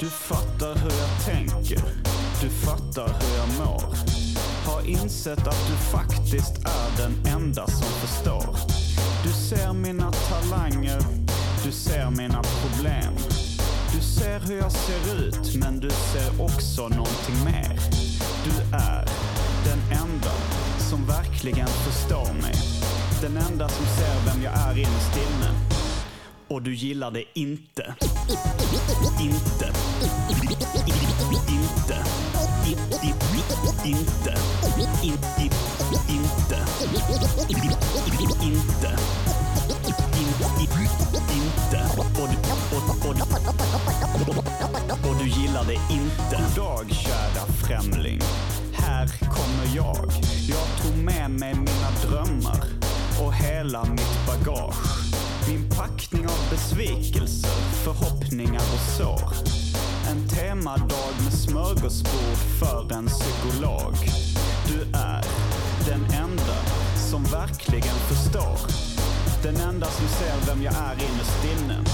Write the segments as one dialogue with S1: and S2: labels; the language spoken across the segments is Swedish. S1: Du fattar hur jag tänker. Du fattar hur jag mår. Har insett att du faktiskt är den enda som förstår. Du ser mina talanger. Du ser mina problem. Du ser hur jag ser ut, men du ser också någonting mer. Du är den enda som verkligen förstår mig. Den enda som ser vem jag är innerst inne. Och du gillar det inte. Inte. Inte. I- i- i- Inte. I- i- Inte. I- i- Inte. In- i- Inte. Och du, och, och, du- och du gillar det inte. God dag kära främling. Här kommer jag. Jag tog med mig mina drömmar och hela mitt bagage. Min packning av besvikelser, förhoppningar och sår. En temadag med smörgåsbord för en psykolog. Du är den enda som verkligen förstår. Den enda som ser vem jag är innerst inne.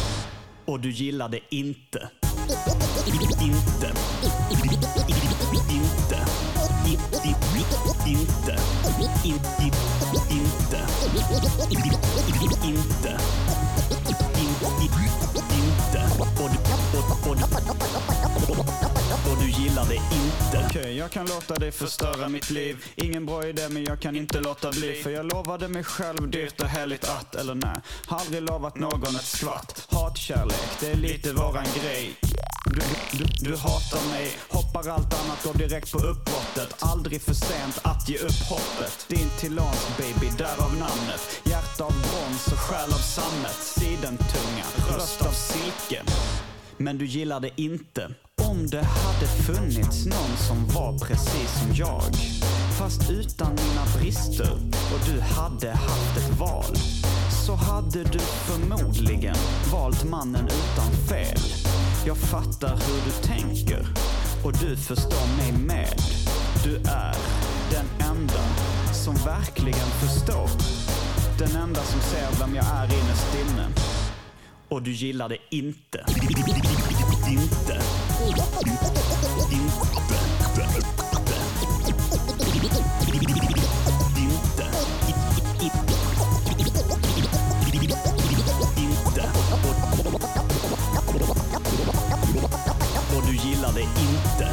S1: Och du gillar det inte. Inte. Inte. I- i- i- Inte. In- i- Inte. I- Inte. In- i- Inte. Och du, och, och, du- och du gillar det inte. Okej, jag kan låta dig förstöra mitt liv. Ingen bra idé, men jag kan inte låta bli. För jag lovade mig själv dyrt och heligt att, eller nej. Har aldrig lovat någon ett skvatt. Hatkärlek, det är lite våran grej. Du, du, du hatar mig, hoppar allt annat, går direkt på uppbrottet. Aldrig för sent att ge upp hoppet. Din Tilans baby, därav namnet. Hjärta av brons och själ av sammet. Sidentunga, röst av silke men du gillar det inte. Om det hade funnits någon som var precis som jag, fast utan mina brister och du hade haft ett val, så hade du förmodligen valt mannen utan fel. Jag fattar hur du tänker och du förstår mig med. Du är den enda som verkligen förstår. Den enda som ser vem jag är innerst inne. Och du gillar det inte. Inte. Inte. Inte. Inte. Och du gillar det inte.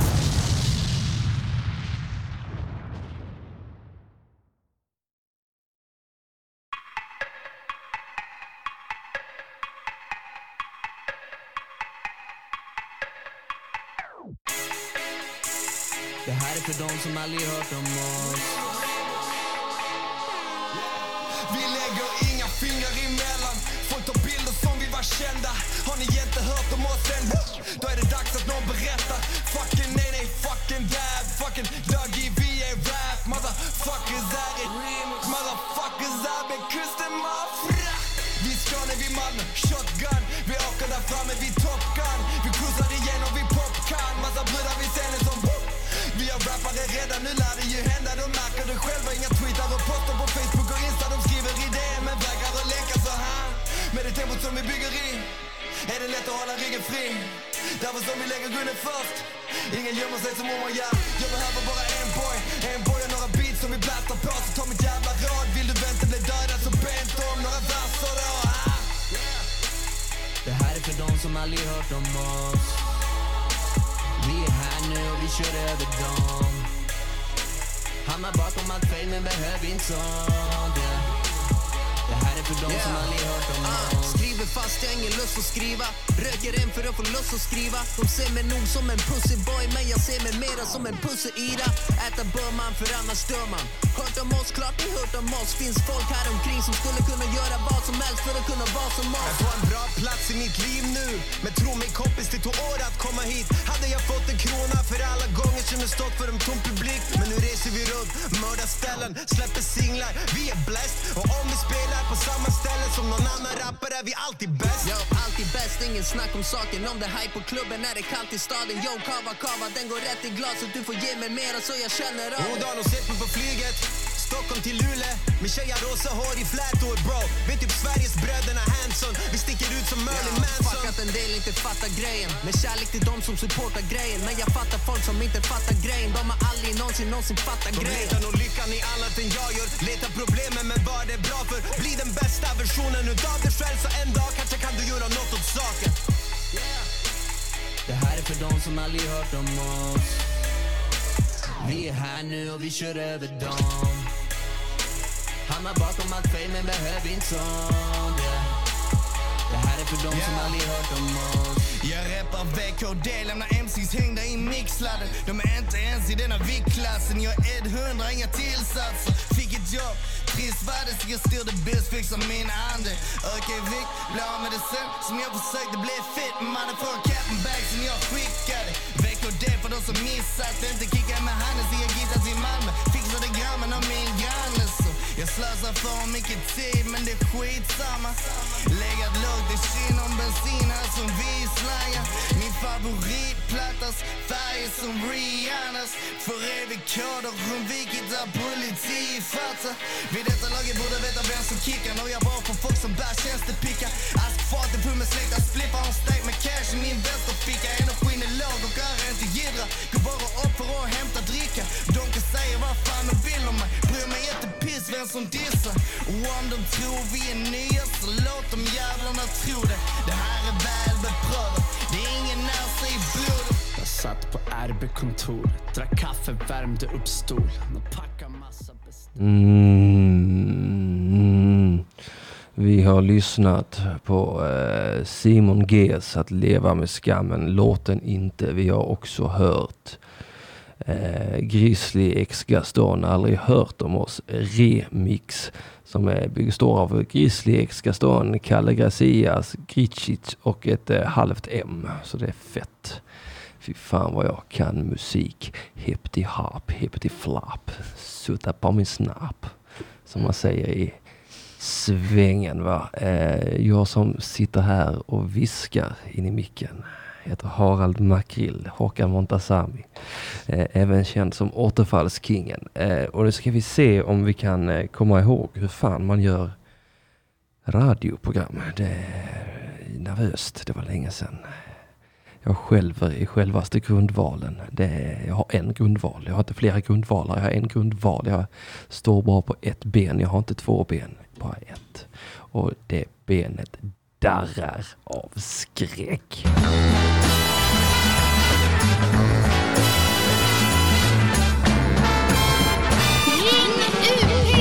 S2: Det här är för dem som aldrig hört om oss
S3: Vi lägger inga fingrar emellan Folk tar bilder som vi var kända Har ni inte hört om oss än? Då är det dags att någon berättar Fucking nej nej fucking dab Fucking Dougie vi är rap Motherfuckers är i Motherfuckers är med kusten mafra Vi Skåne, vi Malmö, shotgun Vi åker där framme, vi Top Gun Vi cruisar igenom, vi popcorn Massa brudar vid scenen som Vi har rappare redan, nu lär det ju hända De märker det själva, inga tweetar och postar på Facebook och Insta De skriver idéer men vägrar att länka så här Med det tempot som vi bygger i Är det lätt att hålla ryggen fri Därför som vi lägger grunden först Ingen gömmer sig som Omar gör Jag behöver bara en boy En boy och några beats som vi blastar på Så ta mitt jävla råd Vill du vänta bli dödad så be inte om några verser då ah.
S2: Det här är för dem som aldrig hört om oss Vi är här nu och vi kör över dem Hamnar bakom allt fel men behöver inte sånt yeah. Det här är för dem som
S4: Yeah.
S2: aldrig hört om
S4: Ah,
S2: oss
S4: skriver fast jag har ingen lust att skriva Röker en för att få lust att skriva De ser mig nog som en pussyboy men jag ser mig mera som en pusseyra Äta bör man för annars dör man Hört om oss, klart ni hört om oss Finns folk här omkring som skulle kunna göra vad som helst för att kunna vara som
S3: Jag
S4: oss
S3: är på en bra plats i mitt liv nu Men tro mig kompis, det tog år att komma hit Hade jag fått en krona för alla gånger som jag stått för en tom publik Men nu reser vi runt, mördar ställen, släpper singlar Vi är bläst och om vi spelar på samma ställe som någon annan rappare är vi alltid bäst
S4: Yo, alltid bäst, ingen snack om saken Om det är hype på klubben är det kallt i staden Yo, kava, kava, den går rätt i glaset Du får ge mig mera så jag känner av
S3: Och
S4: det
S3: Dan och sett mig på flyget
S2: Stockholm till Luleå Min tjej har rosa hår i flätor bro Vi är typ Sveriges bröderna Hanson Vi sticker ut som Merlin Manson
S4: Fuck att en del inte fattar grejen Med kärlek till dem som supportar grejen Men jag fattar folk som inte fattar grejen De har aldrig någonsin någonsin fattat
S2: De
S4: grejen
S2: letar nog lyckan i annat än jag gör Letar problemen men vad det är bra för Bli den bästa versionen utav dig själv Så en dag kanske kan du göra något åt saken Det här är för de som aldrig hört om oss Vi är här nu och vi kör över dem Hamnar bakom allt fel men behöver inte sånt yeah. Det här är för de som
S5: Yeah.
S2: aldrig hört om oss
S5: Jag rappar VKD, lämnar MCs hängda i mixladden De är inte ens i denna viktklassen Jag är 100, inga tillsatser Fick ett jobb, trist var det så jag styrde buss, fixar min ande Ökar i vikt, blir av med det sen Som jag försökte bli fit Mannen från Cappenberg som jag skickade VKD för de som missat det. Inte kicka med handen så jag gittas i Malmö Fixade grammen av min granne så Jag slösar för mycket tid men det är skitsamma Legat lågt i skinn om bensin här som vi slangar Min favoritplattas färger som Rihannas För evigt koder undvikit att politi fattar Vid detta laget borde veta vem som kickar Når jag bara på folk som bär tjänstepickar Askfaten full med släkta spliffar Har stekt med cash i min vänsterficka Energin är låg och är inte jiddra Går bara upp för att hämta dricka De kan säga vad fan de vill om mig Bryr mig inte piss vem som dissar Och om de tror vi är nya så låt de jävlarna tro det Det här är väl beprövat Det är ingen näsa i blodet
S1: Jag satt på RB-kontor, drack kaffe, värmde upp stolen och packade massa beställningar.
S6: Mm. Vi har lyssnat på eh, Simon Gs Att leva med skammen. Låten inte. Vi har också hört eh, Grizzly X Gaston. Aldrig hört om oss. Remix. Som är, består av Grizzly X Gaston, Kalle Gracias, Gricic och ett eh, halvt M. Så det är fett. Fy fan vad jag kan musik. Hippity hop, hippity flop. Sutta på min snapp. Som man säger i svängen va. Eh, jag som sitter här och viskar in i micken heter Harald Makrill, Håkan Montazami. Eh, även känd som Återfallskingen. Eh, och nu ska vi se om vi kan eh, komma ihåg hur fan man gör radioprogram. Det är nervöst, det var länge sedan. Jag skälver i självaste grundvalen. Det är, jag har en grundval. Jag har inte flera grundvalar. Jag har en grundval. Jag står bara på ett ben. Jag har inte två ben. Bara ett. Och det benet darrar av skräck.
S7: Ring UP!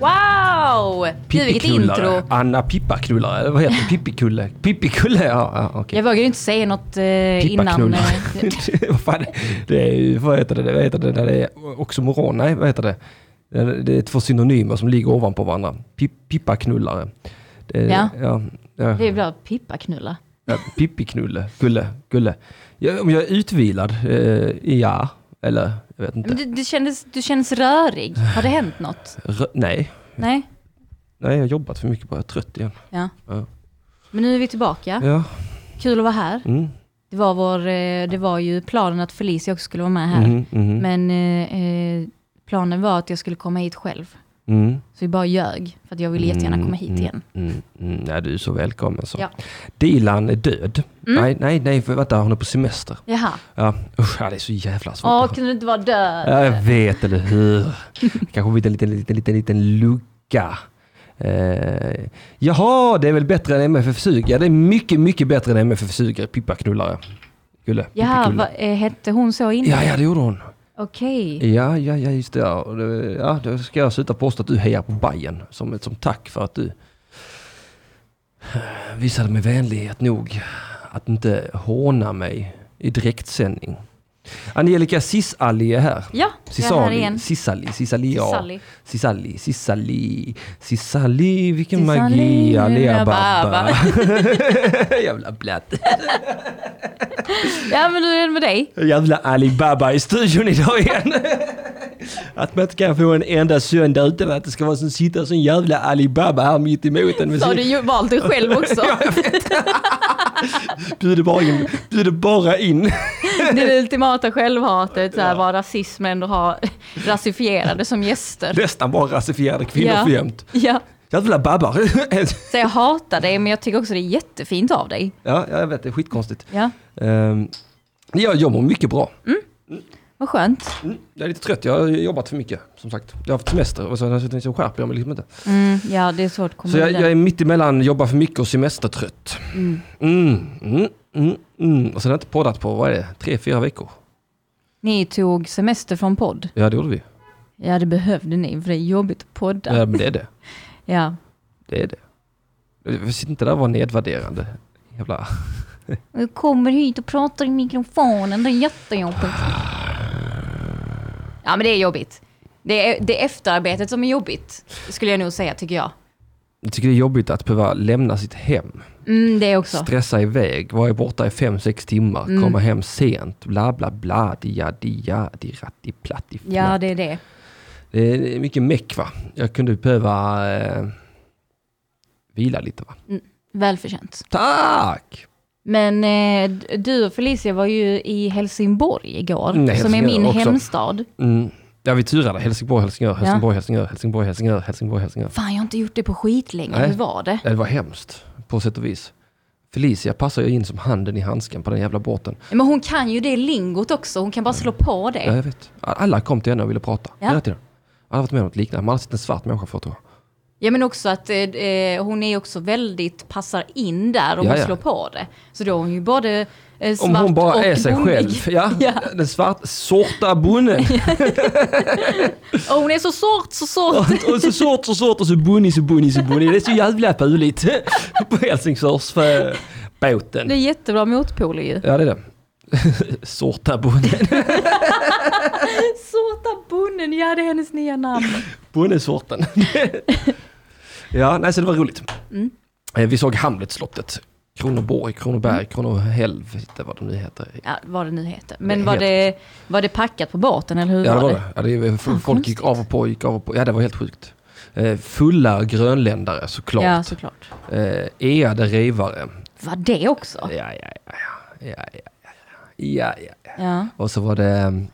S8: Wow! Gud vilket
S6: Pippiknullare.
S8: intro.
S6: Anna Pippaknullare. Eller vad heter det? Pippikulle. Pippikulle, ja. ja okej.
S8: Jag vågar ju inte säga något eh, innan.
S6: Pippaknullare.
S8: eh,
S6: vad fan, det är ju, vad heter det, vad heter det när det är oxymoron? Nej, vad heter det? Det det är två synonymer som ligger ovanpå varandra. Pip, pippaknullare. Det, är-
S8: Ja.
S6: ja, ja.
S8: Det är bra. Pippaknulla.
S6: Ja, Pippiknulle, Gulle, Gulle. Ja, om jag är utvilad? Eh, ja, eller jag vet
S8: Men
S6: inte.
S8: du, du, kändes, du kändes rörig. Har det hänt något?
S6: Rö- nej,
S8: Nej?
S6: nej, jag har jobbat för mycket bara. Jag är trött igen.
S8: Ja.
S6: Ja.
S8: Men nu är vi tillbaka.
S6: Ja,
S8: Kul att vara här.
S6: mm,
S8: Det var, vår, eh, det var ju planen att Felicia också skulle vara med här.
S6: mm, mm,
S8: Men eh, eh, planen var att jag skulle komma hit själv.
S6: mm.
S8: Så vi bara ljög. För att jag ville jättegärna komma hit
S6: Mm,
S8: igen.
S6: Mm, mm, nej, du är så välkommen så.
S8: Ja. Mm.
S6: Dilan är död. Nej, nej, nej, för, vänta, hon är på semester.
S8: Jaha.
S6: Ja, usch, ja, det är så jävla svårt.
S8: Åh,
S6: att-
S8: kunde du inte vara död?
S6: Ja, jag vet, eller hur? Kanske blir en liten, liten, liten, liten lucka. Eh, jaha, det är väl bättre än MFF Sug? Ja, det är mycket, mycket bättre än MFF Sug. Pippaknullare. Gulle.
S8: Jaha,
S6: Pippikulle.
S8: va, eh, hette hon så innan?
S6: Ja, ja, det gjorde hon.
S8: Okej.
S6: Ja, ja, ja, just det. ja. Och det- Ja, då ska jag sluta påstå att du hejar på Bayern som ett som tack för att du eh, visade mig vänlighet nog att inte håna mig i direktsändning. Angelica Cisali är här.
S8: Ja, jag är här
S6: Sisali,
S8: igen.
S6: Sisali, Sisali,
S8: Sisali.
S6: ja. Sisali, Sisali, Sisali, vilken
S8: Sisali,
S6: magi,
S8: Alibaba.
S6: Alibaba. Jävla blatt.
S8: Ja, men hur är det med dig?
S6: Jävla Alibaba i studion idag igen. Att man inte kan få en enda söndag utan att det ska vara som sitta som jävla Alibaba här mitt emot en. med
S8: Så har
S6: sin-
S8: du ju valt dig själv också.
S6: Bjuder bara in. Bjuder bara in.
S8: det är det ultimata självhatet, så här, vad rasism ändå har rasifierade som gäster.
S6: Nästan bara rasifierade kvinnor
S8: Ja.
S6: för jämt.
S8: Ja.
S6: Jävla babbar.
S8: Så jag hatar dig, men jag tycker också det är jättefint av dig.
S6: ja, jag vet, det är skitkonstigt.
S8: Ja,
S6: Um, jag, jag mår mycket bra.
S8: vad skönt.
S6: Mm, Jag är lite trött, jag har jobbat för mycket. Som sagt, jag har haft semester och så, så skärper jag mig liksom inte.
S8: Mm, ja, det är svårt att komma
S6: Så jag, jag
S8: vidare.
S6: är mitt emellan jobba för mycket och semestertrött. Mm, mm, mm, mm. Och sen har jag inte poddat på, vad är det, tre, fyra veckor?
S8: Ni tog semester från podd.
S6: Ja, det gjorde vi.
S8: Ja, det behövde ni, för det är jobbigt att podda.
S6: Ja, men det är det.
S8: Ja.
S6: Det är det. Sitt inte där och var nedvärderande. Jävla...
S8: Jag kommer hit och pratar i mikrofonen, det är jättejobbigt. Ja, men det är jobbigt. Det är, det är efterarbetet som är jobbigt, skulle jag nog säga, tycker jag.
S6: Jag tycker det är jobbigt att behöva lämna sitt hem,
S8: Mm, det också.
S6: stressa iväg, vara borta i fem sex timmar, komma hem sent, bla bla bla, dia dia, di ratti platti
S8: Ja, det är det.
S6: Det är- det är mycket meck va. Jag kunde behöva eh, vila lite va.
S8: Välförtjänt.
S6: Tack!
S8: Men eh, d- du och Felicia var ju i Helsingborg igår,
S6: Mm,
S8: som är
S6: Helsingborg
S8: min
S6: också.
S8: hemstad.
S6: Mm. Ja vi turade, Helsingborg, Helsingör, Helsingborg, Helsingör, Helsingborg, Helsingör, Helsingborg, Helsingör.
S8: Fan, jag har inte gjort det på skit länge.
S6: Nej.
S8: Hur var det?
S6: Ja, det var hemskt på sätt och vis. Felicia passar ju in som handen i handsken på den jävla båten.
S8: Men hon kan ju det lingot också. Hon kan bara slå på det.
S6: Ja, jag vet. Alla kom till henne och ville prata.
S8: Ja.
S6: Hela tiden. Alla har varit med om något liknande. Man har aldrig sett en svart människa förut tror jag.
S8: Ja men också att eh, eh, hon är också väldigt, passar in där och
S6: Ja,
S8: hon
S6: ja.
S8: slår på det. Så då är hon ju både eh, svart
S6: Om hon bara
S8: och
S6: är sig
S8: bonnig.
S6: själv. Ja,
S8: Ja.
S6: Den svart, sorta bonden.
S8: Och hon är så sort, så sort.
S6: och så sort, så sort och så bunny, så bunny, så bunny. Det är så jävla puligt. på Helsingfors för båten.
S8: Det är jättebra motpoler ju.
S6: Ja, det är det. sorta bonden.
S8: Sorta bonden, ja det är hennes nya namn.
S6: Bondesorten. ja, nej, så det var roligt. Eh, Vi såg Hamletslottet. Kronoborg, Kronoberg, Kronohelvete, vad de nu heter.
S8: Ja, vad det nu heter. Men
S6: Det
S8: var
S6: heter-
S8: det, var det packat på båten eller hur
S6: Ja det
S8: var
S6: var det. Ja, det är- folk gick av och på, gick av och på. Ja det var helt sjukt. Eh, Fulla grönländare såklart.
S8: Ja såklart.
S6: Eh, Eade rivare.
S8: Var det också?
S6: Ja ja ja, ja ja. ja, ja, ja, ja, ja.
S8: Ja,
S6: Och så var det mm,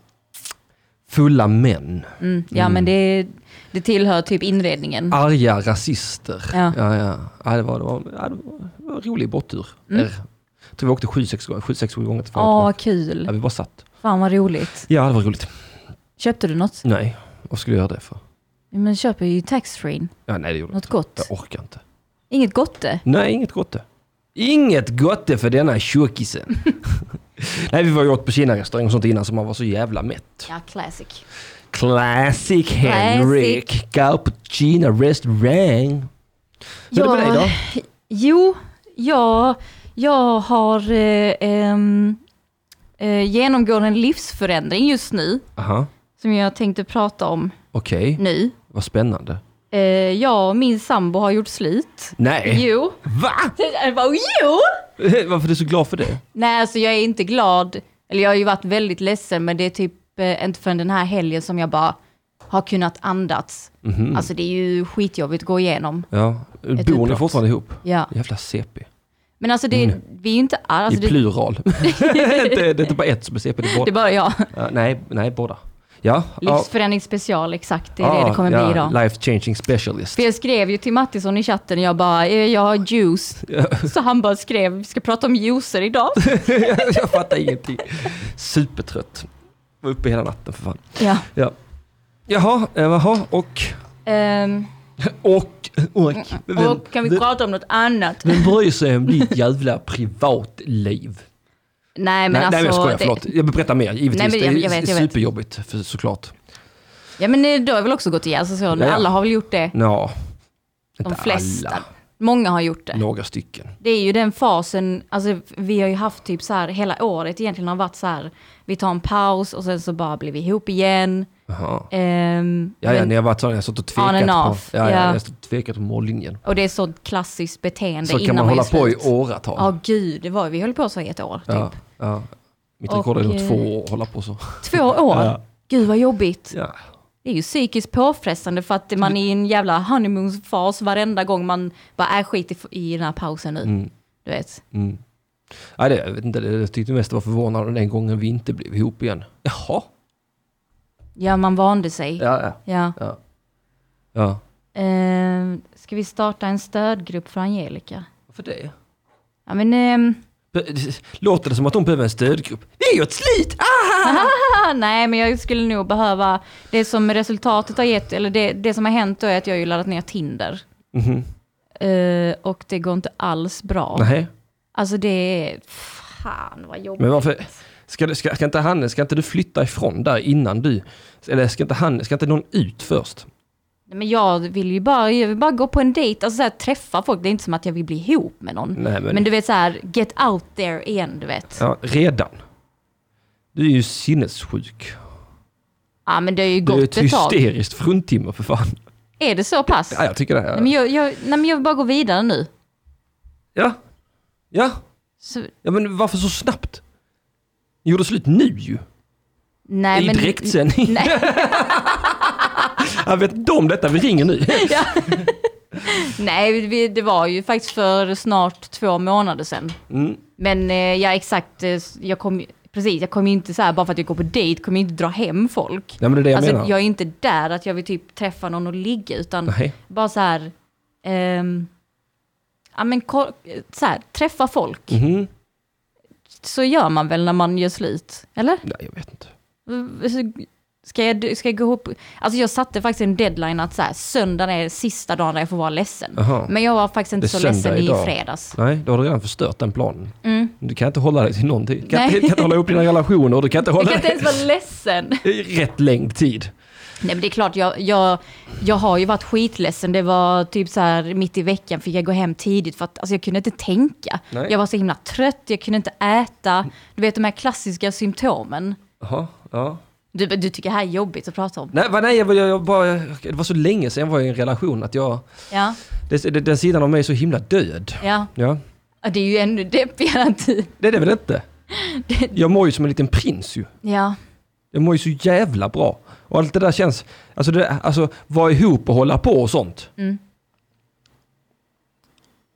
S6: fulla män.
S8: mm. ja men det, det tillhör typ inredningen.
S6: Arga rasister.
S8: Ja.
S6: Ja, ja. ja, det, var, det, var, ja det, var, det var en rolig båttur. Mm. Jag tror vi åkte sju, sex gånger. Sju, sex, sju gånger till
S8: Åh
S6: Frankrike. Ja,
S8: kul.
S6: vi bara satt.
S8: Fan vad roligt.
S6: Ja det var roligt.
S8: Köpte du något?
S6: Nej, vad skulle jag göra det för?
S8: Men köper ju taxfree.
S6: Ja, nej det gjorde jag
S8: Något
S6: inte.
S8: gott?
S6: Jag orkar inte.
S8: Inget gotte?
S6: Nej, inget gotte. Inget gotte för denna tjockisen. Nej, vi var ju åt på Kina-restaurang och sånt innan så man var så jävla mätt.
S8: Ja, classic.
S6: Classic Henrik, gå på Kina-restaurang. Hur är det med dig då?
S8: Jo, jag, jag har eh, ehm, eh, genomgår en livsförändring just nu
S6: Aha,
S8: som jag tänkte prata om
S6: okej.
S8: nu.
S6: Vad spännande.
S8: Eh, jag och min sambo har gjort slut.
S6: Nej,
S8: Jo.
S6: va?
S8: Jag bara, jo!
S6: Varför är du så glad för det?
S8: Nej, alltså jag är inte glad. Eller jag har ju varit väldigt ledsen, men det är typ eh, inte förrän den här helgen som jag bara har kunnat andas.
S6: Mhm.
S8: Alltså det är ju skitjobbigt att gå igenom.
S6: Ja, bor ni
S8: utbrott.
S6: fortfarande ihop?
S8: Ja.
S6: Jävla CP.
S8: Men alltså det, vi är ju inte all- alltså,
S6: Mm. I
S8: det,
S6: plural. det, är- det är inte bara ett som är CP, det är
S8: det är
S6: båda.
S8: bara jag.
S6: Ja, nej, nej, båda. Ja. ja.
S8: Livsförändring special, exakt. Det är det det kommer
S6: ja,
S8: bli idag.
S6: Life changing specialist.
S8: För jag skrev ju till Mattisson i chatten, jag bara, "Eh, jag har juice. Så han bara skrev, vi ska prata om juicer idag.
S6: jag fattar ingenting. Supertrött. Var uppe hela natten för fan.
S8: Ja.
S6: Ja. Jaha, eh, jaha, och...
S8: Ehm,
S6: Och... och vem,
S8: och kan vi
S6: vem,
S8: prata om något annat?
S6: vem bryr sig om ditt jävla privatliv?
S8: Nej men
S6: nej,
S8: alltså.
S6: nej, men jag skojar,
S8: det-
S6: förlåt. Jag berättar mer, givetvis.
S8: Nej, men jag-
S6: det är
S8: jag vet, jag vet.
S6: superjobbigt, För, såklart.
S8: Ja men eh, du har väl också gått igenom så,
S6: Ja.
S8: alla har väl gjort det?
S6: Ja,
S8: De
S6: Inte
S8: flesta.
S6: alla.
S8: Många har gjort det.
S6: några stycken.
S8: Det är ju den fasen, alltså vi har ju haft typ så här hela året egentligen har varit så här, vi tar en paus och sen så bara blir vi ihop igen.
S6: Jaha.
S8: Ehm,
S6: Ja, ja,
S8: men-
S6: ni har varit sådana, jag har stått och tvekat
S8: On and
S6: på...
S8: off,
S6: Ja, ja,
S8: ja.
S6: jag har stått och tvekat på mållinjen.
S8: Och det är sånt klassiskt beteende
S6: Så kan
S8: innan
S6: man hålla
S8: gör
S6: på i
S8: slut.
S6: åratal.
S8: Ja gud, det var, vi höll på så i ett år. Typ.
S6: ja, ja. Mitt rekord
S8: Och,
S6: är nog
S8: eh,
S6: två år att hålla på så.
S8: Två år? Gud vad jobbigt.
S6: Ja.
S8: Det är ju psykiskt påfrestande för att man är i en jävla "Äh,
S6: Mm.
S8: honeymoon-fas varenda gång man bara är skit i, i den här pausen nu. Du vet.
S6: Nej, det, jag vet inte, jag tyckte mest det var förvånande den gången vi inte blev ihop igen. Jaha?
S8: Ja, man vande sig.
S6: Ja, ja.
S8: Ja.
S6: Ja. ja.
S8: Eh, ska vi starta en stödgrupp för Angelica?
S6: Varför det?
S8: Ja, men, ehm,
S6: Låter det som att de behöver en stödgrupp? Det är ju ett slit!
S8: ah, nej, men jag skulle nog behöva... Det som resultatet har gett, eller det, det som har hänt då är att jag har ju laddat ner Tinder. Eh, och det går inte alls bra.
S6: Mhm. Nej,
S8: Alltså det är... Fan vad jobbigt.
S6: men varför? Ska, du- ska, ska, inte han, ska inte du flytta ifrån där innan du... Eller ska inte, han, ska inte någon ut först?
S8: Nej, men jag vill ju bara, jag vill bara gå på en dejt, alltså så här, träffa folk. Det är inte som att jag vill bli ihop med någon.
S6: Nej, men-
S8: men... du vet så här, get out there igen, du vet. Ja,
S6: Ja, redan. Du är ju sinnessjuk.
S8: men det har ju
S6: Du är
S8: gått
S6: ett
S8: ett tag.
S6: hysteriskt fruntimmer för fan.
S8: Är det så pass?
S6: Ja, jag tycker det.
S8: Nej, men jag, jag, nej, men jag vill bara gå vidare nu.
S6: Ja. Ja.
S8: Så,
S6: ja, men varför så snabbt? Ni gjorde slut nu ju.
S8: nej,
S6: I
S8: men,
S6: direktsändning. jag vet inte om detta, vi ringer nu.
S8: Nej, vi- vi, det var ju faktiskt för snart två månader sedan.
S6: Mm.
S8: Men eh, ja, exakt. eh, Jag kom, ju- precis, jag kommer ju inte så här, bara för att jag går på dejt, kommer jag inte dra hem folk.
S6: Nej, men det är det jag
S8: alltså,
S6: menar.
S8: jag är inte där att jag vill typ träffa någon och ligga, utan
S6: Nej.
S8: bara så här... ehm, ja, men ko- så här, träffa folk.
S6: Mhm.
S8: Så gör man väl när man gör slut, eller?
S6: Nej, jag vet inte.
S8: Alltså, Ska jag, ska jag gå ihop? Alltså jag satte faktiskt en deadline att så här, söndagen är sista dagen där jag får vara ledsen.
S6: Aha.
S8: Men jag var faktiskt
S6: Det är
S8: inte så
S6: söndag
S8: ledsen
S6: idag.
S8: i fredags.
S6: Nej, då har du redan förstört den planen. Du kan inte hålla dig till någonting. Du kan,
S8: Mm. Nej.
S6: inte, kan inte hålla upp dina relationer, och du kan inte
S8: Jag
S6: hålla
S8: kan inte
S6: dig
S8: ens vara ledsen.
S6: i rätt längd tid.
S8: Nej men det är klart, jag, jag, jag har ju varit skitledsen. Det var typ så här mitt i veckan fick jag gå hem tidigt för att alltså, jag kunde inte tänka.
S6: Nej.
S8: Jag var så himla trött, jag kunde inte äta. Du vet de här klassiska symptomen.
S6: Jaha, ja.
S8: Du, du tycker det här är jobbigt att prata om.
S6: Nej, va, nej jag, var- jag, jag bara, jag, det var så länge sedan jag var i en relation att jag...
S8: Ja,
S6: Det, det, den sidan av mig är så himla död.
S8: ja.
S6: Ja.
S8: Ja, Det är ju ännu deppigare än du.
S6: Det är det väl inte? Jag mår ju som en liten prins ju.
S8: Ja.
S6: Jag mår ju så jävla bra. Och allt det där känns... Alltså, det, alltså vara ihop och hålla på och sånt.
S8: Mm.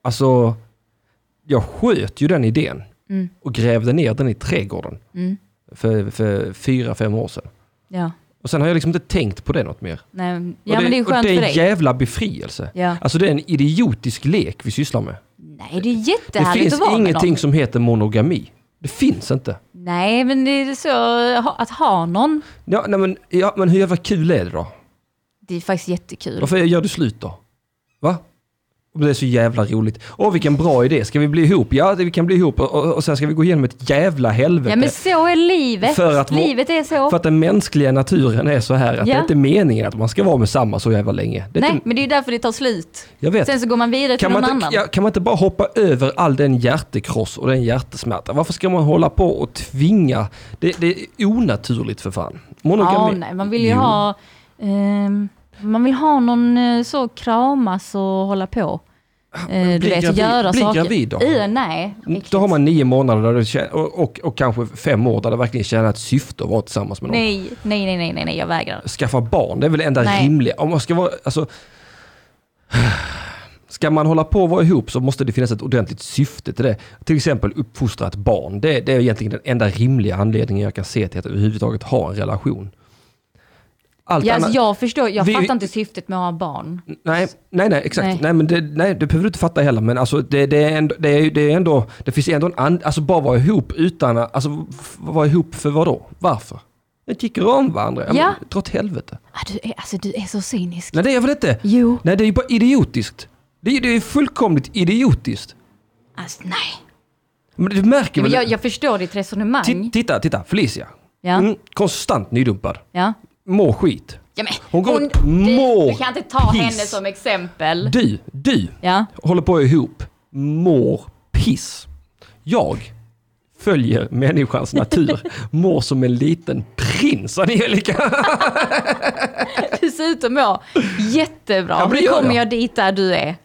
S6: Alltså, jag sköt ju den idén.
S8: Mm.
S6: Och grävde ner den i trädgården.
S8: Mm.
S6: För, för fyra, fem år sedan.
S8: Ja.
S6: Och sen har jag liksom inte tänkt på det något mer.
S8: Nej, men-
S6: och
S8: ja men det är
S6: och
S8: skönt
S6: det är
S8: för
S6: en
S8: dig.
S6: jävla befrielse.
S8: Ja.
S6: Alltså det är en idiotisk lek vi sysslar med.
S8: Nej, det är
S6: Det
S8: jättehärligt
S6: finns
S8: att vara med
S6: ingenting
S8: någon.
S6: som heter monogami. Det finns inte.
S8: Nej, men det är så ha- att ha någon.
S6: Ja, nej, men, ja, men hur jävla kul är det då?
S8: Det är faktiskt jättekul.
S6: Varför gör du slut då? Va? Om Det är så jävla roligt. Åh vilken bra idé, ska vi bli ihop? Ja, det- vi kan bli ihop och, och, och sen ska vi gå igenom ett jävla helvete.
S8: Ja men så är livet.
S6: För att vår-
S8: livet är så.
S6: För att den mänskliga naturen är så här att det
S8: Ja.
S6: är inte meningen att man ska vara med samma så jävla länge. Det är
S8: Nej,
S6: inte,
S8: men det är ju därför det tar slut.
S6: jag vet.
S8: Sen så går man vidare till
S6: Kan man,
S8: någon
S6: inte,
S8: annan.
S6: ja, kan man inte bara hoppa över all den hjärtekross och den hjärtesmärta? Varför ska man hålla på och tvinga? Det, det är onaturligt för fan.
S8: ja,
S6: Monogami.
S8: nej, man vill ju
S6: Jo.
S8: ha... ehm, man vill ha någon eh, så kramas och hålla på. Eh, du
S6: bli
S8: vet,
S6: gravid-
S8: göra
S6: bli
S8: saker.
S6: gravid då. Mm,
S8: I, nej, äckligt.
S6: Då har man nio månader där det tjä- och, och, och kanske fem år där det verkligen tjänar ett syfte att vara tillsammans med någon.
S8: nej, nej, nej, nej, nej, nej, jag vägrar.
S6: Skaffa barn, det är väl det enda
S8: Nej.
S6: rimliga. Om man ska vara, alltså, ska man hålla på och vara ihop så måste det finnas ett ordentligt syfte till det. Till exempel uppfostra ett barn. Det, det är egentligen den enda rimliga anledningen jag kan se till att överhuvudtaget ha en relation. Allt
S8: Ja, alltså,
S6: annat,
S8: jag förstår, jag
S6: Vi-
S8: fattar inte syftet med att ha barn.
S6: Nej, nej, nej, exakt. Nej.
S8: Nej.
S6: men det, nej, det behöver du inte fatta heller. Men alltså, det, det, är ändå, det, är, det är ändå, det finns ändå en and, alltså bara vara ihop utan, att- alltså f- vara ihop för vad då? Varför? Jag tycker om varandra. Ja.
S8: Ja.
S6: Men, dra åt helvete.
S8: Ah, du, är, alltså, du är så cynisk.
S6: Nej, det är jag väl inte?
S8: Jo.
S6: Nej, det är ju bara idiotiskt. Det är, det är fullkomligt idiotiskt.
S8: Alltså, nej.
S6: Men du märker
S8: Men
S6: väl?
S8: jag, jag förstår ditt resonemang.
S6: Ti- Titta, titta, Felicia.
S8: Ja.
S6: Mm, konstant nydumpad.
S8: ja.
S6: Mår skit.
S8: ja men,
S6: Hon går och mår
S8: du, du kan inte ta
S6: piss.
S8: henne som exempel.
S6: Du, du
S8: Ja.
S6: håller på ihop, mår piss. Jag följer människans natur, mår som en liten prins Angelica.
S8: Dessutom mår jättebra.
S6: Ja, men det
S8: nu
S6: gör
S8: kommer
S6: jag.
S8: jag. dit där du är.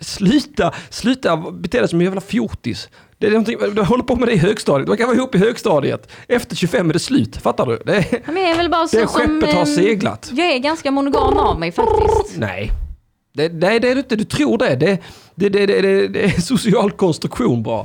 S6: Sluta, sluta bete dig som en jävla fjortis. Det är någonting, du håller på med det i högstadiet, man kan vara ihop i högstadiet. Efter 25 är det slut, fattar du? Det är,
S8: Men jag är väl bara så
S6: det är
S8: som...
S6: skeppet har
S8: ehm,
S6: seglat.
S8: Jag är ganska monogam av mig faktiskt.
S6: Nej, Det, nej, det är det inte. Du tror det. Det, det, det, det, det, det är social konstruktion bara.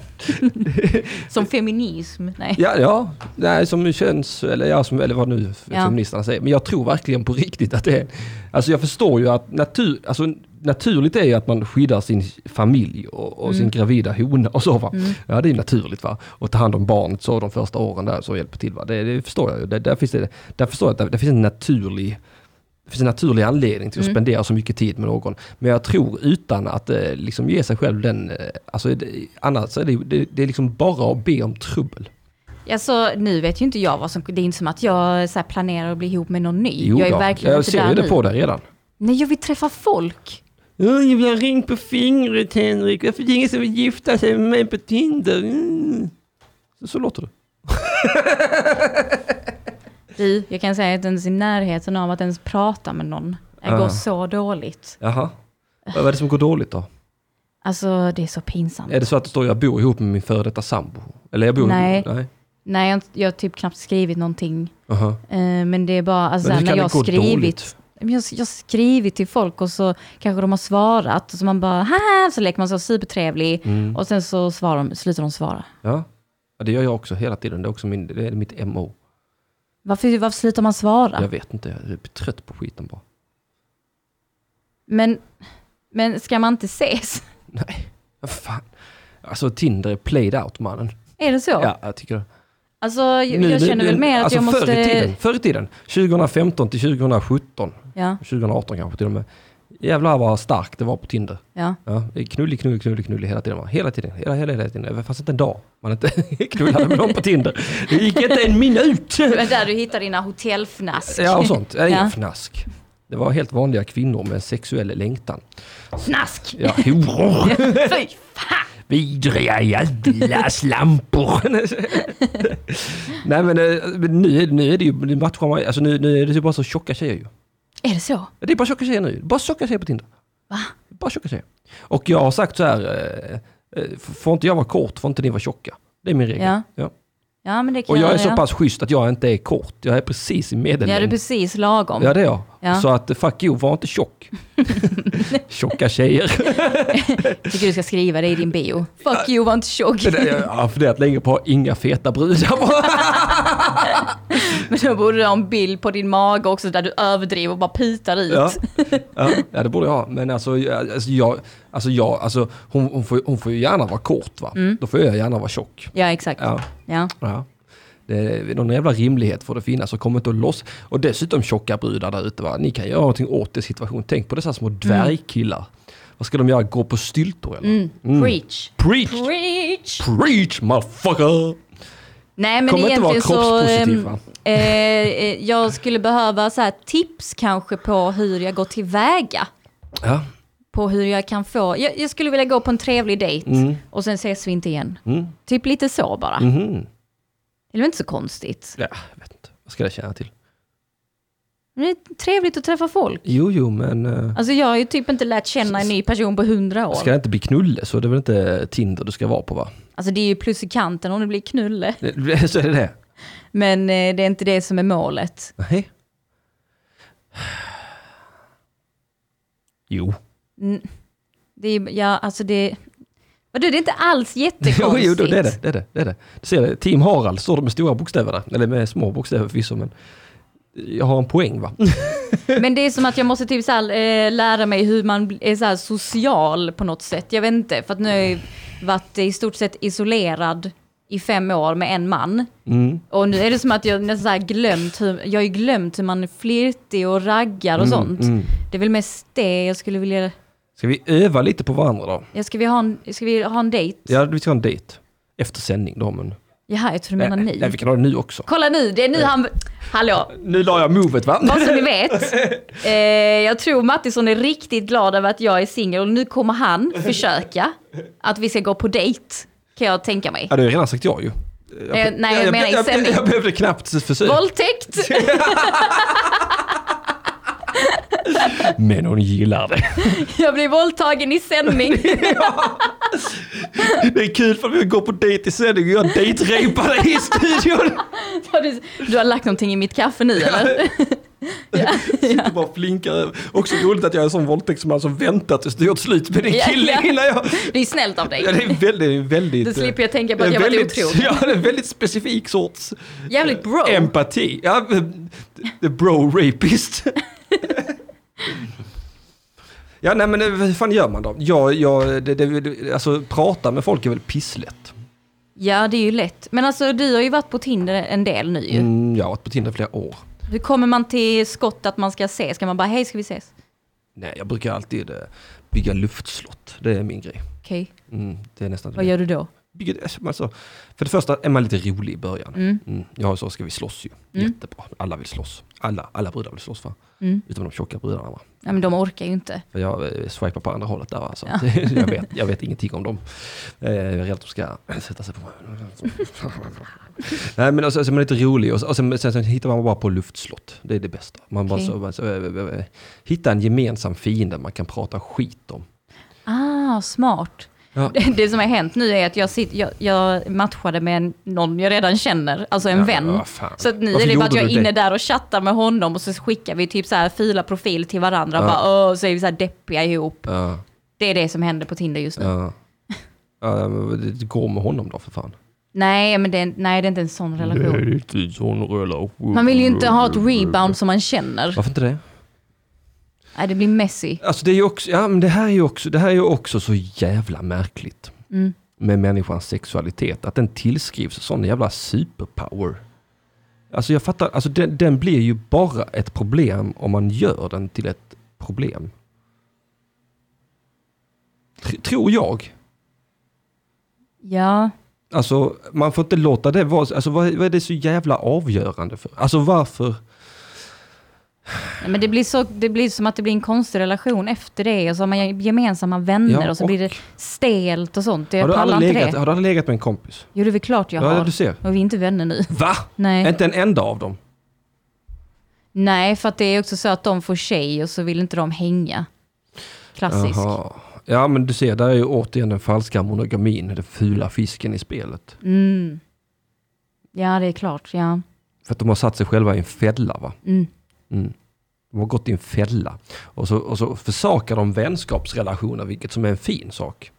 S8: Som feminism. Nej.
S6: Ja, ja. Nej, som känns, eller, ja, som, eller vad nu
S8: Ja.
S6: feministerna säger. Men jag tror verkligen på riktigt att det är... Alltså jag förstår ju att natur, alltså, naturligt är ju att man skyddar sin familj och, och
S8: Mm.
S6: sin gravida hona och så va. Ja, det är naturligt va. Och ta hand om barnet så de första åren där så hjälper till va. Det, det förstår jag ju. Det, där, finns det, där förstår jag att det, det finns en naturlig det finns en naturlig anledning
S8: Mm.
S6: till att spendera så mycket tid med någon. Men jag tror utan att eh, liksom ge sig själv den... Eh, alltså, det, annars är det, det, det är liksom bara att be om trubbel.
S8: Alltså, nu vet ju inte jag vad som... Det är inte som att jag så här, planerar att bli ihop med någon ny.
S6: Jo
S8: jag är
S6: då,
S8: verkligen
S6: jag
S8: inte
S6: ser
S8: där
S6: ju det
S8: nu.
S6: på dig redan.
S8: Nej, jag vill träffa folk.
S6: Jag vill ha ring på fingret Henrik, varför är det ingen som vill gifta sig med mig på Tinder? Mm. Så, så låter det.
S8: Du, jag kan säga att ens i närheten av att ens prata med någon det
S6: Ja.
S8: går så dåligt.
S6: Jaha. Vad är det som går dåligt då?
S8: Alltså, det är så pinsamt.
S6: Är det så att det står jag bor ihop med min före detta sambo? Eller jag bor
S8: Nej.
S6: Nej.
S8: Nej, jag, har inte- jag har typ knappt skrivit någonting.
S6: Aha.
S8: Eh, men det är bara... Alltså,
S6: Men hur
S8: när
S6: kan
S8: jag
S6: det
S8: har
S6: gå
S8: skrivit...
S6: dåligt?
S8: Men Jag, jag har skrivit till folk och så kanske de har svarat och så man bara haha, så leker man så supertrevlig
S6: Mm.
S8: och sen så svarar de, slutar de svara.
S6: Ja. ja, det gör jag också hela tiden. Det är också min, det är mitt MO.
S8: Varför, varför slutar man svara?
S6: Jag vet inte, jag är trött på skiten bara.
S8: Men, men ska man inte ses?
S6: Nej, vad fan. Alltså Tinder är played out mannen.
S8: Är det så?
S6: Ja, jag tycker det.
S8: Alltså jag, jag
S6: Nu-
S8: känner
S6: nu-
S8: väl mer att
S6: alltså,
S8: jag måste...
S6: Förr i tiden, förr i tiden 2015 till 2017,
S8: Ja,
S6: 2018 kanske till och med. Jävlar vad starkt det var på Tinder.
S8: ja.
S6: Ja, knullig, knullig, knullig, knullig hela tiden. va? Hela tiden, hela, hela, hela tiden. Det fanns inte en dag man inte knullade med någon på Tinder. Det gick inte en minut!
S8: Det var där du hittar dina hotellfnask.
S6: Ja, och sånt. Ja, Ingen
S8: Ja.
S6: fnask. Det var helt vanliga kvinnor med en sexuell längtan.
S8: Fnask!
S6: Ja, horor!
S8: Fy fan!
S6: Vidriga jävla slampor! Nej men eh, men nu, är- nu är det ju, nu matchar man, alltså nu, nu är det ju bara så tjocka tjejer ju.
S8: Är det så?
S6: Det är bara tjocka tjejer nu. Bara tjocka tjejer på Tinder. Bara tjocka tjejer. Och jag har sagt så här, eh, eh, f- får inte jag vara kort får inte ni vara tjocka. Det är min regel.
S8: Ja.
S6: Ja.
S8: Ja, men det kan
S6: Och jag är så
S8: ja.
S6: pass schysst att jag inte är kort. Jag är precis i
S8: Ja, det är
S6: medellängd.
S8: precis lagom.
S6: Ja det är jag.
S8: Ja.
S6: Så att eh, fuck you, var inte tjock. Tjocka tjejer.
S8: Tycker du ska skriva det i din bio. Fuck you, var inte tjock.
S6: Det- Jag har funderat länge på inga feta brudar.
S8: Men då borde du ha en bild på din mage också där du överdriver och bara putar ut.
S6: Ja. Ja. ja, det borde jag ha. Men alltså, jag- alltså, jag, alltså, jag, alltså hon, hon, får, hon får ju gärna vara kort va? Då får jag gärna vara tjock.
S8: Ja, exakt.
S6: Ja.
S8: Ja.
S6: Ja. Det är någon jävla rimlighet får det finnas och kom inte att loss. Och dessutom tjocka brudar där ute va? Ni kan göra någonting åt det situationen. Tänk på dessa små dvärgkillar. Vad ska de göra? Gå på styltor eller?
S8: Preach.
S6: Mm. Preach!
S8: Preach!
S6: Preach motherfucker!
S8: Nej, men
S6: Kommer inte vara
S8: egentligen så...
S6: kroppspositiv,
S8: ehm,
S6: va?
S8: eh, eh, jag skulle behöva så här, tips kanske på hur jag går tillväga.
S6: Ja.
S8: På hur jag kan få... Jag, jag skulle vilja gå på en trevlig dejt
S6: Mm.
S8: och sen ses vi inte igen. Typ lite så bara.
S6: Mhm.
S8: Det är väl inte så konstigt?
S6: ja, jag vet inte. Vad ska det tjäna till?
S8: Men det är trevligt att träffa folk.
S6: Jo, jo, men... eh,
S8: Alltså jag har ju typ inte lärt känna en ny person på hundra år.
S6: Ska det inte bli knulle så är det väl inte Tinder du ska vara på va?
S8: Alltså det är ju plus i kanten om det blir knulle.
S6: Det- Så är det det?
S8: Men eh, det är inte det som är målet.
S6: Nej. Jo.
S8: Det är, ja, alltså det... Vadå, det är inte alls
S6: Jo,
S8: jättekonstigt.
S6: jo då, det är det. det, är det, det, är det. Du ser det. Team Harald står det med stora bokstäver där. Eller med små bokstäver förvisso, men jag har en poäng va?
S8: Men det är som att jag måste typ så här, eh, lära mig hur man bl- är så här social på något sätt. Jag vet inte, för att nu har jag ju varit i stort sett isolerad i fem år med en man. Och nu är det som att jag nästan så här glömt hur, jag har ju glömt hur man är flirtig och raggar och sånt. Det är väl mest det jag skulle vilja...
S6: Ska vi öva lite på varandra då?
S8: Jag ska, vi ha en, ska vi ha en dejt?
S6: Ja, vi ska ha en dejt. Efter sändning då, men...
S8: Jaha, jag tror du menar
S6: nej,
S8: ni.
S6: nej, vi kan ha det nu också.
S8: Kolla nu, det är nu han... Hallå,
S6: Nu la jag movet va?
S8: bara så ni vet. Eh, jag tror Mattisson är riktigt glad över att jag är singel och nu kommer han försöka att vi ska gå på dejt. Kan jag tänka mig.
S6: Ja, du har redan sagt ja ju.
S8: Eh, nej, jag menar i
S6: jag, jag,
S8: sändning.
S6: jag behövde knappt försöka.
S8: Våldtäkt!
S6: Men hon gillar det.
S8: Jag blir våldtagen i sändning.
S6: Det är kul för vi går på dejt i sändning och jag dejtrejpar dig i studion.
S8: Har du, du har lagt någonting i mitt kaffe nu eller?
S6: Sitter bara och flinkar över. Också roligt att jag är en sån våldtäktsman som väntar tills det gör slut med din
S8: Ja,
S6: kille
S8: ja.
S6: innan jag...
S8: Det är snällt av
S6: Ja, det
S8: dig.
S6: är väldigt... Det är väldigt
S8: Då slipper jag tänka på
S6: det är
S8: att jag varit
S6: väldigt-
S8: otrogen. Oh.
S6: Ja, det är en väldigt specifik sorts
S8: Jävligt bro.
S6: empati. Ja, the bro-rapist. ja, nej men det- hur fan gör man då? Jag, jag, det, det, det, alltså prata med folk är väl pisslätt.
S8: Ja, det är ju lätt. Men alltså du har ju varit på Tinder en del nu ju.
S6: Mm, jag har varit på Tinder i flera år.
S8: Hur kommer man till skott att man ska ses? Ska man bara, hej ska vi ses?
S6: Nej, jag brukar alltid eh, bygga luftslott. Det är min grej.
S8: Okej,
S6: Mm, det är nästan
S8: vad gör du då?
S6: Bygger- alltså, för det första är man lite rolig i början. Mm. Ja, så ska vi slåss ju. Jättebra. Alla vill slåss. Alla, alla brudar vill slåss va?
S8: Mm.
S6: Utom de tjocka brudarna va?
S8: Nej men de orkar ju inte.
S6: För jag eh, swipar på andra hållet där va? Så att, jag, vet, jag vet ingenting om dem. Eh, jag är rädd att de ska sätta sig på mig. Nej men alltså, alltså man är lite rolig och, så- och sen, sen, sen hittar man bara på luftslott. Det är det bästa. Man bara
S8: Okej.
S6: så, man, så, eh, eh, eh, hitta en gemensam fiende man kan prata skit om.
S8: Ah, smart.
S6: Ja.
S8: Det, det som har hänt nu är att jag, sitter, jag, jag matchade med en, någon jag redan känner, alltså en
S6: Ja,
S8: vän.
S6: vad fan.
S8: Så att nu
S6: Varför
S8: är det bara
S6: gjorde
S8: att jag är
S6: du det?
S8: inne där och chattar med honom och så skickar vi typ så här fila profil till varandra och
S6: Ja.
S8: bara, "Åh", så är vi så här deppiga ihop.
S6: Ja,
S8: Det är det som händer på Tinder just nu.
S6: ja. Ja, men det- det går med honom då för fan.
S8: Nej, men det är, nej, det är inte en sån relation.
S6: Nej, det är inte en sån relation.
S8: Man vill ju inte ha ett rebound som man känner.
S6: Varför inte det?
S8: Nej, det blir messy.
S6: Alltså det är ju också, ja men det här är ju också, det här är ju också så jävla märkligt.
S8: Mm.
S6: Med människans sexualitet, att den tillskrivs sån jävla superpower. Alltså jag fattar, alltså den, den blir ju bara ett problem om man gör den till ett problem. Tr- tror jag.
S8: Ja,
S6: Alltså man får inte låta det vara, alltså vad, vad är det så jävla avgörande för? Alltså varför?
S8: Nej, men det blir, så, det blir som att det blir en konstig relation efter det och så har man ge- gemensamma vänner
S6: Ja,
S8: och så
S6: och-
S8: blir det stelt och sånt. Jag
S6: Har du,
S8: pallar
S6: aldrig
S8: inte
S6: legat,
S8: det.
S6: har du aldrig legat med en kompis?
S8: Jo, det är väl klart jag
S6: Ja,
S8: har.
S6: du ser.
S8: Och vi är inte vänner nu.
S6: Va?
S8: Nej.
S6: Inte en enda av dem?
S8: Nej, för att det är också så att de får tjej och så vill inte de hänga. Klassisk.
S6: Jaha. Ja men du ser, där är ju återigen den falska monogamin, den fula fisken i spelet.
S8: Mm. Ja, det är klart. Ja.
S6: För att de har satt sig själva i en fälla va?
S8: Mm.
S6: Mm. De har gått i en fälla. Och så, och så försakar de vänskapsrelationer, vilket som är en fin sak.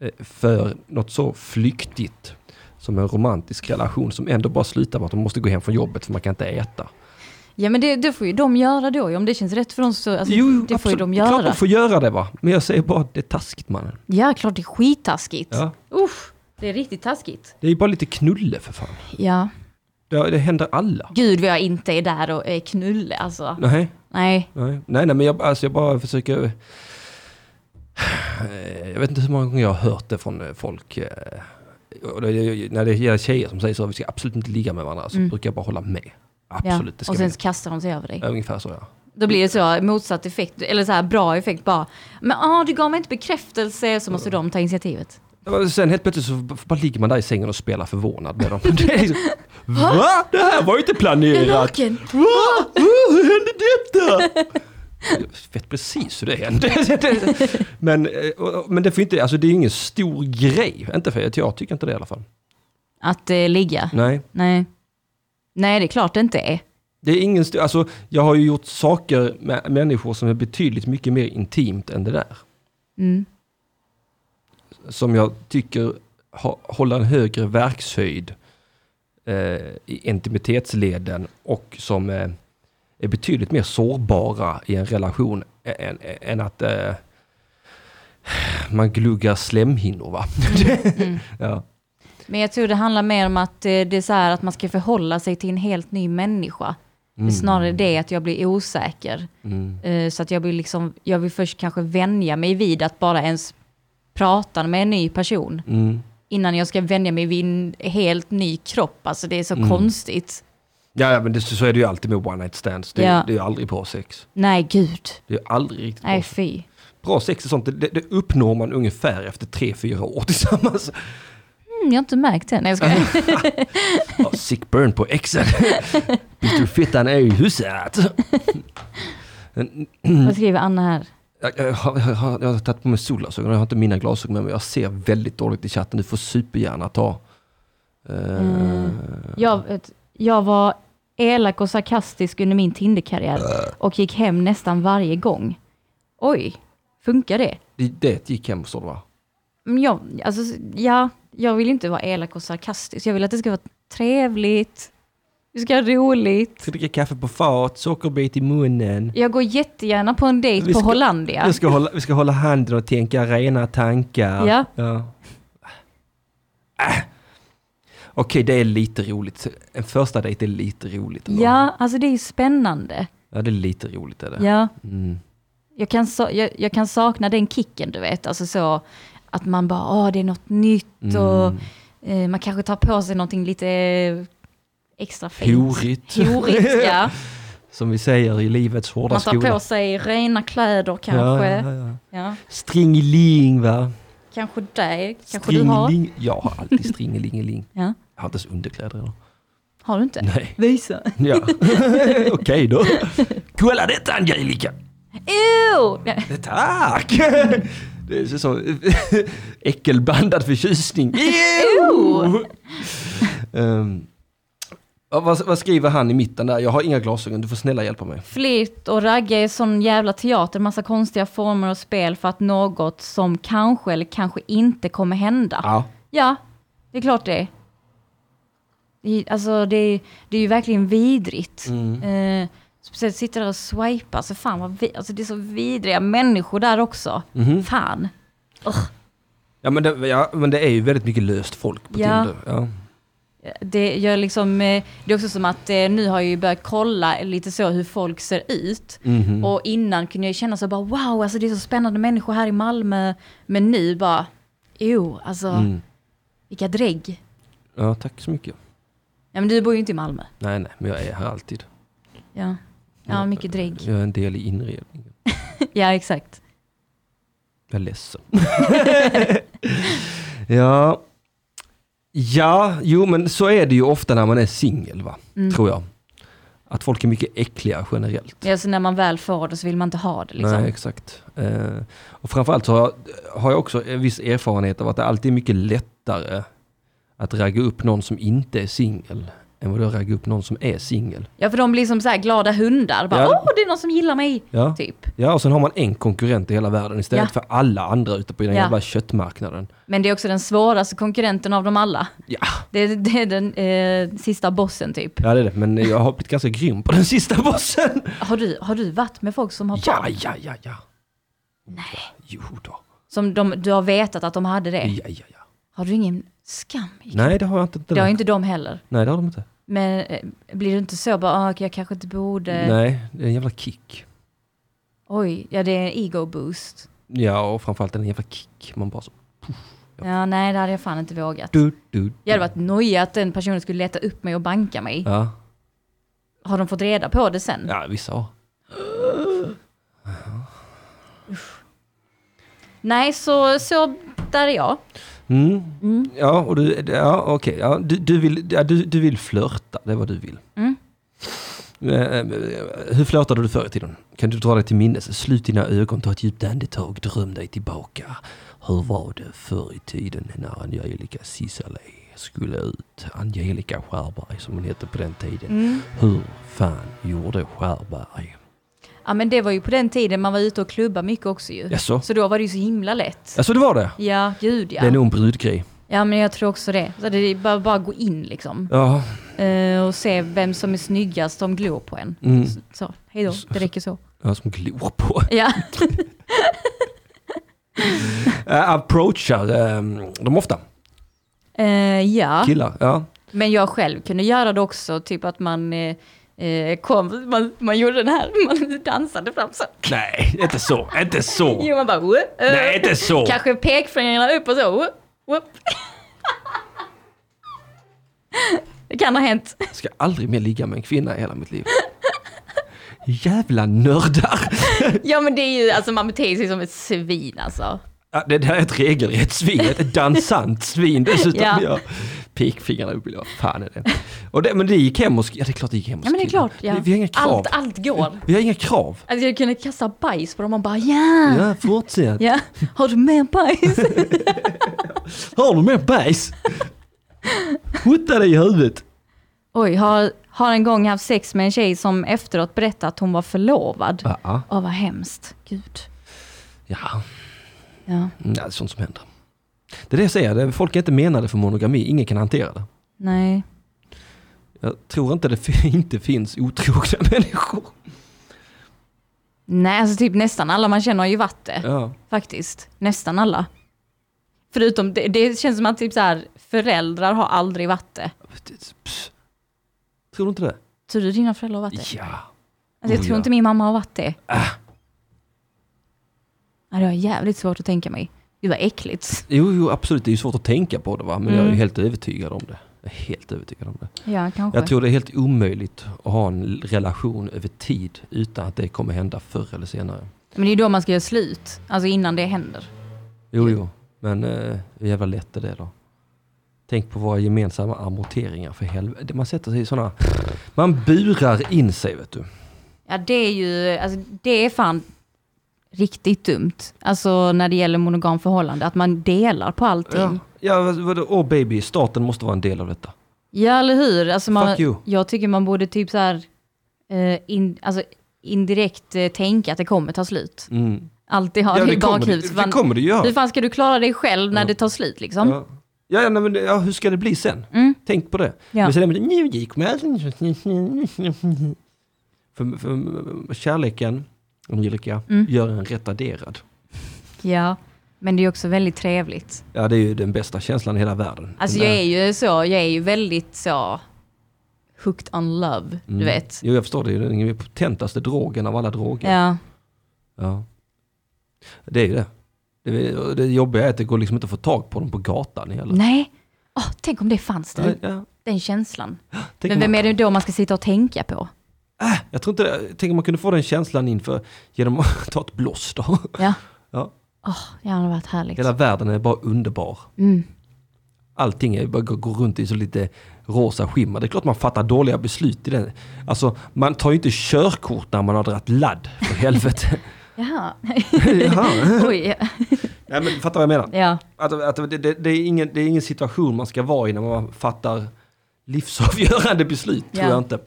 S6: Eh, För något så flyktigt som en romantisk relation som ändå bara slutar med att de måste gå hem från jobbet för man kan inte äta.
S8: ja, men det, det får ju de göra då. ju. Om det känns rätt för dem så alltså, det får ju
S6: absolut.
S8: de
S6: Det är
S8: göra.
S6: Klart de får göra det va. Men jag säger bara att det är taskigt mannen.
S8: Ja, klart det är skittaskigt.
S6: Ja.
S8: Usch, det är riktigt taskigt.
S6: Det är ju bara lite knulle för fan.
S8: Ja.
S6: Det, det händer alla.
S8: Gud vad jag inte är där och är knulle alltså.
S6: Nej.
S8: Nej.
S6: Nej, nej, nej men jag, alltså jag bara försöker... Eh, Jag vet inte hur många gånger jag har hört det från eh, folk. eh, och det- det- När det gäller tjejer som säger så, vi ska absolut inte ligga med varandra, så brukar jag bara hålla med. Absolut, det
S8: Mm. och
S6: ska vi
S8: sen
S6: inte.
S8: så kastar de sig över dig.
S6: Ja, Ungefär så ja.
S8: Då blir det så motsatt effekt, eller så här bra effekt bara. Men ah, du gav mig inte bekräftelse, så måste de ta initiativet.
S6: Och Sen helt plötsligt så b- bara ligger man där i sängen och spelar förvånad med dem. Det är liksom, Va? Det här var ju inte
S8: Jag är
S6: planerat!
S8: naken!
S6: Va? Hur hände detta? Jag vet precis hur det hände. Men, eh, och- och- men det, får inte, alltså det är ju ingen stor grej. Inte för, jag tycker inte det i alla fall.
S8: Att eh, ligga?
S6: Nej.
S8: Nej. Nej, det är klart det inte är.
S6: Det är ingen stor, alltså, jag har ju gjort saker med människor som är betydligt mycket mer intimt än det där.
S8: Mm.
S6: Som jag tycker ha, håller en högre verkshöjd eh, i intimitetsleden och som eh, är betydligt mer sårbara i en relation ä- än, ä- än att eh, man gluggar slemhinnor. Va?
S8: Mm.
S6: ja.
S8: Men jag tror det handlar mer om att eh, det är så här att man ska förhålla sig till en helt ny människa. Det är Snarare det att jag blir osäker.
S6: Mm.
S8: Eh, Så att jag vill, liksom, jag vill först kanske vänja mig vid att bara ens prata med en ny person.
S6: Mm.
S8: Innan jag ska vänja mig vid en helt ny kropp. Alltså det är
S6: Mm.
S8: så konstigt.
S6: Ja, ja, men det, så är det ju alltid med one night stands. Det,
S8: Ja.
S6: det är ju aldrig bra sex.
S8: Nej, gud.
S6: Det är aldrig riktigt bra
S8: Nej,
S6: sex.
S8: fy. Mm,
S6: Bra sex och sånt, det, det uppnår man ungefär efter tre fyra år tillsammans.
S8: Mm, jag har inte märkt det. Nej, jag skojar.
S6: Ja, sick burn på exen. Bitterfittan är i huset.
S8: Vad skriver Anna här?
S6: Jag, jag, har- jag, har- jag har tagit på mig solglasögon, jag har inte mina glasögon med mig. Jag ser väldigt dåligt i chatten, du får supergärna ta. Eh,
S8: Jag, vet- jag var elak och sarkastisk under min Tinderkarriär
S6: Äh.
S8: och gick hem nästan varje gång. Oj, funkar det?
S6: Det, det gick hem förstår du va?
S8: Mm, Ja, alltså, ja, jag vill inte vara elak och sarkastisk. Jag vill att det ska vara trevligt. Det ska vara roligt.
S6: Ska dricka kaffe på fat, sockerbit i munnen.
S8: Jag går jättegärna på en dejt
S6: Vi
S8: på
S6: ska-
S8: Hollandia.
S6: Vi, ska hålla, vi ska hålla handen och tänka rena tankar.
S8: Ja.
S6: Äh. Okej, det är lite roligt. En första dejt är lite roligt. ändå.
S8: Ja, alltså det är ju spännande.
S6: ja, det är lite roligt är det.
S8: Ja.
S6: Mm.
S8: Jag, kan sa- jag, jag kan sakna den kicken, du vet. Alltså så att man bara, åh, det är något nytt
S6: Mm.
S8: och eh, man kanske tar på sig någonting lite eh, extra fint.
S6: Horigt.
S8: Horigt, ja.
S6: Som vi säger i livets hårda
S8: Man tar
S6: skola.
S8: på sig rena kläder kanske. Ja,
S6: Ja, ja, ja. Stringeling va?
S8: Kanske det, kanske du har.
S6: Stringeling. Jag har alltid stringelingeling.
S8: Ja.
S6: Jag har inte ens underkläder idag.
S8: Har du inte?
S6: Nej.
S8: Visa.
S6: Ja. Okej då. Kolla detta Angelica!
S8: Ew! Nej.
S6: Tack! Det är så som äckelblandad förtjusning. Ew! Ehm, ja, vad, vad skriver han i mitten där? Jag har inga glasögon, du får snälla hjälpa mig.
S8: Flirt och ragga är sån jävla teater, massa konstiga former och spel för att något som kanske eller kanske inte kommer hända.
S6: Ja.
S8: Ja, det är klart det är. Det är- Alltså det är, det är ju verkligen vidrigt. Eh, speciellt sitta där och swipa, alltså fan vad vi, alltså det är så vidriga människor där också. Fan.
S6: Ja, men det, ja men det är ju väldigt mycket löst folk på
S8: Ja.
S6: Tinder. Ja.
S8: Det, gör liksom, eh, det är också som att eh, nu har jag ju börjat kolla lite så hur folk ser ut. Och innan kunde jag ju känna så bara wow, alltså det är så spännande människor här i Malmö. Men nu bara, jo, alltså vilka drägg.
S6: ja, tack så mycket.
S8: Ja men du bor ju inte i Malmö.
S6: Nej, nej, men jag är här alltid.
S8: Ja, ja mycket drägg.
S6: Jag är en del i inredningen.
S8: Ja exakt.
S6: Jag är ledsen. ja. ja, jo men så är det ju ofta när man är singel va,
S8: Mm.
S6: tror jag. Att folk är mycket äckliga generellt.
S8: Ja, så när man väl får det så vill man inte ha det liksom.
S6: Nej, exakt. Eh, och framförallt så har jag, har jag också en viss erfarenhet av att det alltid är mycket lättare att ragga upp någon som inte är singel än vad det är att ragga upp någon som är singel.
S8: Ja, för de blir som så här glada hundar. Bara,
S6: Ja.
S8: Åh, det är någon som gillar mig!
S6: Ja.
S8: Typ.
S6: ja, och sen har man en konkurrent i hela världen istället
S8: Ja.
S6: för alla andra ute på den
S8: Ja.
S6: jävla köttmarknaden.
S8: Men det är också den svåraste konkurrenten av dem alla.
S6: Ja.
S8: Det, är- det är den eh, sista bossen typ.
S6: Ja det är det, men jag har blivit ganska grym på den sista bossen.
S8: Har du, har du varit med folk som har
S6: Ja,
S8: barn?
S6: ja, ja, ja. Nej. Jo då.
S8: Som de, du har vetat att de hade det?
S6: Ja, ja, ja.
S8: Har du ingen skam? i-
S6: Nej det har jag inte. inte
S8: Det har ju inte de heller.
S6: Nej det har de inte.
S8: Men eh, blir du inte så bara, ah, jag kanske inte borde...
S6: Nej, det är en jävla kick.
S8: Oj, ja det är en ego boost.
S6: Ja och framförallt en jävla kick. Man bara så.
S8: Ja, nej det hade jag fan inte vågat.
S6: Du, du, du.
S8: Jag hade varit nojig att den personen skulle leta upp mig och banka mig.
S6: Ja.
S8: Har de fått reda på det sen?
S6: ja, vissa har.
S8: Nej, så, så där är jag.
S6: Mm. Ja, och du, ja okej. Ja, du, du, vill, ja, du, du vill flörta, det är vad du vill.
S8: Mm.
S6: Eh, Hur flörtade du förr i tiden? Kan du dra dig till minnes? Slut dina ögon, ta ett djupt andetag, dröm dig tillbaka. Hur var det förr i tiden när Angelica Cisalay skulle ut? Angelica Skärberg som hon hette på den tiden.
S8: Mm.
S6: Hur fan gjorde Skärberg?
S8: Ja, men det var ju på den tiden man var ute och klubba mycket också ju.
S6: Jaså?
S8: Så då var det ju så himla lätt.
S6: Alltså det var det?
S8: Ja, gud ja.
S6: Det är nog en brudgrej.
S8: Ja, men jag tror också det. Så det är bara, bara gå in liksom.
S6: Ja,
S8: Eh, och se vem som är snyggast som glor på en.
S6: Mm.
S8: Så, så, hej då. Det räcker så.
S6: jag som glor på.
S8: Ja,
S6: Äh, approachar ehm, de ofta.
S8: Eh, ja.
S6: Killar, ja.
S8: men jag själv kunde göra det också. Typ att man eh, eh, kom, man, man gjorde den här, man dansade fram så.
S6: Nej, inte så. Inte så.
S8: Jo, man bara... Uh,
S6: Nej, inte så.
S8: Kanske pekfingrarna upp och så. Whoop, whoop. Det kan ha hänt.
S6: Jag ska aldrig mer ligga med en kvinna i hela mitt liv. Jävla nördar!
S8: Ja men det är ju, alltså man beter sig som ett svin alltså.
S6: Ja, Det där är ett regelrätt svin, ett dansant svin dessutom.
S8: Ja.
S6: Ja. Pekfingrarna upp, eller vad fan är det? Och det? Men det gick hem hos... Ja det är klart det gick hem hos
S8: Ja men det är
S6: killar.
S8: klart. Ja.
S6: Typ, Vi, vi har inga krav.
S8: Allt, allt går.
S6: Vi har inga krav.
S8: Alltså jag kunde kasta bajs på dem och bara ja, ja.
S6: Ja, fortsätt.
S8: har du mer bajs?
S6: Har du mer bajs? Hutta dig i huvudet.
S8: Oj, har, Har en gång haft sex med en tjej som efteråt berättade att hon var förlovad.
S6: Ja, ja.
S8: Åh, vad hemskt. Gud.
S6: ja.
S8: Ja,
S6: Mm, det är sånt som händer. Det är det jag säger, det är- folk är inte menade för monogami, ingen kan hantera det.
S8: nej.
S6: Jag tror inte det fin- inte finns otrogna människor.
S8: Nej, alltså typ nästan alla man känner har ju varit det.
S6: Ja.
S8: Faktiskt. Nästan alla. Förutom, det, det känns som att typ så här, föräldrar har aldrig varit det.
S6: Pss. Tror du inte det?
S8: Tror du dina föräldrar har varit det?
S6: Ja.
S8: Alltså, jag
S6: Oh,
S8: tror
S6: ja. Ah.
S8: inte min mamma har varit det. Ja, det har jag jävligt svårt att tänka mig. Gud vad äckligt.
S6: Jo, jo, absolut. Det är ju svårt att tänka på det va, men jag är ju
S8: Mm.
S6: helt övertygad om det. Jag är helt övertygad om det.
S8: Ja, kanske.
S6: Jag tror det är helt omöjligt att ha en relation över tid utan att det kommer hända förr eller senare.
S8: Men det är då man ska göra slut. Alltså innan det händer.
S6: Jo, jo, men eh, hur jävla lätt är det då? Tänk på våra gemensamma amorteringar för helvete. Man sätter sig i sådana... Man burar in sig vet du.
S8: Ja, det är ju, alltså, det är fan riktigt dumt. Alltså när det gäller monogam förhållande, att man delar på allting.
S6: Ja,
S8: Ja,
S6: ja vad- vadå? Åh baby, staten måste vara en del av detta.
S8: eller hur? Alltså, man,
S6: Fuck you.
S8: jag tycker man borde typ så här, eh, in, alltså, indirekt eh, tänka att det kommer ta slut.
S6: Mm.
S8: Alltid ha det i
S6: kommer,
S8: bakhuvudet.
S6: det,
S8: Man-
S6: det kommer det göra.
S8: Hur fan ska du klara dig själv när
S6: Ja.
S8: det tar slut liksom?
S6: Ja. Ja, ja, nej, men, ja, hur ska det bli sen?
S8: Mm.
S6: Tänk på det.
S8: Ja.
S6: Men sen är det nu gick med. För, för kärleken, Angelica,
S8: Mm.
S6: gör en retarderad.
S8: Ja, men det är också väldigt trevligt.
S6: Ja, det är ju den bästa känslan i hela världen.
S8: Alltså
S6: Den
S8: jag
S6: där-
S8: är ju så, jag är ju väldigt så hooked on love, du
S6: Mm.
S8: vet.
S6: Jo, jag förstår det. Det är den potentaste drogen av alla droger.
S8: Ja.
S6: Ja. Det är ju det. Det, det jobbiga är att det går liksom inte att få tag på dem på gatan heller.
S8: Nej, Åh, tänk om det fanns den,
S6: Ja,
S8: den känslan.
S6: tänk
S8: Men
S6: om
S8: vem
S6: man,
S8: är det då man ska sitta och tänka på?
S6: jag tror inte det. Tänk om man kunde få den känslan inför genom att ta ett blås då.
S8: Ja,
S6: Ja.
S8: det hade varit härligt.
S6: Hela världen är bara underbar.
S8: Mm.
S6: Allting är, bara går- går runt i så lite rosa skimmer. Det är klart man fattar dåliga beslut i den. Alltså, man tar ju inte körkort när man har dragit ladd, för helvete.
S8: Jaha,
S6: Jaha.
S8: oj.
S6: Nej men fattar vad jag menar.
S8: Ja.
S6: Att, att det, det, det, är ingen, det är ingen situation man ska vara i när man fattar livsavgörande beslut, tror
S8: Ja.
S6: jag inte.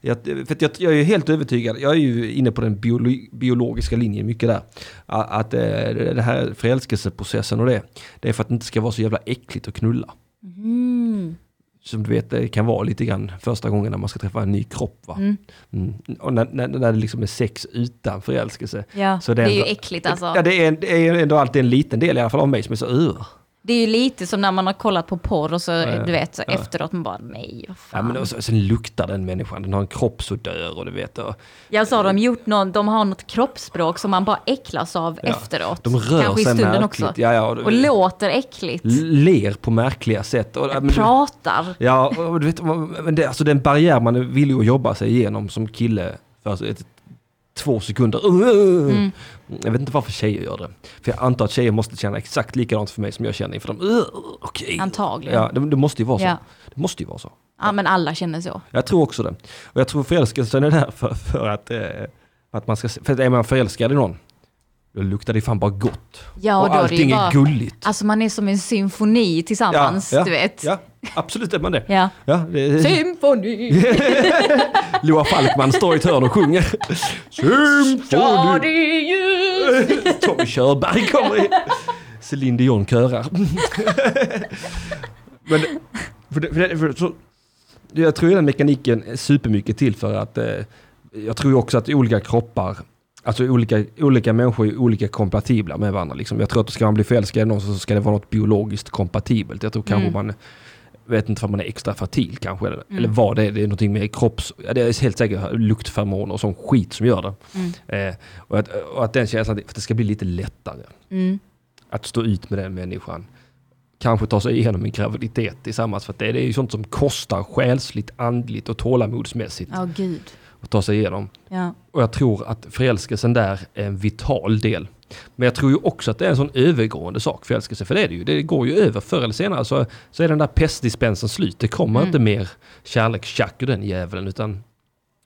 S6: Jag, för att jag, jag är ju helt övertygad, jag är ju inne på den biolo- biologiska linjen mycket där. Att, att eh, det det här förälskelseprocessen och det, det är för att det inte ska vara så jävla äckligt att knulla.
S8: Mm.
S6: Som du vet, det kan vara lite grann första gången när man ska träffa en ny kropp. Va?
S8: Mm.
S6: Mm. Och när, när, när det liksom är sex utan förälskelse.
S8: Ja,
S6: Så det
S8: det
S6: är
S8: är ju
S6: ändå-
S8: äckligt alltså.
S6: Ja, det är, det är ändå alltid en liten del i alla fall av mig som är så ur.
S8: Det är ju lite som när man har kollat på porr och så,
S6: ja.
S8: du vet, så
S6: Ja.
S8: efteråt man bara nej, vad fan.
S6: Ja, men och så- sen luktar den människan, den har en kroppsodör och du vet. Och
S8: Jag sa de gjort någon, de har något kroppsspråk som man bara äcklas av efteråt.
S6: de rör
S8: Kanske
S6: sig
S8: i stunden
S6: märkligt.
S8: också.
S6: Ja, ja, och-
S8: Och låter äckligt.
S6: ler på märkliga sätt. Och, ja, men, du-
S8: Pratar.
S6: ja, och du vet, men det, alltså den barriär man är villig att jobba sig igenom som kille för alltså ett, två sekunder. Uh!
S8: Mm.
S6: Jag vet inte varför tjejer gör det. För jag antar att tjejer måste känna exakt likadant för mig som jag känner inför dem. Uh, okej.
S8: Antagligen.
S6: Ja, det, det måste ju vara så.
S8: Ja.
S6: Det måste ju vara så.
S8: Ja men alla känner så.
S6: Jag tror också det. Och jag tror förälskelsen är där för, för att, eh, att man ska... se- För att är man förälskad i någon, då luktar det fan bara gott.
S8: Ja,
S6: och
S8: då är det
S6: allting
S8: ju
S6: är,
S8: bara-
S6: gulligt.
S8: Alltså man är som en symfoni tillsammans,
S6: ja,
S8: du vet.
S6: Ja, absolut är man det.
S8: Ja.
S6: Ja, det
S8: Symfoni!
S6: Loa Falkman står i ett hörn och sjunger.
S8: Ja, det
S6: Symfoni!
S8: är ljus!
S6: Tommy Körberg kommer in. Céline Dion körar. Men för det, för det, för så, jag tror ju den mekaniken är supermycket till för att eh, jag tror ju också att olika kroppar, alltså olika, olika människor är olika kompatibla med varandra. Liksom. Jag tror att ska man bli förälskad i någon så ska det vara något biologiskt kompatibelt. Jag tror kanske man vet inte om man är extra fertil kanske, eller,
S8: Mm.
S6: eller vad det är. Det är någonting med kropps... ja, Det är helt säkert luktförmåner och sån skit som gör det. Eh, och, att, och att den känslan, för att det ska bli lite lättare.
S8: Mm.
S6: Att stå ut med den människan. Kanske ta sig igenom en graviditet tillsammans. För att det, det är ju sånt som kostar själsligt, andligt och tålamodsmässigt
S8: Ja, gud.
S6: att ta sig igenom.
S8: Ja.
S6: Och jag tror att förälskelsen där är en vital del. Men jag tror ju också att det är en sån övergående sak, förälskelse. För det är det ju. Det går ju över förr eller senare. Så, så är den där pestdispensen slut. Det kommer inte mer kärlekstjack ur den jäveln. Utan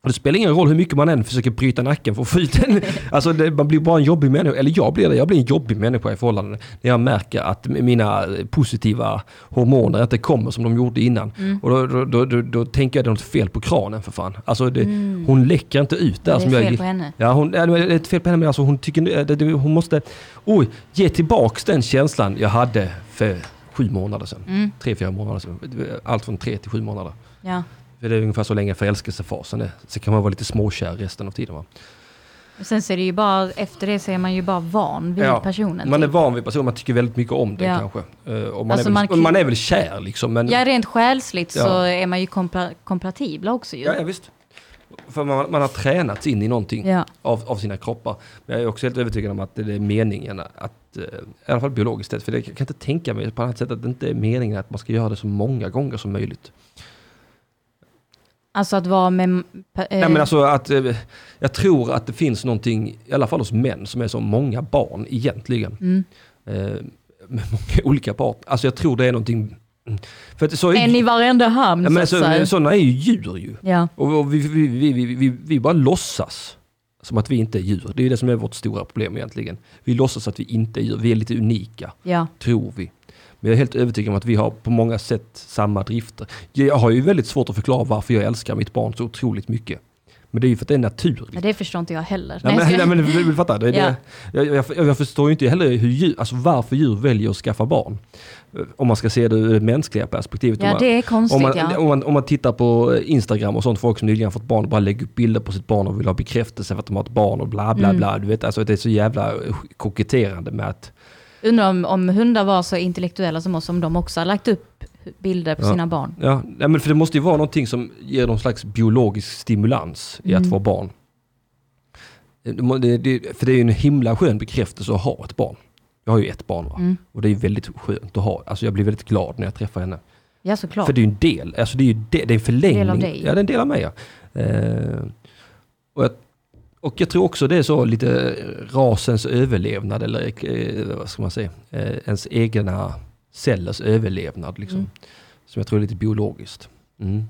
S6: Och det spelar ingen roll hur mycket man än försöker bryta nacken för att få ut den. Alltså det, man blir bara en jobbig människa, eller jag blir det, jag blir en jobbig människa i förhållande. När jag märker att mina eh, positiva hormoner inte kommer som de gjorde innan.
S8: Mm.
S6: Och då, då, då, då, då tänker jag att det är något fel på kranen för fan. Alltså det, hon läcker inte ut där
S8: Mm. Det är
S6: som jag
S8: fel
S6: gill-
S8: på henne.
S6: Ja, hon, ja, det är ett fel på henne men alltså hon tycker, det- det- hon måste, oj, ge tillbaks den känslan jag hade för sju månader sedan.
S8: Mm.
S6: Tre, fyra månader sedan. Allt från tre till sju månader.
S8: Ja.
S6: För det är ungefär så länge förälskelsefasen är. Sen kan man vara lite småkär resten av tiden. Va?
S8: Och Sen så är det ju bara, efter det så är man ju bara van vid personen.
S6: Man är
S8: typ.
S6: van vid personen, man tycker väldigt mycket om den
S8: Ja.
S6: kanske. Eh, och man,
S8: Alltså,
S6: är väl,
S8: man
S6: och
S8: kan-
S6: man är väl kär liksom. Men,
S8: Ja, rent själsligt så
S6: Ja.
S8: är man ju kompla- kompatibla också ju.
S6: ja, ja, visst. För man, man har tränats in i någonting
S8: Ja.
S6: av, av sina kroppar. Men jag är också helt övertygad om att det är meningen att, eh, i alla fall biologiskt sett, för det- jag kan inte tänka mig på annat sätt att det inte är meningen att man ska göra det så många gånger som möjligt.
S8: Alltså att vara med... pe- eh,
S6: Nej, men alltså att, eh, jag tror att det finns någonting, i alla fall hos män, som är så många barn egentligen.
S8: Mm.
S6: Eh, med många olika partner. Alltså jag tror det är någonting... mm. För att så är,
S8: en i varenda hamn
S6: ja, men alltså,
S8: så att
S6: så,
S8: säga.
S6: sådana är ju djur ju.
S8: Ja,
S6: Och, och vi, vi, vi, vi, vi, vi bara låtsas som att vi inte är djur. Det är ju det som är vårt stora problem egentligen. Vi låtsas att vi inte är djur. Vi är lite unika,
S8: ja.
S6: tror vi. Men jag är helt övertygad om att vi har på många sätt samma drifter. Jag har ju väldigt svårt att förklara varför jag älskar mitt barn så otroligt mycket. Men det är ju för att det är naturligt.
S8: Men det förstår inte jag heller. Nej,
S6: Nej, men,
S8: jag
S6: nej,
S8: ska-
S6: men du, du fattar. Det, är det, jag, jag, jag förstår ju inte heller hur djur, alltså varför djur väljer att skaffa barn. Eh, Om man ska se det ur det mänskliga perspektivet. om
S8: Ja,
S6: man,
S8: det är konstigt
S6: om man,
S8: ja.
S6: om, man, om man tittar på eh, Instagram och sånt, folk som nyligen fått barn och bara lägger upp bilder på sitt barn och vill ha bekräftelse för att de har ett barn och bla
S8: Mm.
S6: bla bla. Du vet, alltså, det är så jävla eh, koketterande med att...
S8: Undrar om, om hundar var så intellektuella som oss, om de också har lagt upp bilder på
S6: Ja.
S8: sina barn.
S6: Ja, nej, men för det måste ju vara någonting som ger någon slags biologisk stimulans i att få barn. Eh, Det må- Det, det, för det är ju en himla skön bekräftelse att ha ett barn. Jag har ju ett barn va? och det är ju väldigt skönt att ha. Alltså jag blir väldigt glad när jag träffar henne.
S8: Ja, såklart.
S6: För det är ju en del, alltså det är ju de, det är en förlängning.
S8: Del av dig.
S6: Ja, det är en del av mig. Ja. Eh, och, jag, och jag tror också det är så lite eh, rasens överlevnad eller eh, vad ska man säga, eh, ens egna cellers överlevnad. Liksom,
S8: Mm.
S6: Som jag tror är lite biologiskt. Mm.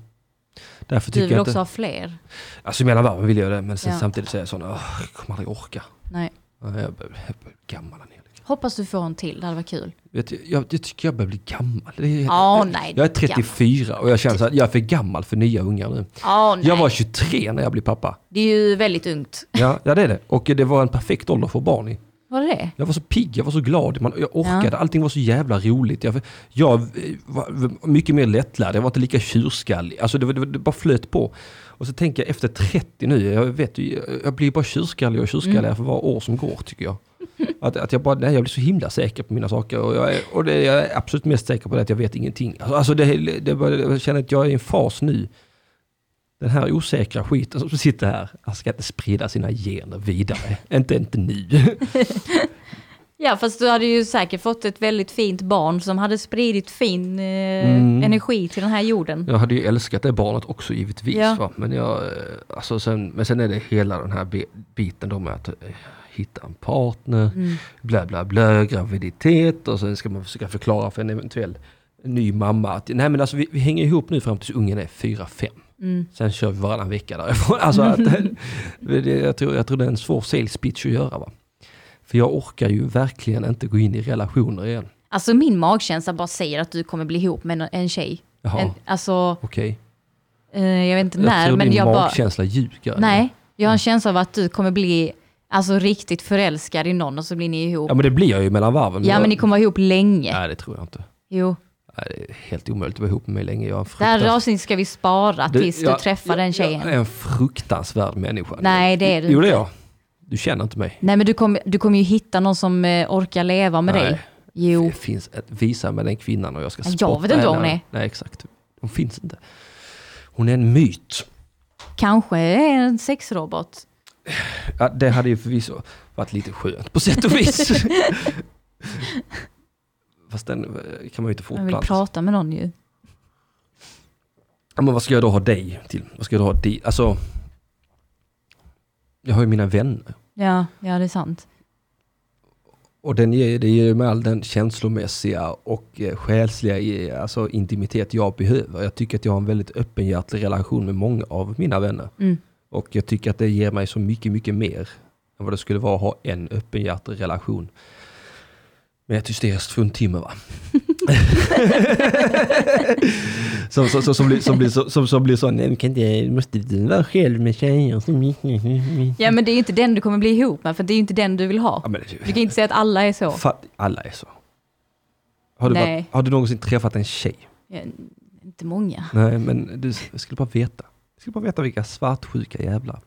S6: Därför
S8: du
S6: tycker
S8: vill
S6: jag
S8: också
S6: inte...
S8: ha fler?
S6: Alltså mellan varven vill jag det, men sen
S8: Ja.
S6: samtidigt så är jag sån, "Åh, jag kommer aldrig orka.
S8: Nej.
S6: Jag börjar jag börjar bli gammal. Angelica.
S8: Hoppas du får en till, det hade varit kul.
S6: Vet, du, jag, jag tycker jag börjar bli gammal. Det är-
S8: Åh, nej,
S6: jag är 34 och jag känner så att jag är för gammal för nya ungar nu.
S8: Ja, nej.
S6: Jag var 23 när jag blev pappa.
S8: Det är ju väldigt ungt.
S6: Ja, ja det är det. Och det var en perfekt ålder för barn i.
S8: Var det det?
S6: Jag var så pigg, jag var så glad, man, jag orkade, allting var så jävla roligt. Jag, jag eh, var mycket mer lättlärd, jag var inte lika tjurskallig. Alltså det, var- det, var- det bara flöt på. Och så tänker jag efter 30 nu, jag vet ju, jag blir bara tjurskallig och tjurskalligare för varje år som går tycker jag. Att, att jag bara, nej jag blir så himla säker på mina saker. Och, jag är, och det jag är absolut mest säker på det är att jag vet ingenting. Alltså, alltså det, det, bara- jag känner att jag är i en fas nu. Den här osäkra skiten som sitter här, jag ska inte sprida sina gener vidare. inte, inte nu.
S8: Ja, fast du hade ju säkert fått ett väldigt fint barn som hade spridit fin eh,
S6: Mm.
S8: energi till den här jorden.
S6: Jag hade ju älskat det barnet också givetvis.
S8: Ja.
S6: Va? Men, jag, eh, alltså sen, men sen är det hela den här bi- biten då med att eh, hitta en partner,
S8: Mm.
S6: bla bla bla, graviditet och sen ska man försöka förklara för en eventuell ny mamma att nej men alltså vi, vi hänger ihop nu fram tills ungen är 4-5.
S8: Mm.
S6: Sen kör vi varannan vecka därifrån. Alltså att, det- jag, tror, jag tror det är en svår sales pitch att göra. Va? För jag orkar ju verkligen inte gå in i relationer igen.
S8: Alltså min magkänsla bara säger att du kommer bli ihop med en- en tjej.
S6: Jaha,
S8: En, alltså,
S6: okej.
S8: eh, jag vet inte
S6: Jag
S8: när,
S6: tror
S8: men
S6: din
S8: jag bara...
S6: magkänsla ljuger.
S8: Nej, jag har en känsla av att du kommer bli alltså, riktigt förälskad i någon och så blir ni ihop.
S6: Ja men det blir jag ju mellan varven.
S8: Ja, men ni kommer vara ihop länge.
S6: Nej det tror jag inte.
S8: Jo.
S6: Nej, det är helt omöjligt att vara ihop med mig länge. Jag är en
S8: Det här
S6: fruktansvärd...
S8: avsnittet ska vi spara tills du träffar den tjejen.
S6: Jag är en fruktansvärd människa.
S8: Nej, det är du
S6: Jo det är
S8: inte.
S6: jag. Du känner inte mig.
S8: Nej men du kommer du kommer ju hitta någon som eh, orkar leva med
S6: Nej.
S8: dig. Jo.
S6: Det finns ett, visa mig den kvinnan och jag ska
S8: Jag
S6: spotta
S8: vet inte vad hon
S6: henne.
S8: är.
S6: Nej exakt. Hon finns inte. Hon är en myt.
S8: Kanske är en sexrobot.
S6: Ja, det hade ju förvisso varit lite skönt på sätt och vis. Fast den eh, kan man ju inte
S8: Man vill
S6: fortplanta sig.
S8: prata med någon ju.
S6: Ja, men vad ska jag då ha dig till? Vad ska jag då ha dig? Alltså, jag har ju mina vänner.
S8: Ja, ja det är sant.
S6: Och den ger, det ger ju mig all den känslomässiga och eh, själsliga i- alltså, intimitet jag behöver. Jag tycker att jag har en väldigt öppenhjärtig relation med många av mina vänner.
S8: Mm.
S6: Och jag tycker att det ger mig så mycket, mycket mer än vad det skulle vara att ha en öppenhjärtig relation med ett hysteriskt fruntimmer. Va? som, som, som, som, blir, som, blir, så- som, som blir sån, "Nej, men kan inte, måste du vara själv med tjejer? Så mycket."
S8: Ja men det är ju inte den du kommer bli ihop med för det är ju inte den du vill ha.
S6: Ja, men,
S8: Du kan inte säga att alla är så.
S6: Fan, alla är så. Har du,
S8: Nej.
S6: varit, har du någonsin träffat en tjej?
S8: Ja, Eh, inte många.
S6: Nej, men du jag skulle bara veta. Jag skulle bara veta vilka svartsjuka jävlar.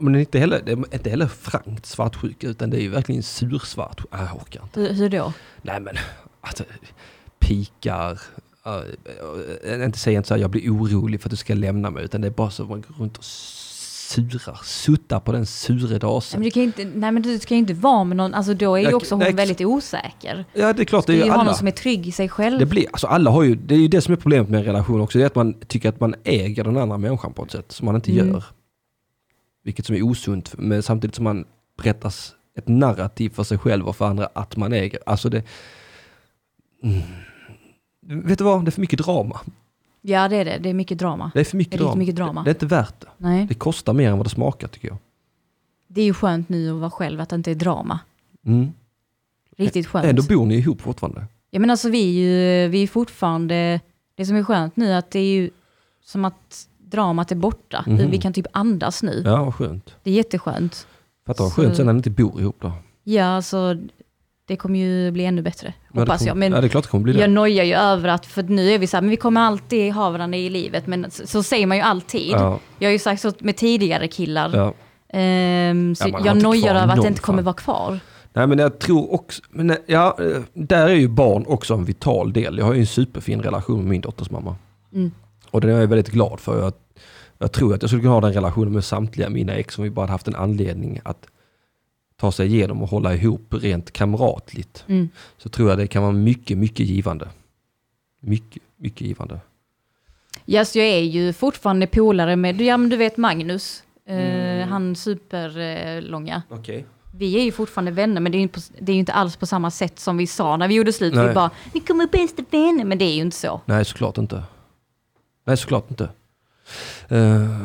S6: Men det är inte heller, det är inte heller frankt svartsjuka, utan det är ju verkligen sursvart. Ah, jag orkar inte.
S8: Hur, hur då?
S6: Nej men, alltså, pikar. eh, eh, inte säga inte så här, jag blir orolig för att du ska lämna mig, utan det är bara så att man går runt och surar, suttar på den sure
S8: Men
S6: dasen.
S8: du kan ju inte, nej men du kan ju inte vara med någon, alltså då är ju
S6: Jag-
S8: också hon
S6: nej,
S8: väldigt osäker.
S6: Ja, det är klart, det
S8: Du
S6: är ju
S8: vill ju ha
S6: alla.
S8: någon som är trygg i sig själv.
S6: Det, blir, alltså alla har ju, det är ju det som är problemet med en relation också, det är att man tycker att man äger den andra människan på ett sätt som man inte
S8: Mm.
S6: gör. Vilket som är osunt, men samtidigt som man berättar s- ett narrativ för sig själv och för andra att man äger. Alltså det... Mm. Vet du vad, det är för mycket drama.
S8: Ja det är det, det är mycket drama.
S6: Det är för mycket
S8: Det är
S6: drama.
S8: riktigt mycket drama. Mm.
S6: Det är inte värt det.
S8: Nej.
S6: Det kostar mer än vad det smakar tycker jag.
S8: Det är ju skönt nu att vara själv, att det inte är drama.
S6: Mm.
S8: Riktigt skönt.
S6: Ändå bor ni ihop fortfarande.
S8: Ja men alltså vi är ju vi är fortfarande, det som är skönt nu är att det är ju som att dramat är borta.
S6: Mhm.
S8: Vi kan typ andas nu.
S6: Ja, vad skönt.
S8: Det är jätteskönt.
S6: Fattar vad
S8: Så-
S6: skönt sen när ni inte bor ihop då.
S8: Ja alltså, det kommer ju bli ännu bättre.
S6: Ja, det
S8: hoppas
S6: kommer-
S8: jag. Men
S6: ja, det är klart det kommer bli det.
S8: jag nojar ju över att, för att nu är vi så här, men vi kommer alltid ha varandra i livet. Men så, så säger man ju alltid.
S6: Ja,
S8: Jag har ju sagt så med tidigare killar.
S6: ja.
S8: Ehm, så
S6: Ja, man har
S8: jag
S6: inte kvar
S8: nojar över att
S6: någon
S8: det inte kommer
S6: fan.
S8: vara kvar.
S6: Nej men jag tror också, men eh, ja, eh, där är ju barn också en vital del. Jag har ju en superfin relation med min dotters mamma.
S8: Mm.
S6: Och den är jag väldigt glad för. Jag, jag tror att jag skulle kunna ha den relationen med samtliga mina ex om vi bara hade haft en anledning att ta sig igenom och hålla ihop rent kamratligt.
S8: Mm.
S6: Så tror jag det kan vara mycket, mycket givande. Mycket, mycket givande.
S8: Ja, så jag är ju fortfarande polare med, ja men du vet Magnus, eh,
S6: Mm.
S8: han superlånga.
S6: Okej.
S8: Vi är ju fortfarande vänner men det är ju, inte på, det är ju inte alls på samma sätt som vi sa när vi gjorde slut.
S6: Nej.
S8: Vi bara, vi kommer bli bästa vänner, men det är ju inte så.
S6: Nej, såklart inte. Nej, såklart inte. Eh,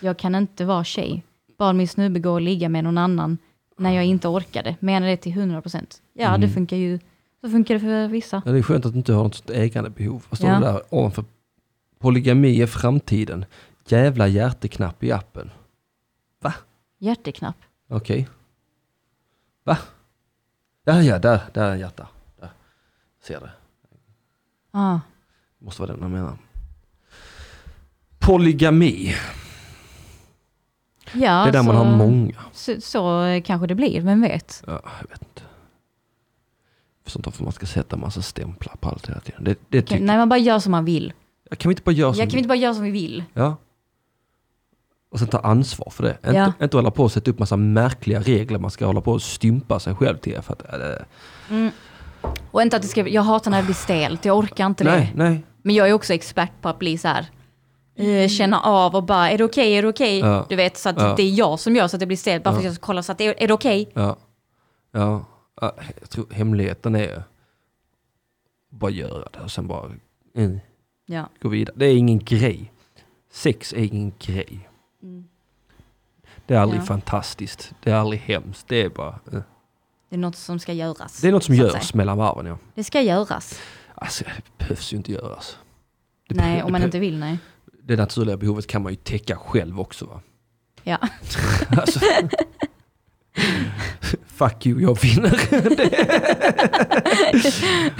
S8: Jag kan inte vara tjej. Bad min snubbe gå och ligga med någon annan när jag inte orkade. Menar det till 100%. Ja,
S6: Mm.
S8: det funkar ju. Så funkar det för vissa.
S6: Ja, det är skönt att du inte har något sånt ägandebehov. Vad står
S8: Ja.
S6: det där ovanför? Polygami är framtiden. Jävla hjärteknapp i appen.
S8: Hjärteknapp.
S6: Okej. Va? Ja, ja, där, där är en hjärta. Där. Ser det.
S8: Ah.
S6: Måste vara den jag menar. Polygami.
S8: Ja,
S6: det är där man
S8: så-
S6: har många.
S8: Så, så eh, kanske det blir, vem vet?
S6: Ja, jag vet inte. Jag förstår inte varför man ska sätta massa stämplar på allt hela tiden. Det, det tycker
S8: Kan, nej, man bara gör som man vill.
S6: jag. Kan vi inte bara göra
S8: Ja,
S6: som
S8: kan vi inte bara göra som vi vill?
S6: Ja. Och sen ta ansvar för det. Inte,
S8: Ja.
S6: inte hålla på och sätta upp massa märkliga regler man ska hålla på och stympa sig själv till. För att, eh,
S8: Och inte att det ska, jag hatar när det blir stelt, jag orkar inte
S6: nej,
S8: det.
S6: nej.
S8: Men jag är också expert på att bli så här, eh, känna av och bara, är det okej, är det okej?
S6: Ja.
S8: Du vet, så att
S6: Ja.
S8: det är jag som gör så att det blir stelt, bara för att
S6: Ja.
S8: jag ska kolla så att, är, är det okej?
S6: Ja. Ja. Ja, Jag tror hemligheten är bara göra det och sen bara mm,
S8: Ja.
S6: gå vidare. Det är ingen grej. Sex är ingen grej. Det är aldrig
S8: Mm. Ja.
S6: fantastiskt. Det är aldrig hemskt. Det är bara... eh.
S8: Det är något som ska göras.
S6: Det är något som
S8: så att
S6: görs
S8: säga.
S6: mellan varven ja.
S8: Det ska göras.
S6: Alltså det behövs ju inte göras. Det
S8: nej,
S6: behö-
S8: om man
S6: det
S8: inte vill, nej.
S6: det naturliga behovet kan man ju täcka själv också va?
S8: Ja.
S6: Alltså, fuck you, jag vinner.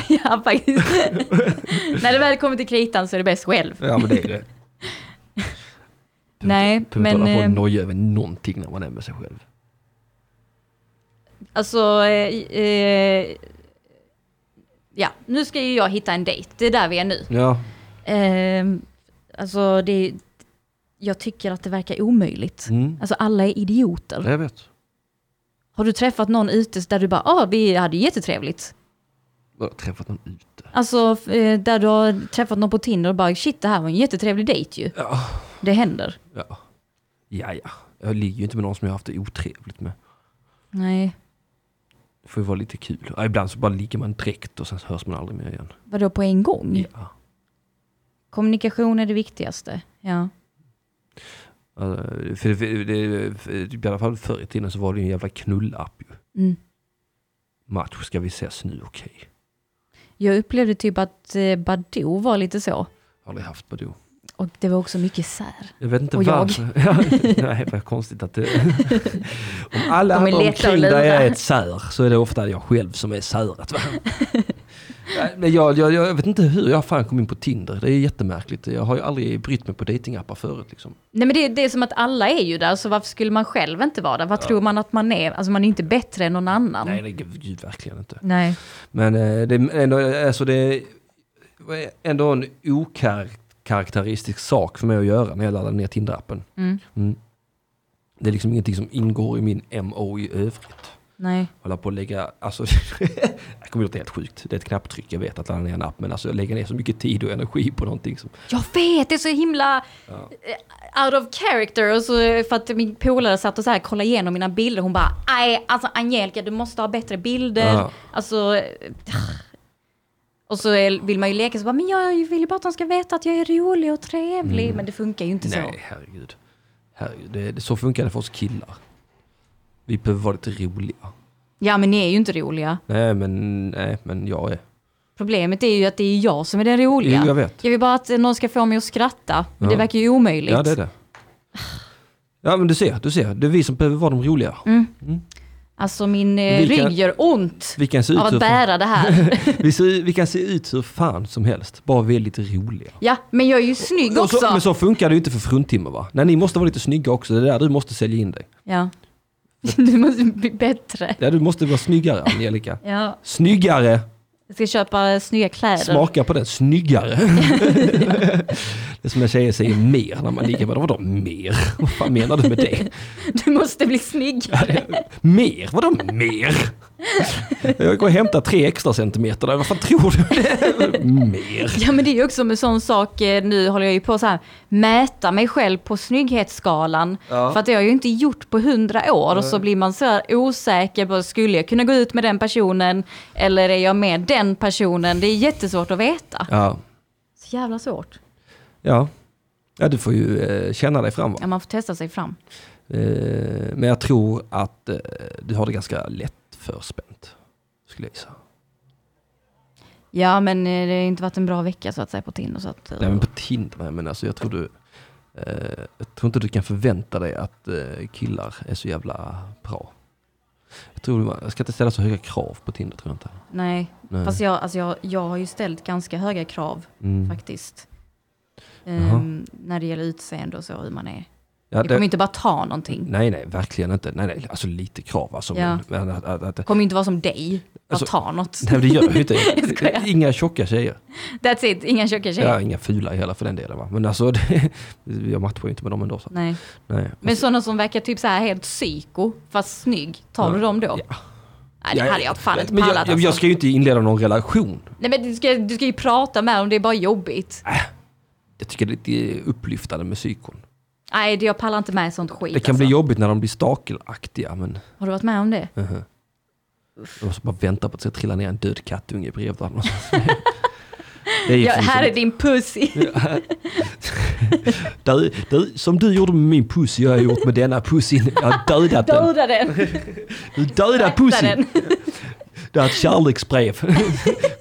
S8: ja, faktiskt. När det väl kommer till kritan så är det bäst själv.
S6: ja men det är det.
S8: Nej,
S6: Behöver inte
S8: men...
S6: hålla på och
S8: eh,
S6: noja över någonting när man är med sig själv.
S8: Alltså, eh, eh, ja, nu ska ju jag hitta en dejt. Det är där vi är nu.
S6: Ja,
S8: Eh, alltså, det, jag tycker att det verkar omöjligt.
S6: Mm.
S8: Alltså, alla är idioter.
S6: jag vet.
S8: Har du träffat någon ute där du bara, ja, vi hade jättetrevligt.
S6: Jag har träffat någon ute.
S8: Alltså, f- eh, där du har träffat någon på Tinder och bara, shit, det här var en jättetrevlig dejt ju.
S6: Ja.
S8: Det händer.
S6: Ja. ja, ja. Jag ligger ju inte med någon som jag har haft det otrevligt med.
S8: Nej,
S6: Det får ju vara lite kul. Ja, ibland så bara ligger man direkt och sen hörs man aldrig mer igen.
S8: Mm. vadå på en gång?
S6: Ja.
S8: Kommunikation är det viktigaste. Ja.
S6: Alltså, för, för, det, för, I alla fall förr i tiden så var det ju en jävla knullapp ju.
S8: Mm.
S6: Match, ska vi ses nu? Okej.
S8: Jag upplevde typ att eh, Badoo var lite så.
S6: Aldrig haft Badoo.
S8: Och det var också mycket sär.
S6: Jag vet inte
S8: Och jag.
S6: varför. Ja, nej, vad konstigt att det... Om alla
S8: De är
S6: andra
S8: lätta att
S6: omkring dig
S8: lura.
S6: är ett sär så är det ofta jag själv som är säret. va? Nej, men jag, jag, jag vet inte hur jag fan kom in på Tinder. Det är jättemärkligt. Jag har ju aldrig brytt mig på datingappar förut. Liksom.
S8: Nej men det, det är som att alla är ju där, så varför skulle man själv inte vara där? Vad tror man att man är? Alltså man är inte bättre än någon annan.
S6: Nej, det är gud, verkligen inte.
S8: Nej.
S6: Men eh, det är ändå, alltså det är ändå en okaraktäristisk sak för mig att göra när jag laddar ner Tinder-appen.
S8: Mm.
S6: Mm. Det är liksom ingenting som ingår i min MO i övrigt.
S8: Nej.
S6: hålla på att lägga, alltså, jag kommer att låta helt sjukt. Det är ett knapptryck, jag vet att ladda ner en app, men alltså jag lägger ner så mycket tid och energi på någonting som,
S8: Jag vet, det är så himla eh, out of character. Och så, eh, för att min polare satt och så här kollade igenom mina bilder. Hon bara, nej alltså Angelica du måste ha bättre bilder.
S6: Ja.
S8: Alltså, eh, och så är- vill man ju leka så bara, men jag vill ju bara att de ska veta att jag är rolig och trevlig. Men det funkar ju inte
S6: Mm. nej
S8: så.
S6: herregud. herregud det, det, så funkar det för oss killar. Vi behöver vara lite roliga.
S8: Ja men ni är ju inte roliga.
S6: Nej men, nej, men jag är,
S8: Problemet är ju att det är jag som är den roliga.
S6: Jo, jag vet.
S8: vill bara att eh, någon ska få mig att skratta. Men
S6: Ja.
S8: det verkar ju omöjligt.
S6: ja det är det. Ja men du ser, du ser. Det är vi som behöver vara de roliga.
S8: Alltså min eh,
S6: Vilka-
S8: rygg gör ont
S6: Vi kan se ut
S8: av
S6: hur
S8: att
S6: fan,
S8: bära det här.
S6: vi, ser, vi kan se ut hur fan som helst, bara vi är lite roliga.
S8: Ja, men jag är ju snygg
S6: Och
S8: också.
S6: så, men så funkar det ju inte för fruntimmer va? Nej ni måste vara lite snygga också, det är där du måste sälja in dig.
S8: Ja. Du måste bli bättre.
S6: Ja, du måste vara snyggare Angelica.
S8: Ja.
S6: Snyggare!
S8: Jag ska köpa eh, snygga kläder.
S6: Smaka på den, snyggare! det är som när tjejer säger mer när man ligger med dem. Vadå mer? Vad fan menar du med det?
S8: Du måste bli snygg.
S6: Mer? Vadå mer? Jag går och hämtar tre extra centimeter där. Vad fan tror du? mer?
S8: Ja men det är ju också en sån sak, eh, nu håller jag ju på så här mäta mig själv på snygghetsskalan.
S6: Ja.
S8: För att det har jag ju inte gjort på hundra år och så blir man så här osäker på, skulle jag kunna gå ut med den personen eller är jag med den personen? Det är jättesvårt att veta.
S6: Ja,
S8: Så jävla svårt.
S6: ja. Ja, du får ju eh, känna dig fram va?
S8: Ja man får testa sig fram.
S6: Eh, men jag tror att eh, du har det ganska lätt förspänt. Skulle jag gissa.
S8: Ja men eh, det har ju inte varit en bra vecka så att säga på Tinder så att... eh,
S6: Nej men på Tinder, nej, men alltså jag tror du... Eh, jag tror inte du kan förvänta dig att eh, killar är så jävla bra. Jag, tror, man- jag ska inte ställa så höga krav på Tinder tror jag inte.
S8: Nej,
S6: Nej.
S8: fast jag, alltså jag, jag har ju ställt ganska höga krav
S6: Mm.
S8: faktiskt.
S6: Jaha.
S8: Ehm, när det gäller utseende och så, hur man är.
S6: Ja,
S8: Jag kommer
S6: det,
S8: inte bara ta någonting.
S6: nej nej, verkligen inte. Nej, nej, alltså lite krav alltså.
S8: Ja.
S6: Men, men, att, att, att,
S8: Kommer ju inte vara som dig, bara
S6: Alltså-
S8: ta något.
S6: nej men det gör jag ju inte.
S8: Jag skojar.
S6: inga tjocka tjejer.
S8: That's it, inga tjocka tjejer.
S6: Ja, inga fula heller för den delen va. Men alltså, det, jag matchar ju inte med dem ändå. Så.
S8: Nej.
S6: Nej.
S8: Men sådana som verkar typ så här helt psyko, fast snygg, tar du dem då?
S6: Ja.
S8: Nej det
S6: Ja,
S8: hade jag fan inte
S6: men
S8: pallat
S6: jag, jag, jag
S8: alltså.
S6: ska ju inte inleda någon relation.
S8: Nej men du ska, du ska ju prata med om det är bara jobbigt.
S6: Jag tycker det är lite upplyftande med psykon.
S8: Nej det- jag pallar inte med sånt skit
S6: Det kan
S8: alltså.
S6: bli jobbigt när de blir stakelaktiga men
S8: Har du varit med om det?
S6: de måste bara vänta på att det ska trilla ner en död kattunge bredvid varandra. Det är
S8: Ja,
S6: precis
S8: här
S6: som-
S8: är din pussy.
S6: du, du, som du gjorde med min pussy, jag har gjort med denna pussin. Jag har dödat den.
S8: Döda den.
S6: Du dödar
S8: Akta
S6: pussin.
S8: den.
S6: Det är ett kärleksbrev.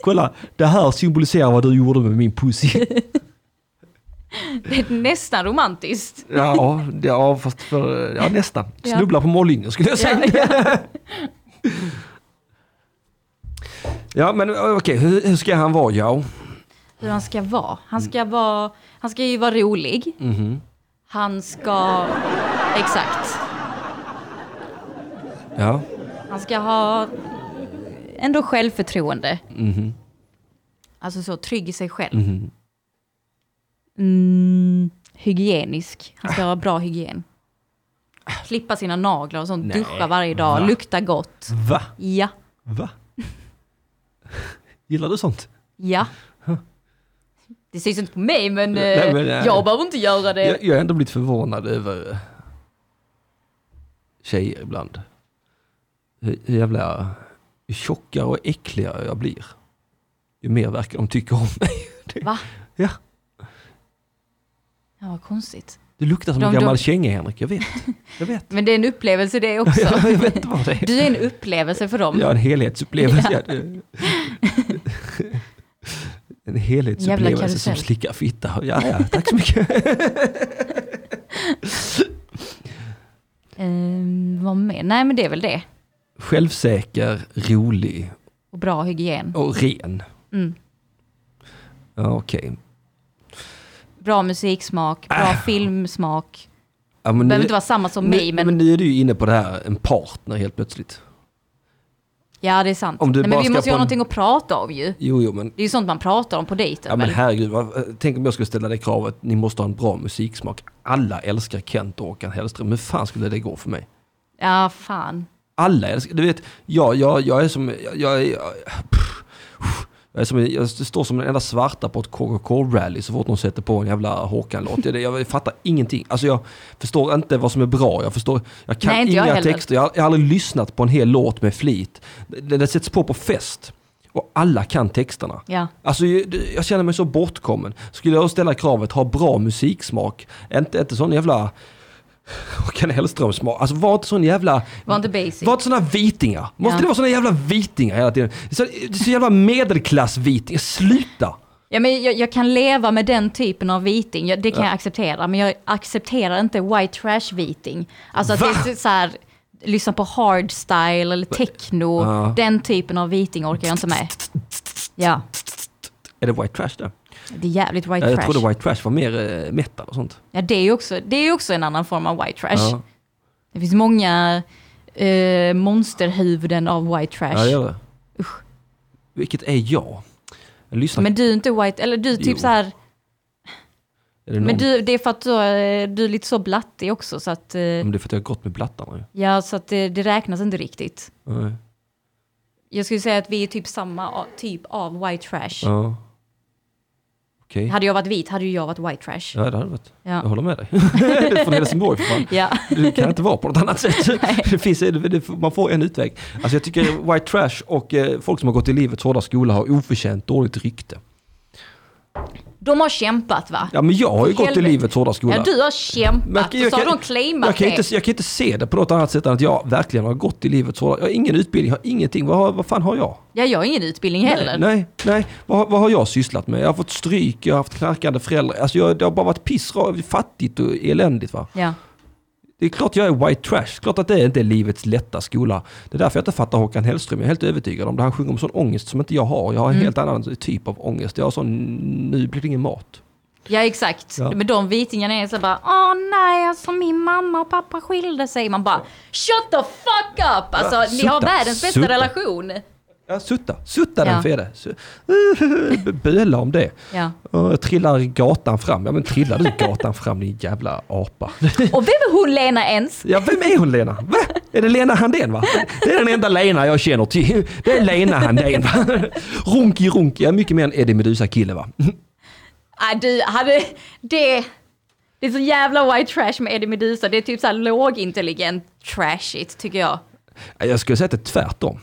S6: Kolla, det här symboliserar vad du gjorde med min pussy.
S8: Det är nästan romantiskt.
S6: Ja, ja fast för, ja, nästan. Snubbla på mållinjen skulle jag säga. Ja, men eh, okej, hur, hur ska han vara ja?
S8: Hur han ska vara. Han
S6: Mm.
S8: ska, vara, han ska ju vara rolig.
S6: Mm-hmm.
S8: Han ska... Exakt.
S6: Ja,
S8: Han ska ha ändå självförtroende.
S6: Mm-hmm.
S8: Alltså så trygg i sig själv. Mm, hygienisk. Han ska ha bra hygien. Klippa sina naglar och sånt.
S6: Nej,
S8: Duscha varje dag.
S6: va?
S8: Lukta gott.
S6: va?
S8: Ja,
S6: Va? Gillar du sånt?
S8: ja. Det syns inte på mig men,
S6: Nej,
S8: eh,
S6: men, eh,
S8: jag behöver inte göra det.
S6: Jag, jag har ändå blivit förvånad över eh, tjejer ibland. Hur hur jävla hur tjockare och äckligare jag blir. Ju mer verkar de tycka om mig.
S8: Va?
S6: Ja.
S8: Ja, vad konstigt.
S6: Du luktar som en
S8: De- de-
S6: gammal känga Henrik, jag vet. Jag vet.
S8: Men det är en upplevelse det också.
S6: Ja, jag vet vad det är.
S8: Du är en upplevelse för dem.
S6: Ja, en helhetsupplevelse. Ja. En
S8: Jävla
S6: helhetsupplevelse som
S8: karusell.
S6: slickar fitta. Ja, ja, tack så mycket.
S8: Ehm, vad mer? Nej, men det är väl det.
S6: Självsäker, rolig
S8: Och bra hygien.
S6: och ren.
S8: Mm.
S6: Ja, okej.
S8: Bra musiksmak, bra filmsmak.
S6: Ja, Äh. men
S8: Det
S6: nu-
S8: behöver inte vara samma som mig,
S6: nu,
S8: men,
S6: men nu är du ju inne på det här, en partner helt plötsligt.
S8: ja, det är sant.
S6: Om du
S8: Nej,
S6: bara
S8: men vi
S6: ska
S8: måste
S6: på
S8: ju ha
S6: en-
S8: någonting att prata om ju.
S6: Jo, jo, men
S8: Det är ju sånt man pratar om på dejten
S6: Ja men
S8: väl?
S6: herregud, vad- tänk om jag skulle ställa det kravet, ni måste ha en bra musiksmak. Alla älskar Kent och Håkan Hellström, hur fan skulle det gå för mig?
S8: Ja, fan.
S6: Alla älskar, du vet, jag, jag, jag är som, jag, jag, är- jag, pff, jag, är som, jag står som den enda svarta på ett KKK-rally så fort någon sätter på en jävla Håkan-låt. Jag, jag fattar ingenting, alltså jag förstår inte vad som är bra, jag förstår, jag kan
S8: Nej, inte jag
S6: inga
S8: heller.
S6: texter, jag har, jag har aldrig lyssnat på en hel låt med flit. Den, den sätts på på fest och alla kan texterna.
S8: Ja.
S6: Alltså, ju- jag känner mig så bortkommen. Skulle jag ställa kravet, ha bra musiksmak. Inte, inte sån jävla... Håkan Hellström-smak. Alltså var inte sån jävla...
S8: Var inte basic.
S6: Var inte såna vitingar. Måste
S8: Ja.
S6: det vara såna jävla vitingar hela tiden? Det är så, det är så jävla medelklass-vitingar. Sluta!
S8: Ja, men jag, jag kan leva med den typen av viting, jag, det kan jag acceptera. Men jag accepterar inte white trash viting. Alltså att
S6: Va?
S8: det är så här, lyssna på hardstyle eller techno.
S6: Ja.
S8: Den typen av viting orkar jag inte med. Ja,
S6: Är det white trash där?
S8: det är jävligt white
S6: Ja, jag
S8: trash.
S6: trodde white trash var mer eh, metal och sånt.
S8: Ja, det är ju också, det är ju också en annan form av white trash.
S6: Ja,
S8: Det finns många eh, monsterhuvuden av white trash.
S6: ja det gör det. Vilket är jag? Jag lyssnar...
S8: Men du är inte white, eller du
S6: Jo.
S8: typ så här,
S6: är det någon...
S8: men du, det är för att du, eh, du är lite så blattig också så att, eh,
S6: Men det är för att jag har gått med blattarna ju.
S8: ja så att det, det räknas inte riktigt.
S6: Nej.
S8: Jag skulle säga att vi är typ samma a- typ av white trash.
S6: Ja. Okej.
S8: Hade jag varit vit hade ju jag varit white trash.
S6: Ja, det hade det varit.
S8: Ja.
S6: Jag håller med dig. du är från Helsingborg för fan.
S8: Ja.
S6: Du kan inte vara på något annat sätt. Det finns, det- man får en utväg. Alltså jag tycker white trash och eh, folk som har gått i livets hårda skola har oförtjänt dåligt rykte.
S8: De har kämpat va?
S6: Ja men jag har ju gått i
S8: Helvete.
S6: livets hårda skola.
S8: Ja, du har kämpat
S6: Men
S8: och så har de claimat
S6: jag, kan
S8: det.
S6: inte, jag kan inte se det på något annat sätt än att jag verkligen har gått i livets hårda... Jag har ingen utbildning, jag har ingenting. Vad, har, vad fan har jag?
S8: Ja, jag har ingen utbildning heller.
S6: Nej, nej. Vad, har- vad har jag sysslat med? Jag har fått stryk, jag har haft knarkande föräldrar. Alltså jag, det har bara varit piss, fattigt och eländigt va.
S8: Ja.
S6: Det är klart jag är white trash. Klart att det inte är livets lätta skola. Det är därför jag inte fattar Håkan Hellström. Jag är helt övertygad om det. Han sjunger om sån ångest som inte jag har. Jag har en
S8: Mm.
S6: helt annan typ av ångest. Jag har sån, nu blir det ingen mat.
S8: Ja exakt.
S6: Ja.
S8: Men de vitingarna är så bara åh nej alltså min mamma och pappa skilde sig. Man bara shut the fuck up! Alltså
S6: Ja,
S8: ni har
S6: sutta,
S8: världens bästa
S6: sutta.
S8: relation.
S6: Ja, sutta. Sutta
S8: Ja.
S6: den Fede. Su- Böla om det.
S8: Ja.
S6: Ja, Jag trillar gatan fram. Ja men trillar du gatan fram din jävla apa.
S8: Och vem är hon Lena ens?
S6: Ja vem är hon Lena? Va? Är det Lena Handén va? Det är den enda Lena jag känner till. Det är Lena Handén va? Runki runki. Jag är mycket mer en Eddie Meduza-kille va?
S8: Ah, du hade det. Det är så jävla white trash med Eddie Meduza. Det är typ så här lågintelligent trashigt tycker jag.
S6: Jag skulle säga att det är tvärtom.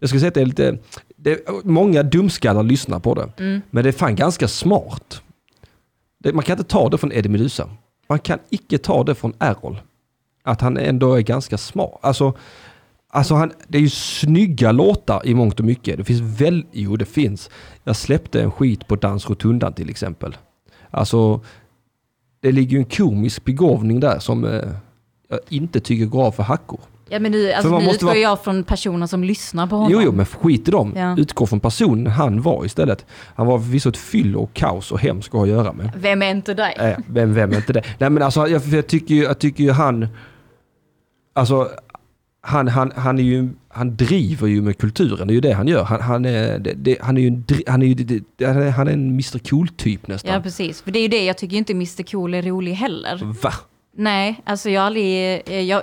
S6: Jag skulle säga att det är lite... Det, många dumskallar lyssnar på det. Men det är fan ganska smart. Det, man kan inte ta det från Eddie Meduza. Man kan icke ta det från Errol. Att han ändå är ganska smart. Alltså, alltså han, det är ju snygga låtar i mångt och mycket. Det finns väl... Jo, det finns. Jag släppte en skit på Dans Rotundan till exempel. Alltså, det ligger ju en komisk begåvning där som eh, jag inte tycker går av för hackor.
S8: Ja men nu, alltså,
S6: man
S8: nu
S6: måste
S8: utgår
S6: vara-
S8: jag från personer som lyssnar på honom.
S6: Jo, jo, men skit i dem.
S8: Ja.
S6: Utgå från personen han var istället. Han var förvisso ett fyllo och kaos och hemskt att ha att göra med.
S8: Vem är inte dig?
S6: Äh, vem, vem är inte det? Nej, men alltså jag, jag, tycker ju, jag tycker ju han... Alltså, han, han, han, är ju, han driver ju med kulturen, det är ju det han gör. Han, han, är, det, det, han är ju en, dri- han är ju, det, det, han är- han är en Mr Cool-typ nästan.
S8: Ja precis, för det är ju det jag tycker ju inte Mr Cool är rolig heller.
S6: Va?
S8: Nej, alltså jag har aldrig... eh, Jag,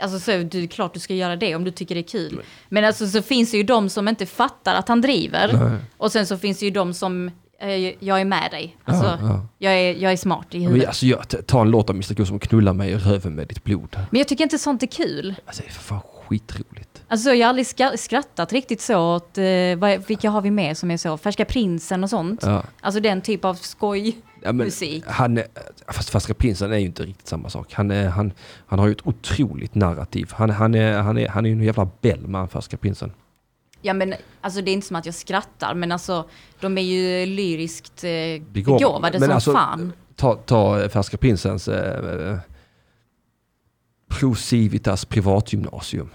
S8: alltså så, du, klart du ska göra det om du tycker det är kul. Men alltså så finns det ju de som inte fattar att han driver. Och sen så finns det ju de som, eh, jag är med dig. Alltså,
S6: ja.
S8: Jag, är, jag är smart i
S6: Ja, Men,
S8: huvudet.
S6: alltså, jag, ta en låt av Mr Cool som knullar mig i röven med ditt blod.
S8: Men jag tycker inte sånt är kul.
S6: Alltså det är för fan skitroligt.
S8: Alltså jag har aldrig ska- skrattat riktigt så åt, eh, vad, vilka har vi med som är så, Färska Prinsen och sånt.
S6: Ja.
S8: Alltså den typ av skoj.
S6: Ja, men
S8: Musik.
S6: Han, är- fast fast Rapinsen är ju inte riktigt samma sak. Han, är, han, han har ju ett otroligt narrativ. Han, han, är, han, är, han är ju en jävla bellman, fast Rapinsen.
S8: Ja men alltså det är inte som att jag skrattar men alltså de är ju lyriskt eh,
S6: Begåvad.
S8: begåvade
S6: Men
S8: som
S6: alltså,
S8: fan.
S6: Ta, ta eh, Färska Prinsens eh, eh, Pro Civitas privatgymnasium.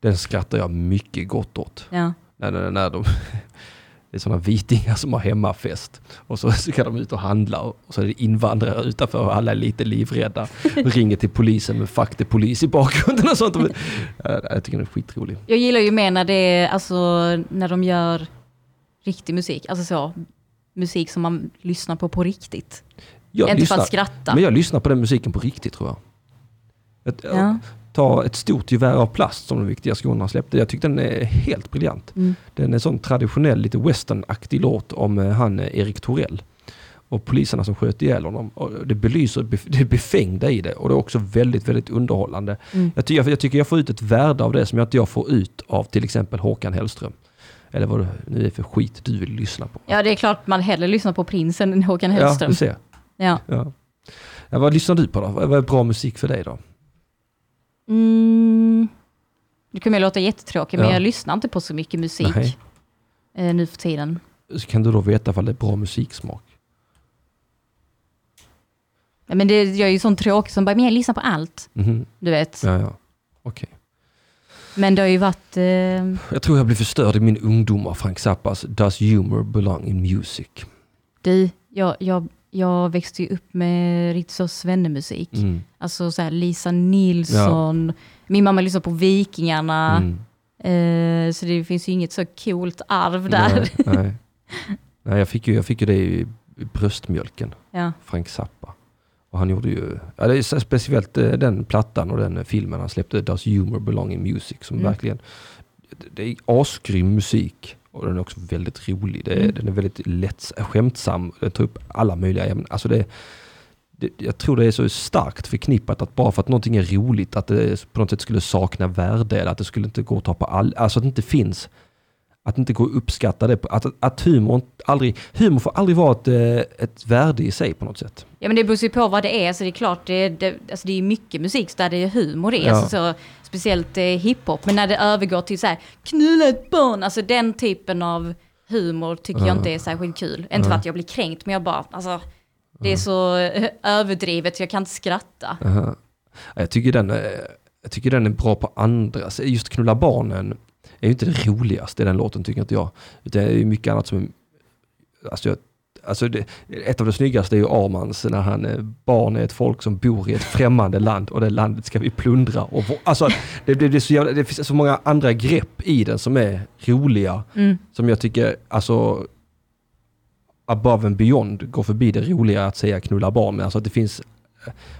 S6: Den skrattar jag mycket gott åt.
S8: Ja.
S6: När, när, när de, det är sådana vitingar som har hemmafest och så ska de ut och handla och så är det invandrare utanför och alla är lite livrädda och ringer till polisen med fuck the polis i bakgrunden och sånt. Ja, Jag tycker den är skitrolig.
S8: Jag gillar ju mer när det är, alltså när de gör riktig musik, alltså så musik som man lyssnar på på riktigt.
S6: Jag
S8: inte för att skratta.
S6: Men jag lyssnar på den musiken på riktigt tror jag. Ett,
S8: Ja.
S6: Ta ett stort gevär av plast som de viktiga skorna släppte. Jag tyckte den är helt briljant.
S8: Mm.
S6: Den är en sån traditionell, lite westernaktig låt om eh, han eh, Erik Torell. Och poliserna som sköt ihjäl honom. Och det belyser bef- det befängda i det och det är också väldigt, väldigt underhållande.
S8: Mm.
S6: Jag, ty- jag tycker jag får ut ett värde av det som jag inte jag får ut av till exempel Håkan Hellström. Eller vad det nu är för skit du vill lyssna på.
S8: Ja det är klart man hellre lyssnar på Prinsen än Håkan Hellström.
S6: Ja, du ser.
S8: Ja.
S6: Ja. Ja, vad lyssnar du på då? Vad vad är bra musik för dig då?
S8: Mm. Nu kommer jag låta jättetråkig men
S6: Ja.
S8: jag lyssnar inte på så mycket
S6: Nej.
S8: musik eh, nu för tiden.
S6: Så kan du då veta ifall det är bra musiksmak?
S8: Ja, men det, jag är ju sån tråkig som bara, men jag lyssnar på allt.
S6: Mhm.
S8: Du vet.
S6: Ja, ja. Okej.
S8: Men det har ju varit... Eh,
S6: Jag tror jag blev förstörd i min ungdom av Frank Zappas Does humor belong in music?
S8: Du, jag, jag, jag växte ju upp med riktigt så svennemusik.
S6: Mm.
S8: Alltså så här Lisa Nilsson, min mamma lyssnar på Vikingarna.
S6: Mm.
S8: Eh, så det finns ju inget så coolt arv där.
S6: Nej, nej. nej jag, fick ju, jag fick ju det i i bröstmjölken,
S8: Ja.
S6: Frank Zappa. Och han gjorde ju, ja, det är så- speciellt eh, den plattan och den eh, filmen han släppte, Does humor belong in music, som
S8: Mm.
S6: verkligen, det- det är asgrym musik och den är också väldigt rolig. Det är,
S8: Mm.
S6: Den är väldigt lätt, skämtsam, den tar upp alla möjliga ämnen. Alltså det, det, jag tror det är så starkt förknippat att bara för att någonting är roligt, att det på något sätt skulle sakna värde eller att det skulle inte gå att ta på all, alltså att det inte finns, att det inte går att uppskatta det, på- att, att humor, inte- aldrig, humor får aldrig vara ett, eh, ett värde i sig på något sätt.
S8: ja men det beror ju på vad det är, så det är klart det, det, alltså det är mycket musik där det är humor i.
S6: Ja.
S8: Alltså så, speciellt eh, hiphop, men när det övergår till så här knulla ett barn, alltså den typen av humor tycker jag inte är särskilt kul. Inte för att jag blir kränkt, men jag bara, alltså det är så eh, överdrivet, jag kan inte skratta.
S6: Ja, Jag tycker den är, jag tycker den är bra på andra. Så Just Knulla barnen är ju inte det roligaste i den låten tycker inte jag. Utan det är ju mycket annat som... Alltså jag, alltså det, ett av det snyggaste är ju Armans när han eh, barn är ett folk som bor i ett främmande land och det landet ska vi plundra. Och, vå- alltså, det, det, det, är så jävla, det finns så många andra grepp i den som är roliga. Som jag tycker, alltså above and beyond går förbi det roliga att säga knulla barn. Men alltså att det finns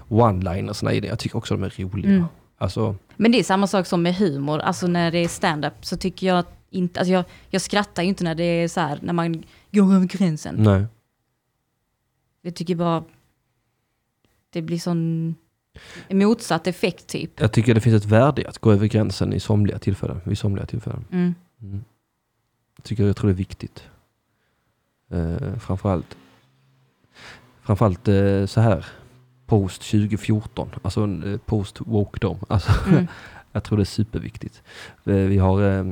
S6: one-linersna i det. Jag tycker också de är roliga. Alltså,
S8: Men det är samma sak som med humor, alltså när det är stand-up så tycker jag inte, alltså jag, jag skrattar ju inte när det är så här, när man går över gränsen.
S6: nej.
S8: Jag tycker bara, det blir sån motsatt effekt typ.
S6: Jag tycker det finns ett värde i att gå över gränsen i somliga tillfällen. Vid somliga tillfällen.
S8: Mm.
S6: Jag, tycker, jag tror det är viktigt. Eh, framförallt framförallt eh, så här post 2014, alltså en, eh, post wokedom. Alltså,
S8: Mm.
S6: jag tror det är superviktigt. Eh, vi har eh,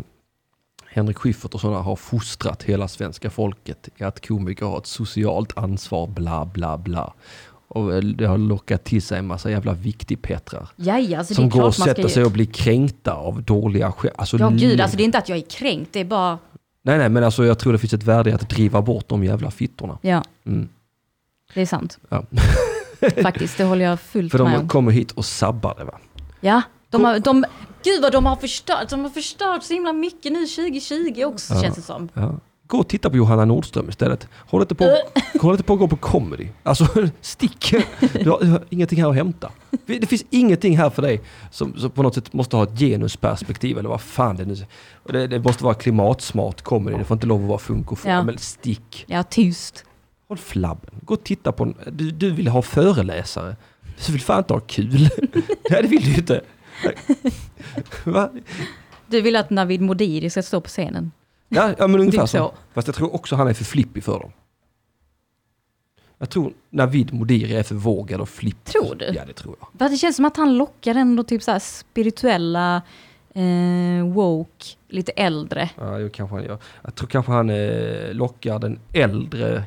S6: Henrik Schyffert och sådana har fostrat hela svenska folket i att komiker har ett socialt ansvar, bla bla bla. Och eh, det har lockat till sig en massa jävla viktigpetrar.
S8: Jaja, alltså
S6: som
S8: det är
S6: går och
S8: klart man ska
S6: sätter
S8: ju...
S6: sig och blir kränkta av dåliga skämt. Alltså,
S8: Ja
S6: lugn.
S8: gud, alltså det är inte att jag är kränkt, det är bara,
S6: Nej, nej, men alltså, jag tror det finns ett värde i att driva bort de jävla fittorna.
S8: ja.
S6: Mm.
S8: Det är sant.
S6: Ja.
S8: Faktiskt, det håller jag fullt
S6: För
S8: med
S6: de
S8: om.
S6: kommer hit och sabbar det. Va?
S8: Ja, de har, de, gud vad de har förstört, de har förstört så himla mycket nu 2020 också känns det som.
S6: Ja. Gå och titta på Johanna Nordström istället. Håll inte på,
S8: Äh.
S6: håll inte på att gå på comedy. Alltså, stick! Du har, du har ingenting här att hämta. Det finns ingenting här för dig som, som på något sätt måste ha ett genusperspektiv eller vad fan det nu och det, det måste vara klimatsmart comedy. Det får inte lov att vara funkofon.
S8: Ja.
S6: Men stick!
S8: Ja, tyst.
S6: Håll flabben. Gå och titta på en, du, du vill ha föreläsare. Du vill fan inte ha kul. Nej, det vill du ju inte. Va?
S8: Du vill att Navid Modiri ska stå på scenen.
S6: Ja, ja, men ungefär
S8: Typ
S6: så.
S8: så.
S6: Fast jag tror också han är för flippig för dem. Jag tror Navid Modiri är förvågad och flippig.
S8: Tror du?
S6: Ja, det tror jag.
S8: För att det känns som att han lockar ändå typ så här spirituella, eh, woke, lite äldre.
S6: Ja, jo, kanske han gör. Jag tror kanske han eh, lockar den äldre,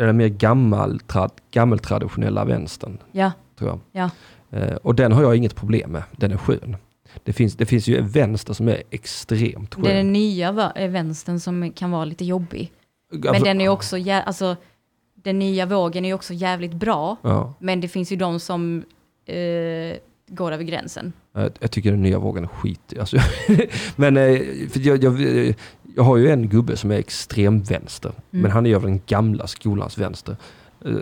S6: eller mer gammal, trad, gammeltraditionella vänstern,
S8: Ja,
S6: tror jag.
S8: ja.
S6: Eh, och den har jag inget problem med. Den är skön. Det finns, det finns ju en vänster som är extremt skön.
S8: Det är den nya va- eh, vänstern som kan vara lite jobbig. Men
S6: Alltså-
S8: den är ju också, jä- alltså, den nya vågen är ju också jävligt bra.
S6: Ja,
S8: Men det finns ju de som eh, går över gränsen.
S6: jag, jag tycker den nya vågen är skit. Alltså, men eh, för jag, jag, jag har ju en gubbe som är extremvänster,
S8: Mm.
S6: men han är av den gamla skolans vänster. Eh,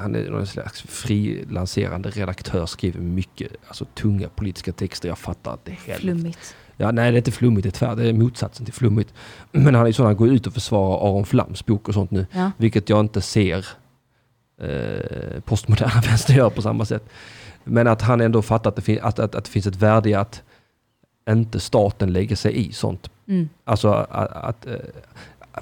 S6: han är någon slags frilanserande redaktör, skriver mycket alltså, tunga politiska texter. Jag fattar inte heller.
S8: Flummigt.
S6: Ja, nej, det är inte flummigt, det är tvärt, det är motsatsen till flummigt. Men han är ju sån, han går ut och försvarar Aron Flams bok och sånt nu.
S8: Ja.
S6: Vilket jag inte ser eh, postmoderna vänster göra på samma sätt. Men att han ändå fattar att det, fin- att, att, att det finns ett värde i att inte staten lägger sig i sånt.
S8: Mm.
S6: Alltså att... att eh,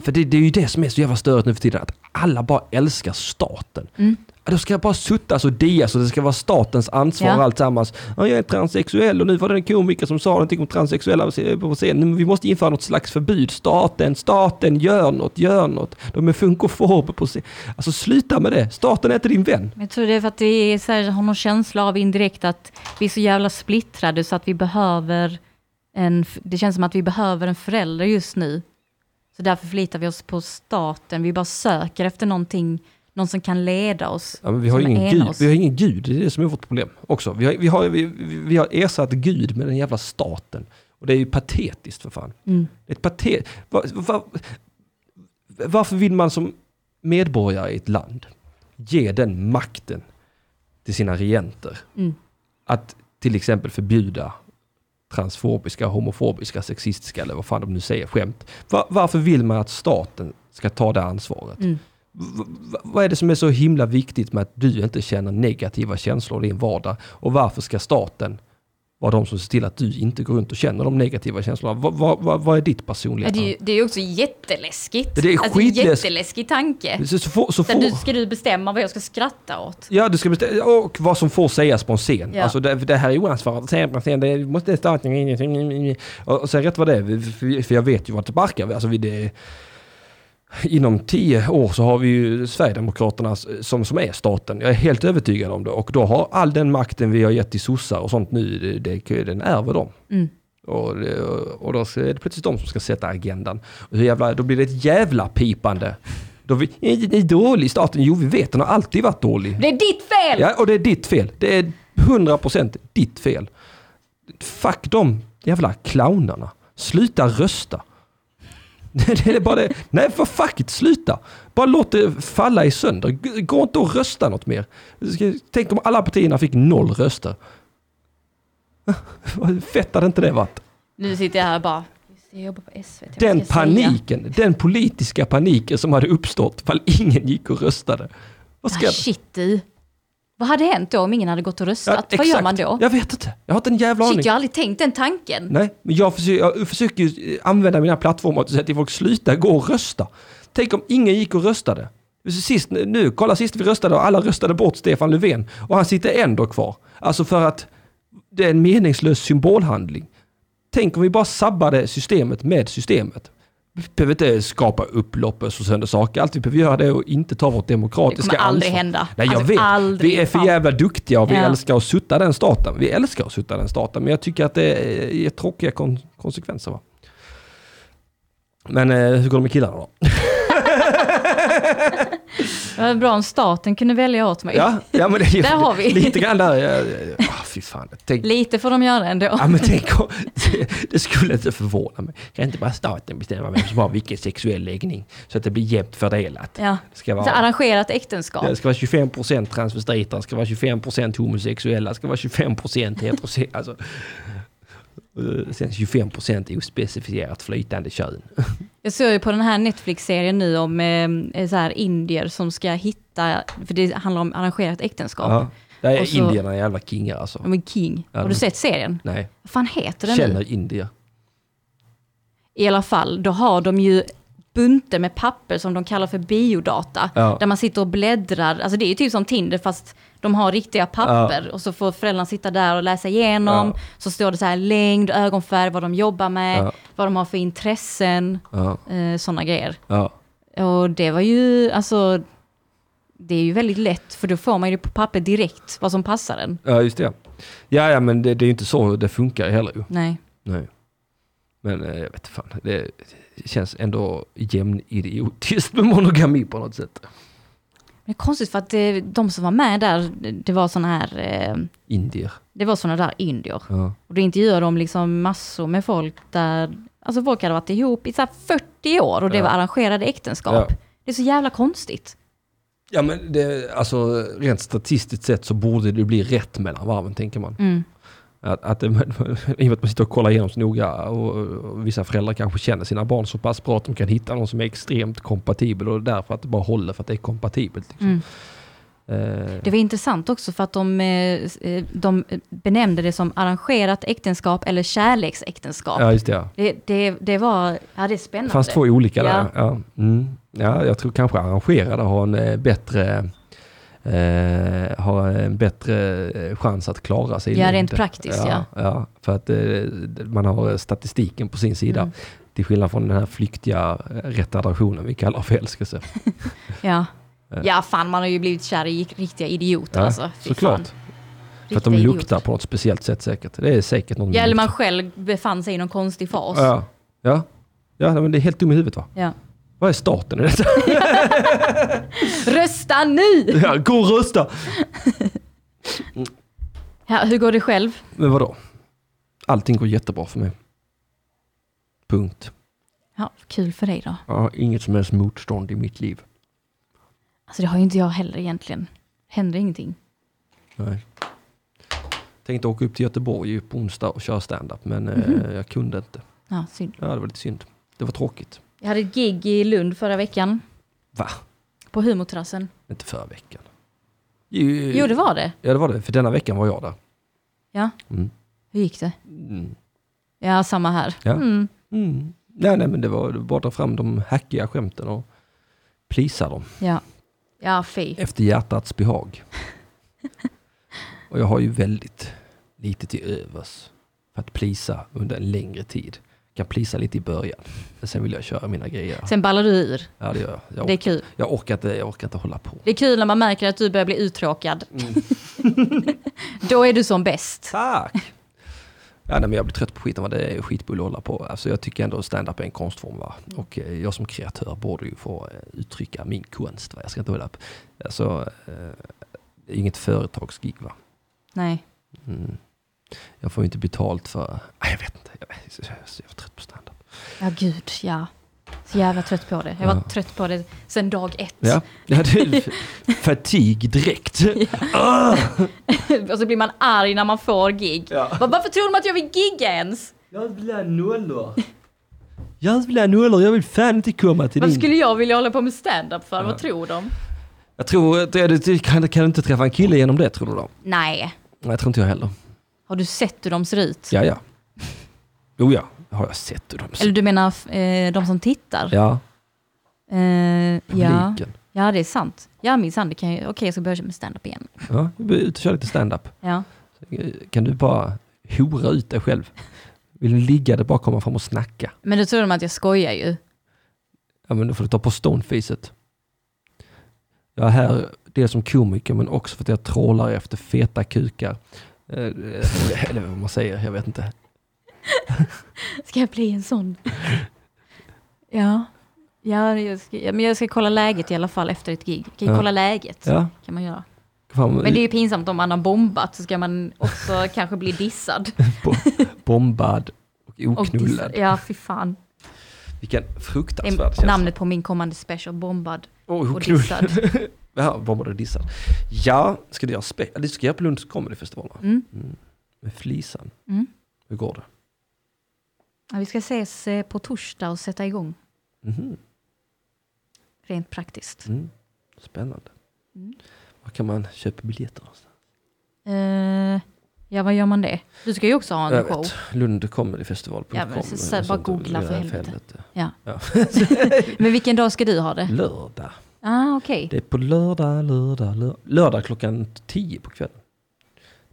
S6: för det, det är ju det som är så jävla störigt nu för tiden, att alla bara älskar staten.
S8: Mm.
S6: Ja, Då ska jag bara suttas och dias och det ska vara statens ansvar
S8: Ja.
S6: och alltsammans. Ja, jag är transsexuell och nu var det en komiker som sa någonting om transsexuella på scen. Men Vi måste införa något slags förbud. Staten, staten, gör något, gör något. De är funkofober på scen. Alltså sluta med det. Staten är inte din vän.
S8: Men jag tror det är för att det är så här, har någon känsla av indirekt att vi är så jävla splittrade så att vi behöver en, f- det känns som att vi behöver en förälder just nu. Så därför förlitar vi oss på staten. Vi bara söker efter någonting, någon som kan leda oss.
S6: Ja, men vi, har
S8: som
S6: ingen
S8: enar
S6: gud.
S8: oss.
S6: vi har ingen gud, det är det som är vårt problem också. Vi har, vi har, vi, vi- vi har ersatt gud med den jävla staten. Och det är ju patetiskt för fan.
S8: Mm.
S6: Det är Ett patet... Va, va, varför vill man som medborgare i ett land ge den makten till sina regenter?
S8: Mm.
S6: Att till exempel förbjuda transfobiska, homofobiska, sexistiska eller vad fan de nu säger, skämt. Va, varför vill man att staten ska ta det ansvaret?
S8: Mm.
S6: V- v- vad är det som är så himla viktigt med att du inte känner negativa känslor i din vardag? Och varför ska staten vara de som ser till att du inte går runt och känner de negativa känslorna? Vad, vad, vad, vad är ditt
S8: Ja,
S6: personliga
S8: det, är ju, det är ju också jätteläskigt. Alltså,
S6: Det är
S8: det är
S6: skitläsk-
S8: jätteläskig tanke.
S6: Så, så, få- så
S8: Där du,
S6: få,
S8: ska du bestämma vad jag ska skratta åt?
S6: ja, du ska bestämma, och vad som får sägas på en scen.
S8: Ja.
S6: Alltså det, det här är oansvarigt, säga på en scen, det måste staten gå in i. Och, och sen rätt vad det är, för- för jag vet ju vart det barkar. Alltså vi, det, inom tio år så har vi ju Sverigedemokraterna s- som, som är staten. Jag är helt övertygad om det. Och då har all den makten vi har gett till sossar och sånt nu, det, det, den ärver dem.
S8: Mm.
S6: Och, det- och då är det plötsligt de som ska sätta agendan. Och hur jävla, då blir det ett jävla pipande. Då vi, "Är ni dålig staten? Jo, vi vet, den har alltid varit dålig.
S8: Det är ditt fel!
S6: Ja, och det är ditt fel. Det är 100% ditt fel. Fuck de jävla clownerna. Sluta rösta. Det är bara det. Nej, för fuck it, sluta. Bara låt det falla i sönder. G- Gå inte och rösta något mer. Tänk om alla partierna fick noll röster. Vad Fett hade inte det varit?
S8: Nu sitter jag här och bara, "Just det, jag jobbar på SVT. vad
S6: Den
S8: ska jag säga?"
S6: paniken, den politiska paniken som hade uppstått ifall ingen gick och röstade. Vad ska
S8: Ah, shit du. Vad hade hänt då om ingen hade gått och röstat?
S6: Ja,
S8: Vad gör
S6: exakt.
S8: man då?
S6: Jag vet inte. Jag har inte en jävla aning.
S8: Shit, jag har aldrig tänkt den tanken.
S6: Nej, men jag försöker, jag försöker ju eh, använda mina plattformar till att säga till folk, sluta gå och rösta. Tänk om ingen gick och röstade. Sist, nu, kolla sist vi röstade och alla röstade bort Stefan Löfven och han sitter ändå kvar. Alltså för att det är en meningslös symbolhandling. Tänk om vi bara sabbade systemet med systemet. Vi behöver inte skapa upplopp och så sönder saker. Allt vi behöver göra det är att inte ta vårt
S8: Det
S6: demokratiska
S8: kommer aldrig
S6: ansvar.
S8: hända.
S6: Nej, jag
S8: Alltså,
S6: vet.
S8: aldrig.
S6: vi är för
S8: Fan.
S6: jävla duktiga och vi
S8: Ja.
S6: älskar att sutta den staten. Vi älskar att sutta den staten, men jag tycker att det är- är tråkiga kon- konsekvenser. Va? Men eh, hur går det med killarna då?
S8: Det var bra om staten kunde välja åt mig.
S6: Ja, ja men det är ju
S8: Där har vi.
S6: lite grann där. Ja, ja, ja. Ah, fy fan. Tänk,
S8: Lite får de göra ändå.
S6: ja, men tänk om, det, det skulle inte förvåna mig. Kan inte bara staten bestämma vem som har vilken sexuell läggning så att det blir jämnt fördelat?
S8: Ja.
S6: Det ska
S8: Så
S6: vara
S8: arrangerat äktenskap.
S6: Det ska vara 25% transvestiter, det ska vara 25% homosexuella, det ska vara 25% heterosexuella. Alltså. Eh, Sen 25% ospecifierat flytande kön.
S8: Jag såg ju på den här Netflix-serien nu om eh, så här indier som ska hitta, för det handlar om arrangerat äktenskap.
S6: Ja. Där är
S8: Och så-
S6: indierna jävla kingar alltså.
S8: De är king.
S6: Ja,
S8: Har
S6: de-
S8: du sett serien?
S6: Nej,
S8: Vad fan heter den nu?
S6: känner indier.
S8: I alla fall, då har de ju bunter med papper som de kallar för biodata.
S6: Ja.
S8: Där man sitter och bläddrar. Alltså det är ju typ som Tinder fast de har riktiga papper. Och så får föräldrarna sitta där och läsa igenom.
S6: Ja.
S8: Så står det så här längd, ögonfärg, vad de jobbar med,
S6: Ja.
S8: vad de har för intressen,
S6: Ja,
S8: eh, sådana grejer.
S6: ja,
S8: Och det var ju, alltså, det är ju väldigt lätt för då får man ju det på papper direkt, vad som passar en.
S6: ja just det. Ja, ja men det, det är ju inte så det funkar heller ju.
S8: Nej.
S6: Nej. Men eh, jag vet fan, det känns ändå jämnidiotiskt med monogami på något sätt.
S8: Det är konstigt för att det, de som var med där, det var sådana här, eh,
S6: Indier.
S8: det var sådana där indier.
S6: Ja.
S8: Och då intervjuade de liksom massor med folk där, alltså folk hade varit ihop i så här 40 år och det
S6: Ja.
S8: var arrangerade äktenskap.
S6: Ja.
S8: Det är så jävla konstigt.
S6: Ja men det, alltså rent statistiskt sett så borde det bli rätt mellan varven tänker man.
S8: Mm.
S6: Att, att, det- I och med att man sitter och kollar igenom så noga och, och vissa föräldrar kanske känner sina barn så pass bra att de kan hitta någon som är extremt kompatibel och därför att det bara håller för att det är kompatibelt. Liksom.
S8: Mm.
S6: Eh,
S8: Det var intressant också för att de, eh, eh, de benämnde det som arrangerat äktenskap eller kärleksäktenskap.
S6: ja just det ja.
S8: Det, det, det var, ja det är spännande.
S6: Det fanns två olika där.
S8: Ja.
S6: Ja. Mm. ja, jag tror kanske arrangerade har en eh, bättre eh, har en bättre eh, chans att klara sig. i
S8: Ja, rent
S6: längden.
S8: praktiskt,
S6: ja. för att eh, man har eh, statistiken på sin
S8: Mm.
S6: sida. Till skillnad från den här flyktiga eh, retardationen vi kallar förälskelse.
S8: Ja. ja, fan man har ju blivit kär i riktiga idioter
S6: Ja,
S8: alltså. Fy
S6: såklart.
S8: fan.
S6: För att de
S8: Riktiga
S6: luktar på något speciellt sätt säkert. Det är säkert någon
S8: Ja, eller man
S6: luktar.
S8: själv befann sig i någon konstig fas.
S6: Ja, ja. ja men det är helt dum i huvudet va?
S8: Ja.
S6: Vad är starten i detta?
S8: Rösta nu!
S6: Ja, Gå och rösta!
S8: Ja, hur går det själv?
S6: Men vadå? Allting går jättebra för mig. Punkt.
S8: Ja, kul för dig då.
S6: Jag har inget som helst motstånd i mitt liv.
S8: Alltså det har ju inte jag heller egentligen. Händer ingenting.
S6: Nej. Tänkte åka upp till Göteborg ju på onsdag och köra standup men
S8: Mhm.
S6: eh, jag kunde inte.
S8: Ja, synd.
S6: Ja, det var lite synd. Det var tråkigt.
S8: Jag hade ett gig i Lund förra veckan
S6: Va?
S8: på humorterrassen.
S6: Inte förra veckan. Jo,
S8: Jo, det var det.
S6: Ja, det var det. För denna veckan var jag där.
S8: Ja.
S6: Mm.
S8: Hur gick det?
S6: Mm.
S8: Ja, samma här.
S6: Ja.
S8: Mm.
S6: Mm. Nej, nej, men det var det var bara att ta fram de hackiga skämten och plisa dem.
S8: Ja. ja, fy.
S6: Efter hjärtats behag. Och jag har ju väldigt lite till övers för att plisa under en längre tid. Jag kan plisa lite i början, men sen vill jag köra mina grejer.
S8: Sen ballar du ur.
S6: Ja, det gör jag. Jag,
S8: Det är
S6: orkar,
S8: kul.
S6: jag, orkar, inte, jag orkar inte hålla på.
S8: Det är kul när man märker att du börjar bli uttråkad.
S6: Mm.
S8: Då är du som bäst.
S6: Tack! Ja, nej, men jag blir trött på skiten, vad det är skitbull att hålla på. Alltså, jag tycker ändå att stand-up är en konstform. Va?
S8: Mm.
S6: Och eh, jag som kreatör borde ju få eh, uttrycka min konst. Va? Jag ska inte hålla på. Alltså, eh, det är ju inget företagsgig. Va?
S8: Nej.
S6: Mm. Jag får ju inte betalt för... Nej, jag vet inte. Jag är så jag är så jävla trött på standup.
S8: Ja, gud, ja. Så jävla trött på det. Jag var
S6: Ja.
S8: trött på det sedan dag ett.
S6: Ja, ja det är fatig direkt.
S8: och så blir man arg när man får gig. Va- Varför tror de att jag vill gigga ens?
S6: Jag vill ha nollor. Jag vill ha nollor. Jag vill fan inte komma till
S8: Varför
S6: din...
S8: skulle jag vilja hålla på med stand-up för? Vad tror de?
S6: Jag tror... att det- det- Kan, kan du inte träffa en kille genom det, tror du då?
S8: Nej.
S6: Nej, jag tror inte jag heller.
S8: Har du sett hur de ser ut?
S6: Ja, ja. Jo, ja. Har jag sett hur de
S8: Eller
S6: ser
S8: du menar f- eh, de som tittar?
S6: Ja,
S8: Eh, ja.
S6: publiken.
S8: ja, det är sant. Ja, minsann. det kan ju- Okej, jag ska börja med stand-up igen.
S6: Ja, jag blir ut och kör lite stand-up.
S8: Ja.
S6: Kan du bara hora ut dig själv? Vill du ligga där bara komma fram och snacka?
S8: Men då tror de att jag skojar ju.
S6: Ja men då får du ta på stonefaceet. Jag är här dels som komiker men också för att jag trålar efter feta kukar. Eh, eh, Eller vad man säger, jag vet inte.
S8: Ska jag bli en sån? Ja. Ja, jag ska, ja, men jag ska kolla läget i alla fall efter ett gig. Jag kan ju
S6: Ja.
S8: kolla läget.
S6: Ja,
S8: Kan man göra.
S6: fan,
S8: Men det är ju pinsamt om man har bombat så ska man också kanske bli dissad.
S6: bo- bombad och
S8: Och dissad.
S6: oknullad.
S8: Ja, fy fan.
S6: Vilken
S8: Det
S6: fruktansvärd
S8: är
S6: känsla.
S8: namnet på min kommande special, bombad
S6: Oh,
S8: och dissad.
S6: Ja, bombad och dissad. Ja, ska du göra spe- ja, Det ska jag göra på Lunds Comedy Festival va?
S8: Mm.
S6: Med Flisan.
S8: Mm.
S6: Hur går det?
S8: Ja, vi ska ses eh, på torsdag och sätta igång,
S6: Mhm.
S8: rent praktiskt.
S6: Mm.
S8: Mm.
S6: Spännande. Var kan man köpa biljetter? någonstans?
S8: Eh, Ja, vad gör man det? Du ska ju också ha en
S6: Jag
S8: show.
S6: vet. Lundcomedyfestival.com.
S8: Ja, men så-
S6: eller
S8: så- bara
S6: sånt.
S8: googla för
S6: Ja,
S8: helvete. Ja.
S6: Ja.
S8: Men vilken dag ska du ha det?
S6: Lördag.
S8: Ah, okej.
S6: Det är på lördag, lördag, lördag. Lördag klockan 10 på kvällen.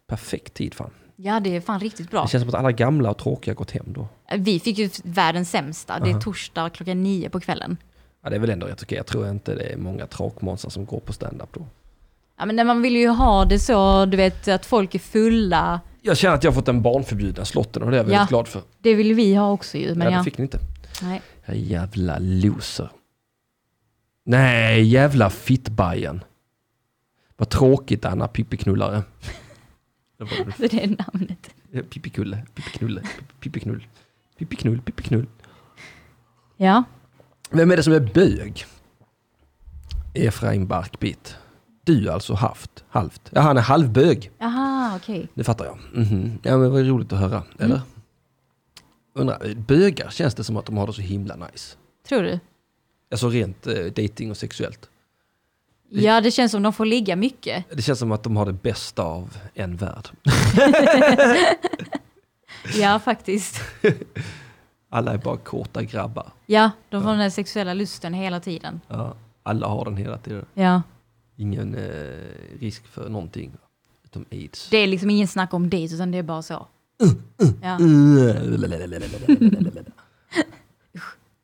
S6: Perfekt tid fan.
S8: Ja, det är fan riktigt bra.
S6: Det känns som att alla gamla och tråkiga har gått hem då.
S8: Vi fick ju världens sämsta. Det är torsdag klockan nio på kvällen.
S6: Ja, det är väl ändå rätt okej. Jag tror inte det är många tråkmånsar som går på stand-up då.
S8: Ja, men man vill ju ha det så, du vet, att folk är fulla.
S6: Jag känner att jag har fått en barnförbjudna slotten och det är jag
S8: Ja.
S6: väldigt glad för.
S8: Det vill vi ha också ju. Men
S6: ja,
S8: ja,
S6: det fick ni inte.
S8: nej.
S6: Jag är jävla loser. Nej, jävla fittbajen. Vad tråkigt Anna, pippiknullare. Det var det.
S8: det är det namnet.
S6: Eh, Pippikulle, pippiknulle, pipp- pippiknull. Pippiknull, pippiknull.
S8: Ja,
S6: Vem är det som är bög? Efraim Barkbit. Du alltså haft, halvt. Ja, han är halvbög.
S8: aha, okej.
S6: Det fattar jag. Mhm. Ja, men vad roligt att höra, eller? Undrar, eh, bögar känns det som att de har det så himla nice.
S8: Tror du?
S6: Alltså rent eh, dating och sexuellt.
S8: Ja, det känns som de får ligga mycket.
S6: Det känns som att de har det bästa av en värld.
S8: Ja, faktiskt.
S6: Alla är bara korta grabbar.
S8: Ja, de får den här sexuella lusten hela tiden.
S6: Ja, alla har den hela tiden.
S8: Ja.
S6: Ingen eh, risk för någonting. Utom aids.
S8: Det är liksom ingen snack om det, utan det är bara så. Ja.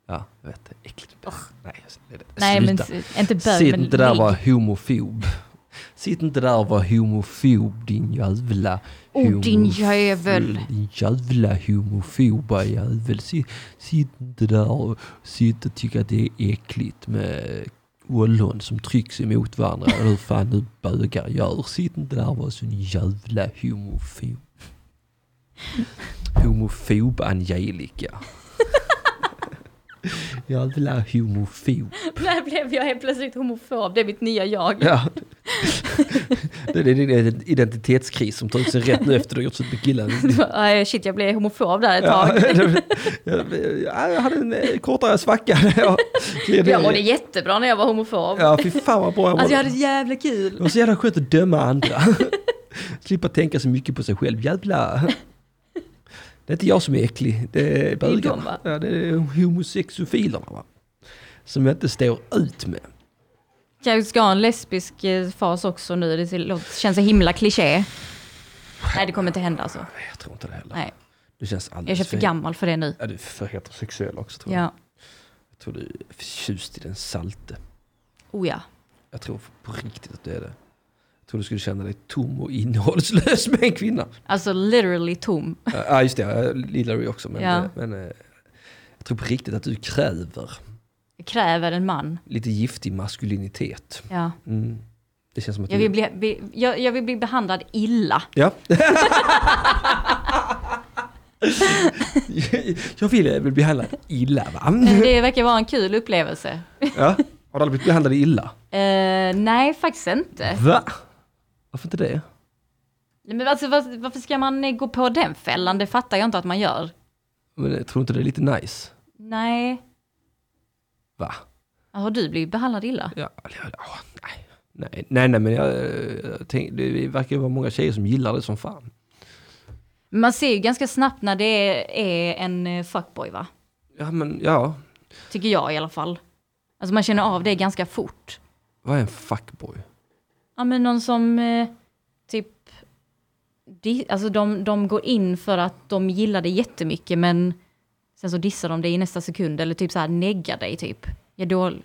S6: Ja, jag vet. Det är äckligt. Nej, jag- det- det-
S8: Nej, men
S6: sluta.
S8: s- inte bög,
S6: Sitt
S8: men
S6: inte där och var
S8: ligg.
S6: homofob. Sitt inte där och var homofob din jävla
S8: Oh, din
S6: homof-
S8: jävel.
S6: Din jävla homofoba jävel. Sitt, sitt inte där och sitt och tycka att det är äckligt med ollon som trycks emot varandra. Eller hur fan nu bögar gör. Sitt inte där och var sån jävla homofob. Homofob Angelica. jävla homofob.
S8: När blev jag helt plötsligt homofob? Det är mitt nya jag.
S6: Ja. Det är din identitetskris som tar ut sig rätt nu efter du har gjort slut med killen.
S8: Nej, Shit, jag blev homofob där ett
S6: Ja,
S8: tag.
S6: jag hade en eh, kortare svacka. när Jag gled
S8: Jag
S6: ner
S8: mådde
S6: i-
S8: jättebra när jag var homofob.
S6: Ja, fy fan vad bra jag
S8: Alltså jag hade
S6: mådde.
S8: så jävla kul.
S6: Det var så jävla skönt att döma andra. Slippa tänka så mycket på sig själv. Jävla... Det är inte jag som är äcklig, det
S8: de,
S6: är bögarna.
S8: va?
S6: Ja, det är homosexofilerna va. Som jag inte står ut med.
S8: Kanske ska ha en lesbisk eh, fas också nu. Det ser- låter- känns så himla kliché. Nej, det kommer inte hända alltså.
S6: Nej, Jag tror inte det heller.
S8: Nej,
S6: Du känns alldeles
S8: jag är köpt för
S6: för-
S8: gammal för det nu.
S6: Ja, du är för heterosexuell också tror jag.
S8: Ja,
S6: Jag tror du är förtjust i den salte.
S8: oh ja.
S6: Jag tror på riktigt att du är det. Jag tror du skulle känna dig tom och innehållslös med en kvinna.
S8: Alltså literally tom.
S6: Ja, ah, just det. Jag gillar ju också. Men,
S8: Ja.
S6: men eh, jag tror på riktigt att du kräver
S8: Jag kräver en man.
S6: lite giftig maskulinitet.
S8: Ja.
S6: Mm. Det känns som att
S8: Jag
S6: du...
S8: vill bli, bli, jag, jag vill bli behandlad illa.
S6: Ja. jag vill, jag vill bli behandlad illa va?
S8: Det verkar vara en kul upplevelse.
S6: Ja. Har du aldrig blivit behandlad illa?
S8: Eh, nej, faktiskt inte.
S6: Va? Varför inte det?
S8: Nej, Men alltså, var, varför ska man eh, gå på den fällan? Det fattar jag inte att man gör.
S6: Men jag tror inte det är lite nice?
S8: Nej.
S6: Va?
S8: Har du blivit behandlad illa?
S6: Ja, eller, ja, åh, nej. Nej, nej, nej, men jag, eh, jag tänk, det verkar ju vara många tjejer som gillar det som fan.
S8: Man ser ju ganska snabbt när det är, är en eh, fuckboy va?
S6: Ja, men ja,
S8: Tycker jag i alla fall. Alltså man känner av det ganska fort.
S6: vad är en fuckboy?
S8: Ja men någon som eh, typ... Di- alltså de, de går in för att de gillar det jättemycket men sen så dissar de det i nästa sekund eller typ så här neggar dig typ. Ja, dål-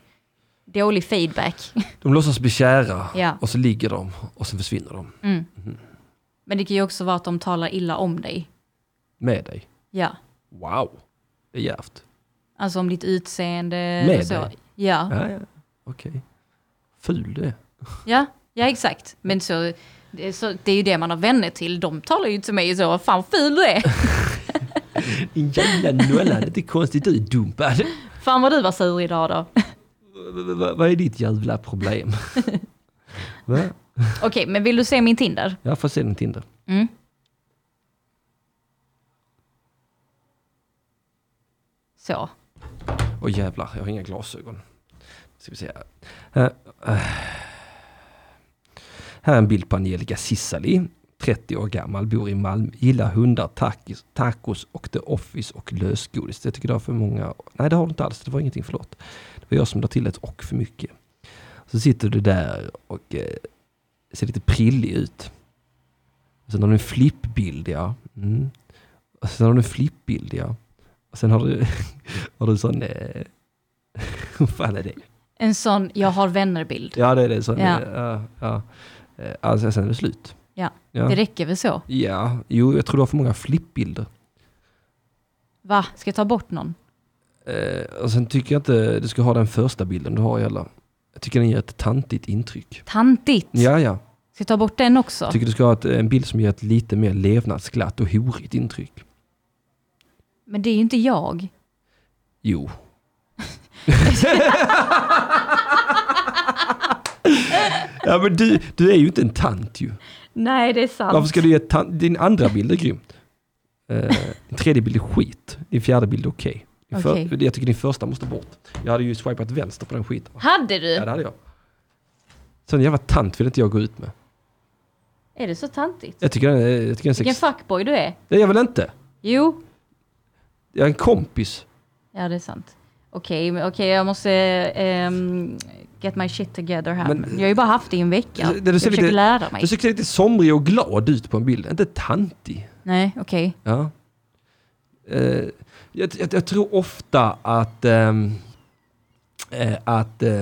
S8: dålig feedback.
S6: De låtsas bli kära
S8: Ja.
S6: och så ligger de och sen försvinner de
S8: men det kan ju också vara att de talar illa om dig.
S6: med dig.
S8: Ja.
S6: Wow, det är djärvt.
S8: Alltså om ditt utseende
S6: Med
S8: och så.
S6: dig?
S8: Ja.
S6: Ja, ja, okej. Ful du är.
S8: Ja, ja exakt. Men så, det, så, det är ju det man har vänner till. De talar ju till mig så, fan ful du är.
S6: Din jävla nolla, det är konstigt du är dumpad.
S8: Fan vad du var sur idag då.
S6: V- v- v- Vad är ditt jävla problem? Va?
S8: Okej, men vill du se min Tinder?
S6: Jag får se din Tinder.
S8: Mm. Så.
S6: Åh jävlar, jag har inga glasögon. Ska vi se här. Här, eh. här är en bild på Angelica Cissali. 30 år gammal, bor i Malmö, gillar hundar, tacos, tacos och The Office och lösgodis. Jag tycker det har för många... Nej, det har du inte alls. Det var ingenting, förlåt. Det var jag som la till ett och för mycket. Så sitter du där och eh, ser lite prillig ut. Sen har du en flippbild, ja. Mm. Och sen har du en flippbild, ja. Och sen har du, har du sån... Eh, vad fan är det?
S8: En sån jag har vänner-bild.
S6: Ja, det är det. Sån,
S8: Ja.
S6: ja. Ja, ja. Eh, Alltså, sen är det slut.
S8: Ja.
S6: Ja.
S8: Det räcker väl så?
S6: ja, jo, jag tror du har för många flippbilder.
S8: Va? Ska jag ta bort någon?
S6: Eh, och sen tycker jag inte du ska ha den första bilden du har heller. Jag tycker den ger ett tantigt intryck.
S8: Tantigt!
S6: Ja, ja.
S8: Ska jag ta bort den också?
S6: Jag tycker du ska ha ett, en bild som ger ett lite mer levnadsglatt och horigt intryck.
S8: Men det är ju inte jag.
S6: Jo. ja men du, du är ju inte en tant ju.
S8: Nej, det är sant.
S6: Varför ska du ge tant? Din andra bild är grym. Eh, din tredje bild är skit. Din fjärde bild är okej. Din för-
S8: Okej.
S6: Jag tycker din första måste bort. Jag hade ju swipat vänster på den skiten.
S8: Hade du?
S6: Ja det hade jag. Sån jävla tant vill inte jag gå ut med.
S8: Är det så tantigt?
S6: Jag tycker den är, jag tycker den är
S8: Vilken
S6: sex...
S8: fuckboy du är.
S6: Nej jag vill inte.
S8: Jo.
S6: Jag är en kompis.
S8: Ja, det är sant. Okej, men okej, jag måste ehm, get my shit together här.
S6: Men-
S8: jag har ju bara haft det i en vecka.
S6: Det- det- du
S8: jag
S6: ser
S8: försöker
S6: lite-
S8: lära mig.
S6: Du ser lite somrig och glad ut på en bild. Inte tantig.
S8: Nej, okej.
S6: Ja. Eh, jag, jag, jag tror ofta att... ehm, eh, att... eh,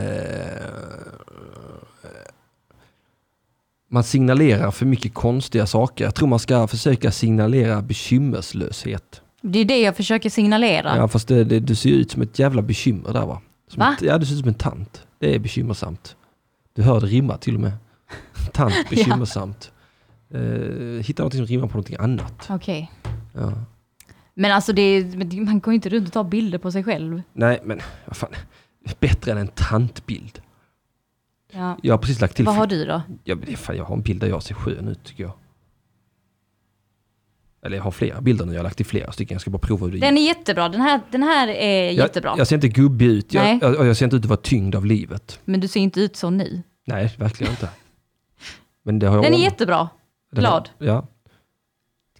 S6: man signalerar för mycket konstiga saker. Jag tror man ska försöka signalera bekymmerslöshet.
S8: Det är det jag försöker signalera.
S6: Ja, fast det, det, du ser ju ut som ett jävla bekymmer där va? Som
S8: Va?
S6: Ett, ja, du ser ut som en tant. Det är bekymmersamt. Du hör det rimma till och med. Tant, bekymmersamt. Eh, hitta något som rimmar på någonting annat.
S8: Okej.
S6: Ja.
S8: Men alltså, det, är- men det- man går ju inte runt och tar bilder på sig själv.
S6: Nej, men vad fan. Bättre än en tantbild.
S8: Ja.
S6: Jag har precis lagt till...
S8: Vad har du då?
S6: Ja, men det är fan, jag har en bild där jag ser skön ut tycker jag. Eller jag har flera bilder nu, jag har lagt till flera stycken. Jag ska bara prova hur det
S8: Den är jättebra. Den här, den här är
S6: jag,
S8: jättebra.
S6: Jag ser inte gubbig ut.
S8: Nej.
S6: Jag, jag, jag ser inte ut att vara tyngd av livet.
S8: Men du ser inte ut så nu.
S6: Nej, verkligen inte. Men det har jag
S8: Den är
S6: ordnat.
S8: jättebra.
S6: Den har-
S8: glad.
S6: Ja.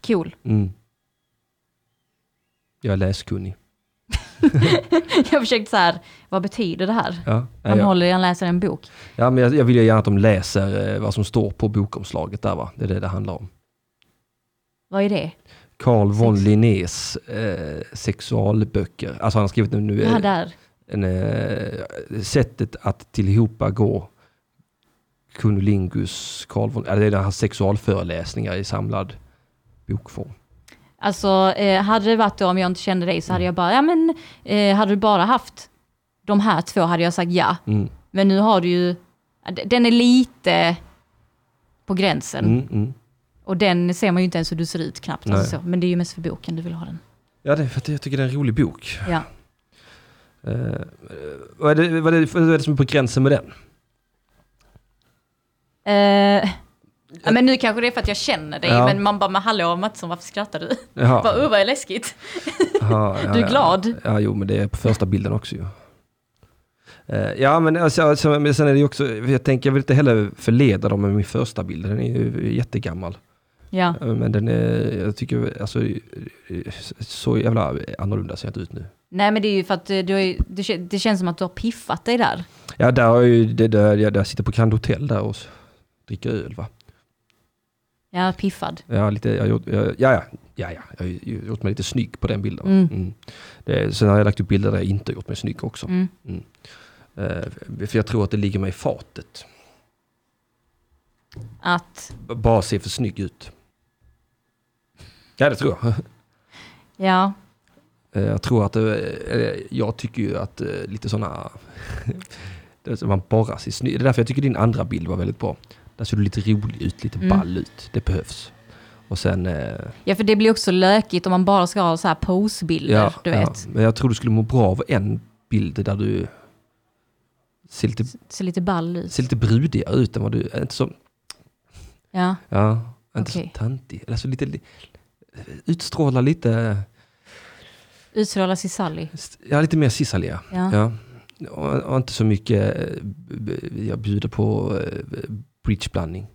S8: Cool.
S6: Mm. Jag är läskunnig.
S8: Jag försökte så här, vad betyder det här?
S6: Ja,
S8: Han,
S6: Nej, jag,
S8: håller, han läser en bok.
S6: ja, men jag, jag vill ju gärna att de läser eh, vad som står på bokomslaget där va. Det är det det handlar om.
S8: Vad är det?
S6: Carl von
S8: Sex.
S6: Linnés eh, sexualböcker. Alltså han har skrivit nu
S8: Ja,
S6: eh,
S8: där.
S6: en, eh, sättet att tillhopa gå Kunnilingus Carl von, eller det är hans sexualföreläsningar i samlad bokform.
S8: Alltså, eh, hade det varit då om jag inte kände dig
S6: Mm.
S8: så hade jag bara, ja men, eh, hade du bara haft de här två hade jag sagt ja.
S6: Mm.
S8: Men nu har du ju, d- den är lite på gränsen.
S6: Mm, mm.
S8: Och den ser man ju inte ens hur du ser ut knappt.
S6: Nej.
S8: Alltså så. Men det är ju mest för boken du vill ha den.
S6: Ja, det är för att jag tycker det är en rolig bok.
S8: Ja.
S6: Eh, eh, vad, är det, vad, är det, vad är det som är på gränsen med den?
S8: Eh, ja, men nu kanske det är för att jag känner dig,
S6: Ja.
S8: men man bara, men hallå Mattsson, varför skrattar du?
S6: Jaha.
S8: Bara, uh, vad är läskigt.
S6: Ja, ja,
S8: Du är
S6: ja.
S8: glad.
S6: Ja, jo, men det är på första bilden också ju. Eh, Ja, men, alltså, alltså, men sen är det ju också, jag tänker jag vill inte heller förleda dem med min första bild, den är ju jättegammal.
S8: Ja,
S6: Eh, Men den är, jag tycker, alltså, eh, så jävla annorlunda ser jag inte ut nu.
S8: nej men det är ju för att eh, du, har ju- det, kä- det känns som att du har piffat dig där.
S6: Ja, där har jag ju, det där, jag, där sitter på Grand Hotel där och s- dricker öl va.
S8: Ja, piffad.
S6: Ja, lite, jag, har gjort- jag, ja, ja, ja, ja, jag har ju gjort mig lite snygg på den bilden. va?
S8: Mm.
S6: Mm. Det, sen har jag lagt upp bilder där jag inte har gjort mig snygg också.
S8: Mm.
S6: Eh, för jag tror att det ligger mig i fatet.
S8: Att,
S6: B- Bara se för snygg ut. Ja, det tror jag.
S8: ja,
S6: Eh, Jag tror att, eh, eh, jag tycker ju att eh, lite sådana, det är så man bara ser snygg Det är därför jag tycker din andra bild var väldigt bra. Där ser du lite rolig ut, lite
S8: Mm.
S6: ball ut. Det behövs. Och sen, eh,
S8: Ja, för det blir också lökigt om man bara ska ha så här posbilder,
S6: ja,
S8: du
S6: ja.
S8: vet.
S6: Men jag tror du skulle må bra av en bild där du ser lite,
S8: Ser lite ball ut.
S6: ser lite brudigare ut än vad du, eh, inte så,
S8: Ja,
S6: ja, inte
S8: Okej.
S6: så tantig. Alltså lite, li- utstråla lite,
S8: utstråla sig Sally.
S6: ja lite mer Cissalia.
S8: Ja.
S6: Ja. Och, och inte så mycket, eh, b- b- jag bjuder på eh, bridgeblandning.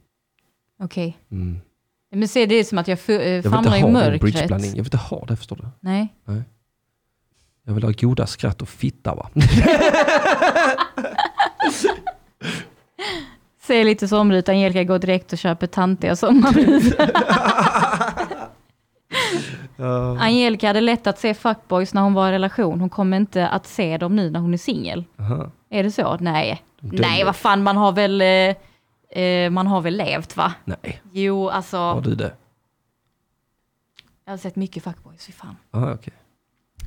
S8: Okej.
S6: Mm.
S8: Men se, det är som att jag fu- eh,
S6: Jag vill
S8: famlar
S6: inte
S8: i
S6: ha en bridgeblandning.
S8: mörkret.
S6: Jag vill inte ha det, förstår du.
S8: Nej.
S6: Jag vill ha goda skratt och fitta va?
S8: Säger lite somrigt, Angelica går direkt och köper tantiga sommarpriser. Angelica hade lätt att se fuckboys när hon var i relation. Hon kommer inte att se dem nu när hon är singel.
S6: Aha.
S8: Är det så? Nej. Nej,
S6: döljer.
S8: vad fan, man har väl, eh, eh, man har väl levt va?
S6: Nej,
S8: Jo, alltså,
S6: har du det?
S8: jag har sett mycket fuckboys, fy fan.
S6: Aha, okej.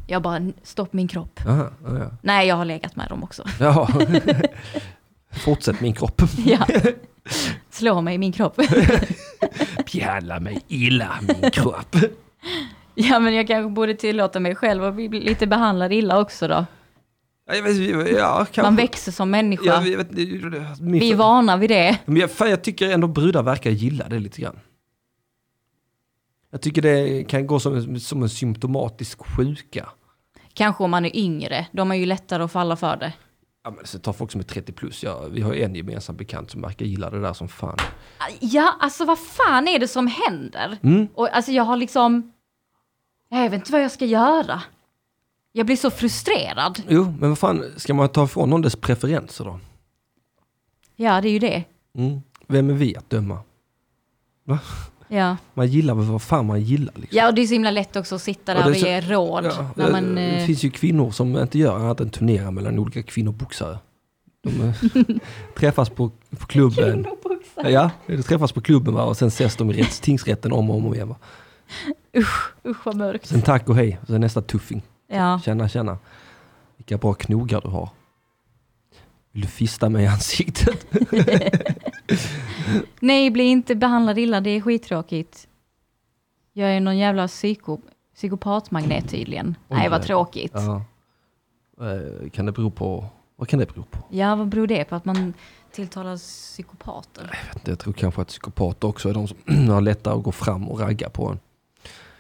S8: Jag bara, stopp min kropp.
S6: Aha, ja, ja.
S8: Nej, jag har legat med dem också.
S6: Ja. Fortsätt min kropp.
S8: ja. Slå mig i min kropp.
S6: Behandla mig illa, min kropp.
S8: ja, men jag kanske borde tillåta mig själv att bli lite behandlad illa också då.
S6: Ja, jag vet- ja, kanske.
S8: Man växer som människa.
S6: Ja, jag vet, min,
S8: Vi är vana vid det.
S6: Men jag, fan, jag tycker ändå brudar verkar gilla det lite grann. Jag tycker det kan gå som en, som en symptomatisk sjuka.
S8: Kanske om man är yngre. De är ju lättare att falla för det.
S6: Ja, men så tar folk som är 30 plus. Ja, vi har en gemensam bekant som verkar gilla det där som fan.
S8: Ja, alltså vad fan är det som händer?
S6: Mm.
S8: Och alltså jag har liksom... Jag vet inte vad jag ska göra. Jag blir så frustrerad.
S6: Jo, men vad fan, ska man ta ifrån någon dess preferenser då?
S8: Ja, det är ju det.
S6: Mm. Vem är vi att döma?
S8: Ja,
S6: Man gillar väl vad fan man gillar. Liksom.
S8: ja och det är så himla lätt också att sitta där
S6: Och
S8: och,
S6: det är så-
S8: ge råd.
S6: Ja,
S8: när man,
S6: eh, det
S8: eh,
S6: finns ju kvinnor som inte gör annat än turnera mellan olika kvinnoboxare. De eh, träffas på, på klubben. Ja, de träffas på klubben va? och sen ses de i rätts, tingsrätten om och om igen. Va?
S8: Usch vad mörkt.
S6: Sen tack och hej, och sen nästa tuffing.
S8: Ja.
S6: Tjena, tjena. Vilka bra knogar du har. Vill du fista mig i ansiktet?
S8: Nej, bli inte behandlad illa. Det är skittråkigt. Jag är någon jävla psyko, psykopatmagnet tydligen.
S6: Oj,
S8: Nej, vad
S6: jävlar.
S8: tråkigt.
S6: Ja. Eh, Kan det bero på... Vad kan det bero på?
S8: Ja, vad beror det på? Att man tilltalar psykopater?
S6: Jag vet inte, Jag tror kanske att psykopater också är de som har lättare att gå fram och ragga på en.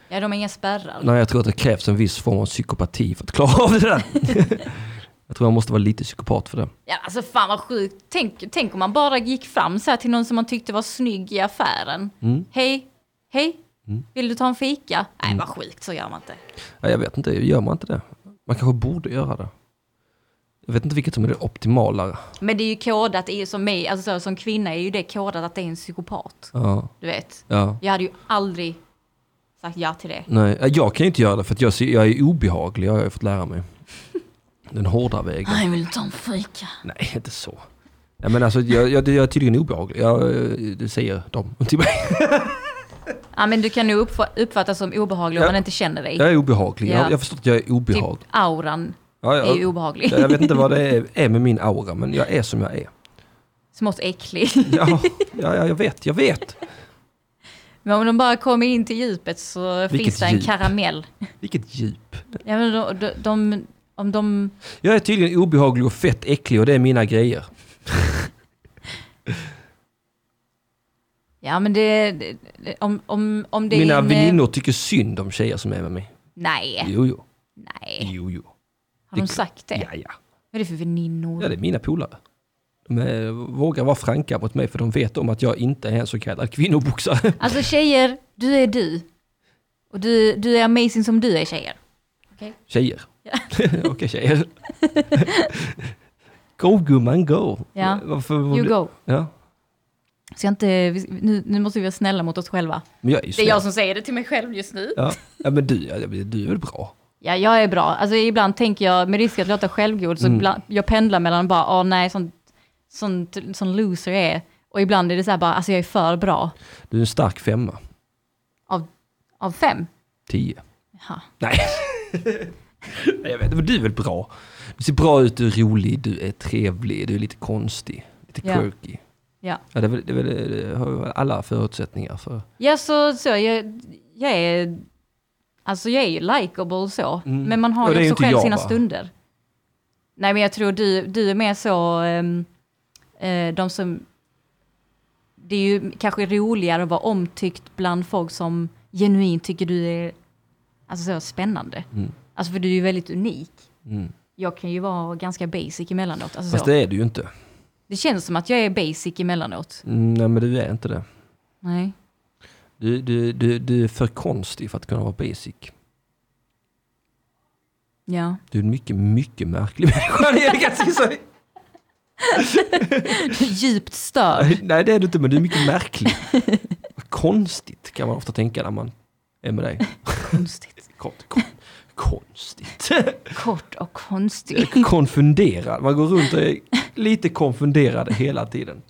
S8: Ja, de har inga spärrar.
S6: Nej, jag tror att det krävs en viss form av psykopati för att klara av det där. jag tror man måste vara lite psykopat för det.
S8: Ja, alltså fan vad sjukt. Tänk, tänk om man bara gick fram så här till någon som man tyckte var snygg i affären.
S6: Mm.
S8: Hej, hej, vill du ta en fika? Nej,
S6: Mm.
S8: vad sjukt, så gör man inte.
S6: Ja, jag vet inte, gör man inte det? Man kanske borde göra det. Jag vet inte vilket som är det optimala.
S8: Men det är ju kodat, i- som mig, alltså så, som kvinna är ju det kodat att det är en psykopat.
S6: Ja,
S8: Du vet.
S6: ja.
S8: Jag hade ju aldrig sagt ja till det.
S6: Nej, ja, jag kan ju inte göra det för att jag, ser- jag är obehaglig, jag har jag fått lära mig. Den hårda vägen.
S8: Nej, vill du ta en fika?
S6: Nej, inte så. Ja, men alltså, jag, jag, jag är tydligen obehaglig, jag, eh, det säger de till mig.
S8: Ja, men du kan ju uppfa- uppfattas som obehaglig om
S6: Ja.
S8: man inte känner dig.
S6: Jag är obehaglig,
S8: Ja.
S6: jag, jag förstår att jag är
S8: typ
S6: obehaglig.
S8: auran
S6: Ja,
S8: är ju
S6: jag,
S8: obehaglig.
S6: jag vet inte vad det är, är med min aura, men jag är som jag är.
S8: Smått äcklig.
S6: Ja, ja, ja, jag vet, jag vet.
S8: Men om de bara kommer in till djupet så finns
S6: Vilket
S8: det en
S6: djup?
S8: karamell.
S6: Vilket djup.
S8: Ja, men de, de, de, om de...
S6: Jag är tydligen obehaglig och fett äcklig och det är mina grejer.
S8: Ja, men det... det- det- Om, om, om det
S6: Mina
S8: är en, eh,
S6: väninnor tycker synd om tjejer som är med mig.
S8: Nej,
S6: Jo, jo.
S8: nej.
S6: Jo, jo.
S8: Har de sagt det?
S6: Ja, ja.
S8: Vad är det för väninnor?
S6: Ja, det är mina polare. De eh, vågar vara franka mot mig för de vet om att jag inte är en så kallad kvinnoboxare.
S8: Alltså tjejer, du är du. Och du, du är amazing som du är tjejer.
S6: Tjejer. Okej, tjejer. go gumman, go.
S8: Ja.
S6: Varför,
S8: You go.
S6: Ja.
S8: Så jag inte, vi- nu, nu måste vi vara snälla mot oss själva.
S6: Men jag är ju
S8: Det är
S6: snäll.
S8: jag som säger det till mig själv just nu.
S6: ja. ja, men du, ja, du är väl bra?
S8: Ja, jag är bra. Alltså ibland tänker jag, med risk att låta självgod, så ibland, jag pendlar mellan bara, åh nej, sån, sån, sån loser jag är. Och ibland är det så här bara, alltså jag är för bra.
S6: Du är en stark femma.
S8: Av, av fem.
S6: Tio.
S8: Jaha.
S6: Nej. Nej, jag vet inte, men du är väl bra? Du ser bra ut, du är rolig, du är trevlig, du är lite konstig, lite
S8: Ja.
S6: quirky.
S8: Ja.
S6: Ja, det, är väl, det, är väl, det har väl alla förutsättningar för.
S8: Ja, så, så jag, jag är, alltså jag är ju likable så, men man
S6: Ja,
S8: har
S6: Mm. det är
S8: ju
S6: ju
S8: också själv
S6: inte jag,
S8: sina
S6: va?
S8: stunder. Nej, men jag tror du, du är mer så, ehm, eh, de som, det är ju kanske roligare att vara omtyckt bland folk som genuint tycker du är, alltså så spännande. Alltså för du är ju väldigt unik.
S6: Mm.
S8: Jag kan ju vara ganska basic emellanåt. Alltså
S6: Fast
S8: så. Det...
S6: det är du ju inte.
S8: känns som att jag är basic emellanåt.
S6: Mm, nej, men du är inte det.
S8: Nej.
S6: Du, du, du, du är för konstig för att kunna vara basic.
S8: Ja.
S6: Du är en mycket, mycket märklig människa. Det kan jag inte säga.
S8: Djupt störd.
S6: Nej, det är du inte, men du är mycket märklig. Vad konstigt kan man ofta tänka när man är med dig.
S8: Konstigt.
S6: Kon, kon, konstigt.
S8: Kort och konstig.
S6: Konfunderad. Man går runt och är lite konfunderad hela tiden.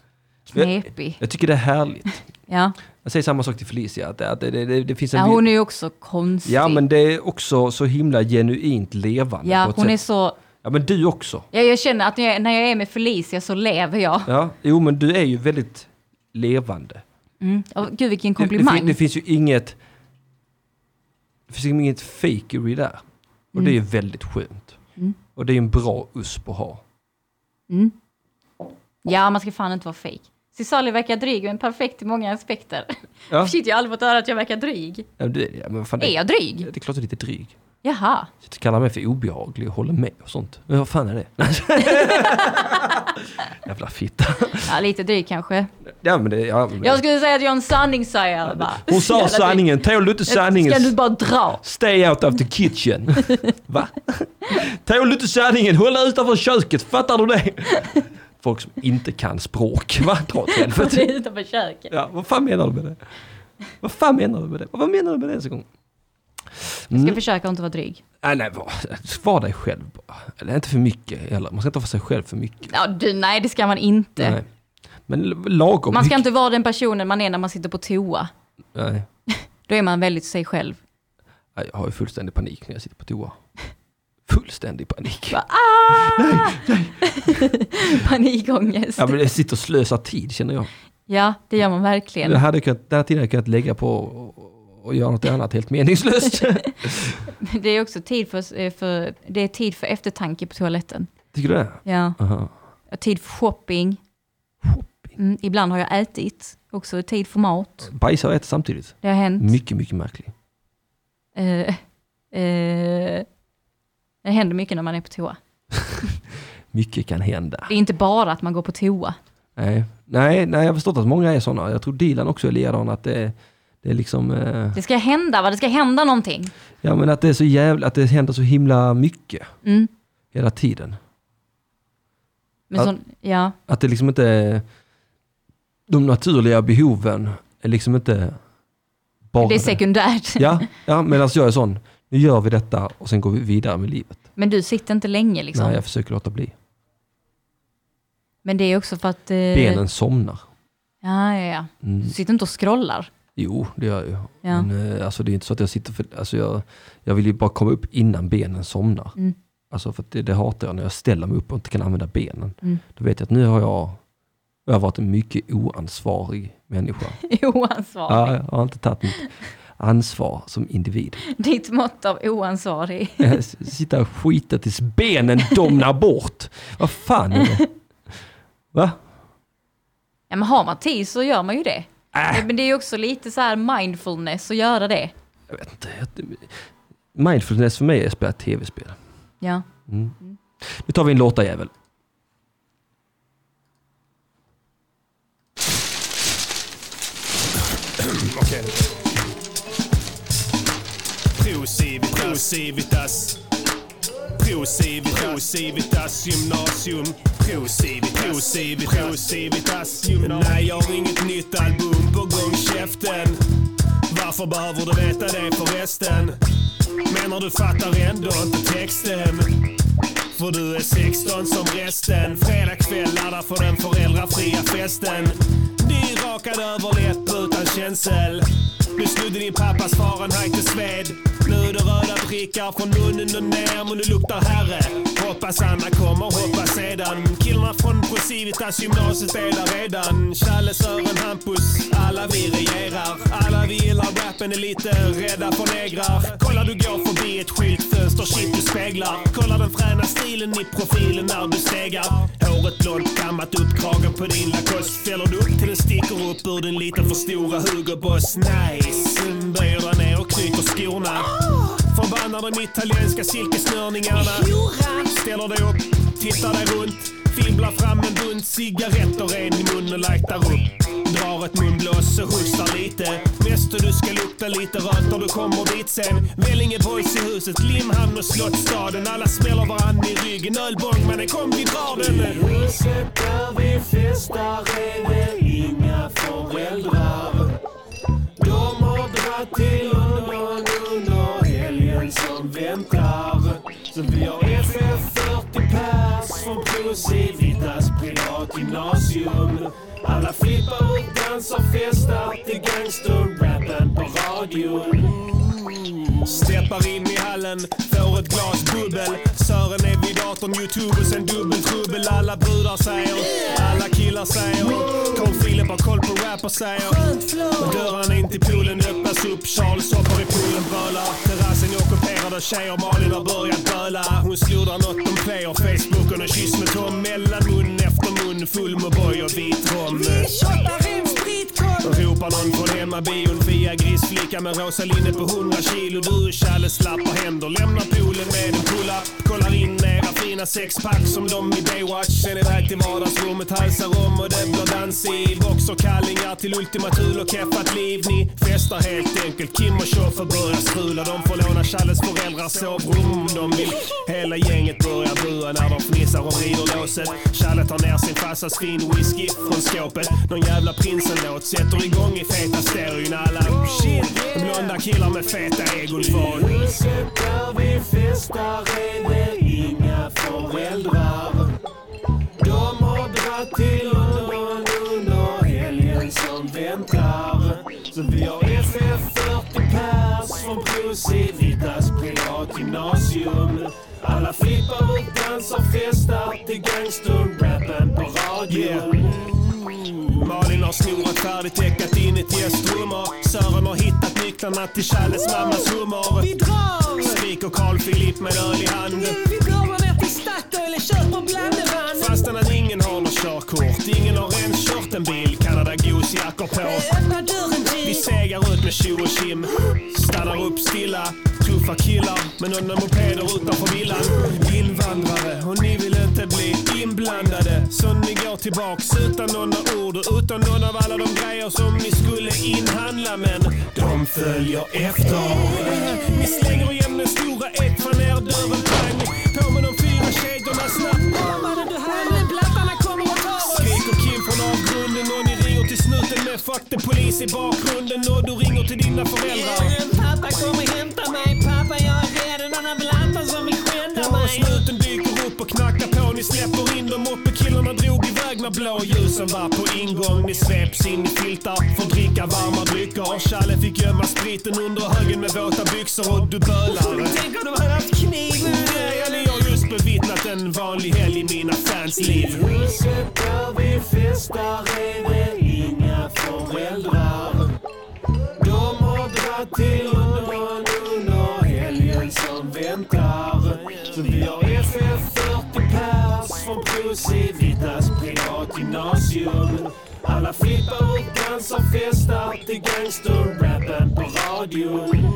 S8: Knepig.
S6: Jag tycker det är härligt.
S8: Ja.
S6: Jag säger samma sak till Felicia, att det, att det, det, det finns en...
S8: ja, hon är ju också konstig.
S6: Ja, men det är också så himla genuint levande. på
S8: Ja,
S6: ett
S8: hon är
S6: sätt.
S8: så...
S6: ja men du också.
S8: Ja, jag känner att när jag, när jag är med Felicia så lever jag.
S6: Ja, jo men du är ju väldigt levande.
S8: Mm. Åh, gud vilken
S6: Det, det, fin-
S8: komplimang.
S6: det finns ju inget... Det finns liksom inget fakery där. Och det är
S8: Mm.
S6: ju väldigt skönt. Och det är ju en bra USP att ha.
S8: Ja, man ska fan inte vara fake. Cisali verkar dryg men perfekt i många aspekter.
S6: Ja.
S8: Shit, jag har aldrig fått höra att jag verkar dryg.
S6: Ja, men det, ja, men vad fan,
S8: Är
S6: det,
S8: jag
S6: det
S8: dryg?
S6: är klart du är lite dryg.
S8: Jaha.
S6: Sitter och kallar mig för obehaglig och håller med och sånt. Men vad fan är det? Jävla fitta.
S8: Ja, lite dryg kanske.
S6: Ja, men det, ja, men det.
S8: Jag skulle säga att jag är en sanningssägare bara.
S6: Hon sa
S8: Jävla dryg.
S6: sanningen, tål du inte sanningen?
S8: Ska du bara dra?
S6: Stay out of the kitchen. Va? Tål du inte sanningen? Håll dig utanför köket, fattar du det? Folk som inte kan språk, va? Dra åt
S8: Det
S6: helvete.
S8: är utanför köket.
S6: Ja, vad fan menar du med det? Vad fan menar du med det? Vad menar du med det ens en gång?
S8: Ska
S6: Mm.
S8: försöka att inte vara dryg.
S6: Nej, nej, var, var dig själv bara. Eller inte för mycket heller. Man ska inte vara för sig själv för mycket.
S8: Ja, du, nej, det ska man inte.
S6: Nej. Men l- lagom
S8: Man ska
S6: mycket.
S8: inte vara den personen man är när man sitter på toa.
S6: Nej.
S8: Då är man väldigt sig själv.
S6: Nej, Jag har ju fullständig panik när jag sitter på toa. Fullständig panik.
S8: Panikångest.
S6: Ja, men jag sitter och slösar tid känner jag.
S8: Ja, det gör man verkligen.
S6: Det hade jag kunnat, den här tiden hade jag kunnat lägga på och, och göra något annat helt meningslöst.
S8: Det är också tid för, eh, för, det är tid för eftertanke på toaletten.
S6: Tycker du det?
S8: Ja.
S6: Aha.
S8: Tid för shopping. Mm, ibland har jag ätit. Också tid för mat.
S6: Bajsa och äta samtidigt.
S8: Det har hänt.
S6: Mycket, mycket märkligt.
S8: Eh, eh, det händer mycket när man är på toa.
S6: Mycket kan hända.
S8: Det är inte bara att man går på toa.
S6: Nej, nej, nej jag har förstått att många är sådana. Jag tror Dilan också är likadan. Att det, det är liksom... Eh,
S8: Det ska hända, va? Det ska hända någonting.
S6: ja men att det är så jävla, att det händer så himla mycket.
S8: Mm.
S6: Hela tiden.
S8: Men
S6: Ja.
S8: sån, ja.
S6: Att det liksom inte... De naturliga behoven är liksom inte... Bara
S8: Det är sekundärt.
S6: Ja, ja medan jag är sån. Nu gör vi detta och sen går vi vidare med livet.
S8: Men du sitter inte länge liksom.
S6: Nej, jag försöker låta bli.
S8: Men det är också för att... Eh,
S6: Benen somnar.
S8: Ja, ja, ja.
S6: Mm.
S8: Du sitter inte och scrollar.
S6: Jo, det gör jag ju.
S8: Ja.
S6: Men eh, alltså, det är inte så att jag sitter för... Alltså, jag, jag vill ju bara komma upp innan benen somnar.
S8: Mm.
S6: Alltså, för att det, det hatar jag när jag ställer mig upp och inte kan använda benen.
S8: Mm.
S6: Då vet jag att nu har jag, jag har varit en mycket oansvarig människa.
S8: Oansvarig.
S6: Ja, jag har inte tagit mitt ansvar som individ.
S8: Ditt mått av oansvarig.
S6: Jag s- Sitta och skita tills benen domnar bort. Vad fan är det? Va?
S8: Ja, men har man tid så gör man ju det.
S6: Äh.
S8: Men det är ju också lite så här mindfulness att göra det.
S6: Jag vet inte. Jag- Mindfulness för mig är att spela tv-spel.
S8: Ja.
S6: Nu tar vi en låtarjävel.
S9: Procivitas, Procivitas Procivitas, Procivitas gymnasium Procivitas, Procivitas, Procivitas gymnasium Nej, jag har inget nytt album på gång, käften Varför behöver du veta det förresten? Menar du fattar ändå inte texten? För du är 16 som resten Fredag kväll laddar för den föräldrafria festen Dyrakad överläpp utan känsel Du snodde din pappas Fahrenheit till sved Nu är det röda prickar från munnen och ner Men du luktar herre Hoppas Anna kommer, hoppas sedan Killarna från Procivitas gymnasiet är där redan Challe, Sören, Hampus, alla vi regerar Alla vi gillar rappen är lite rädda för negrar Kolla du går förbi ett skyltfönster, shit du speglar Kolla den fräna stilen i profilen när du stegar Håret blont, kammat upp kragen på din Lacoste Fäller du upp till den sticker upp ur din lite för stora Hugo Boss Nice, böjer dig ner och knyter skorna Förvandlar de italienska silkesnörningarna Ställer dig upp, tittar dig runt Fibblar fram en bunt cigaretter, en i munnen och lightar upp Drar ett munblås och hostar lite. Väster du ska lukta lite röt när du kommer dit sen. Vellinge boys i huset, Limhamn och Slottsstaden. Alla smäller varann i ryggen. Ölbång mannen, kom vi drar den. I huset där vi festar är det inga föräldrar. De har dratt till London under helgen som väntar. Så vi har FF 40 pers från Procivitas privatgymnasium. Alla flippar och dansar, festar till gangsterrappen på radion. Steppar in i hallen, får ett glas bubbel. Sören är vid datorn, youtube och sen dubbeltrubbel. Alla brudar säger, alla killar säger. Kom Filip har koll på rap och säger. Dörren in till poolen öppnas upp. Charles hoppar i poolen, bölar. Terrassen är ockuperad av tjejer. Malin har börjat böla. Hon sludar något om player. Facebooken och kyss med Tom. Mellan mun efter mun, full med boy och vit rom. Ropar någon från hemmabion via grisflicka med rosa linne på 100 kilo. Du och Challe slappar händer, lämnar poolen med en pull-up. Kollar in era fina sexpack som de i Baywatch. Sen iväg till vardagsrummet, halsar om och det blir dans i. Boxerkallingar till Ultima Thule och keffat liv. Ni festar helt enkelt. Kim och Tjoffe börjar strula. De får låna Challes föräldrar sovrum om de vill. Hela gänget börjar bua när de fnissar och vrider låset. Challe tar ner sin farsas fin whisky från skåpet. Någon jävla prinsen-låt sätter igång i feta stereon. Alla shit, blonda killar med feta egon från. I huset där vi festar är det inga föräldrar. De har dratt till London under helgen som väntar. Så vi har FF 40 pers från Procivitas privatgymnasium. Alla flippar och dansar, festar till gangsterrappen på radion. Malin har snorat färdigt, täckat in ett gästrum och Sören har hittat nycklarna till Challes mammas hummer. Vi drar! Skriker Carl Philip med öl i hand. Nu vi drar ner till Statoil och köper blandevann. Fastän att ingen har något körkort, ingen har ens kört en bil. Canada Goose-jackor på. Öppna dörren Jill. Vi segar ut med tjo och tjim. Stannar upp stilla. Tuffa killar med några mopeder utanför villan. Invandrare och ni vill inte bli inblandade. Så ni går tillbaks utan några ord och utan någon av alla de grejer som ni skulle inhandla. Men de följer efter. Ni slänger igen den stora ekfan, er dörren pang. På med de fyra kedjorna snabbt. Skriker Kim från avgrunden och ni ringer till snuten med fuck the polis i bakgrunden och du ringer till dina föräldrar. Ja, och snuten dyker upp och knackar på. Ni släpper in dem. Moppekillarna drog iväg när blåljusen var på ingång. Ni sveps in i filtar för att dricka varma drycker. Challe fick gömma spriten under högen med våta byxor och du bölar. Tänk om de hade haft kniv. Ja, ni har just bevittnat en vanlig helg i mina fans liv. I huset där vi festar är det inga föräldrar. De har dratt till London under helgen som väntar. Så vi har FF 40 pers från Procivitas privatgymnasium. Alla flippar och dansar, festar till gangsterrappen på radion.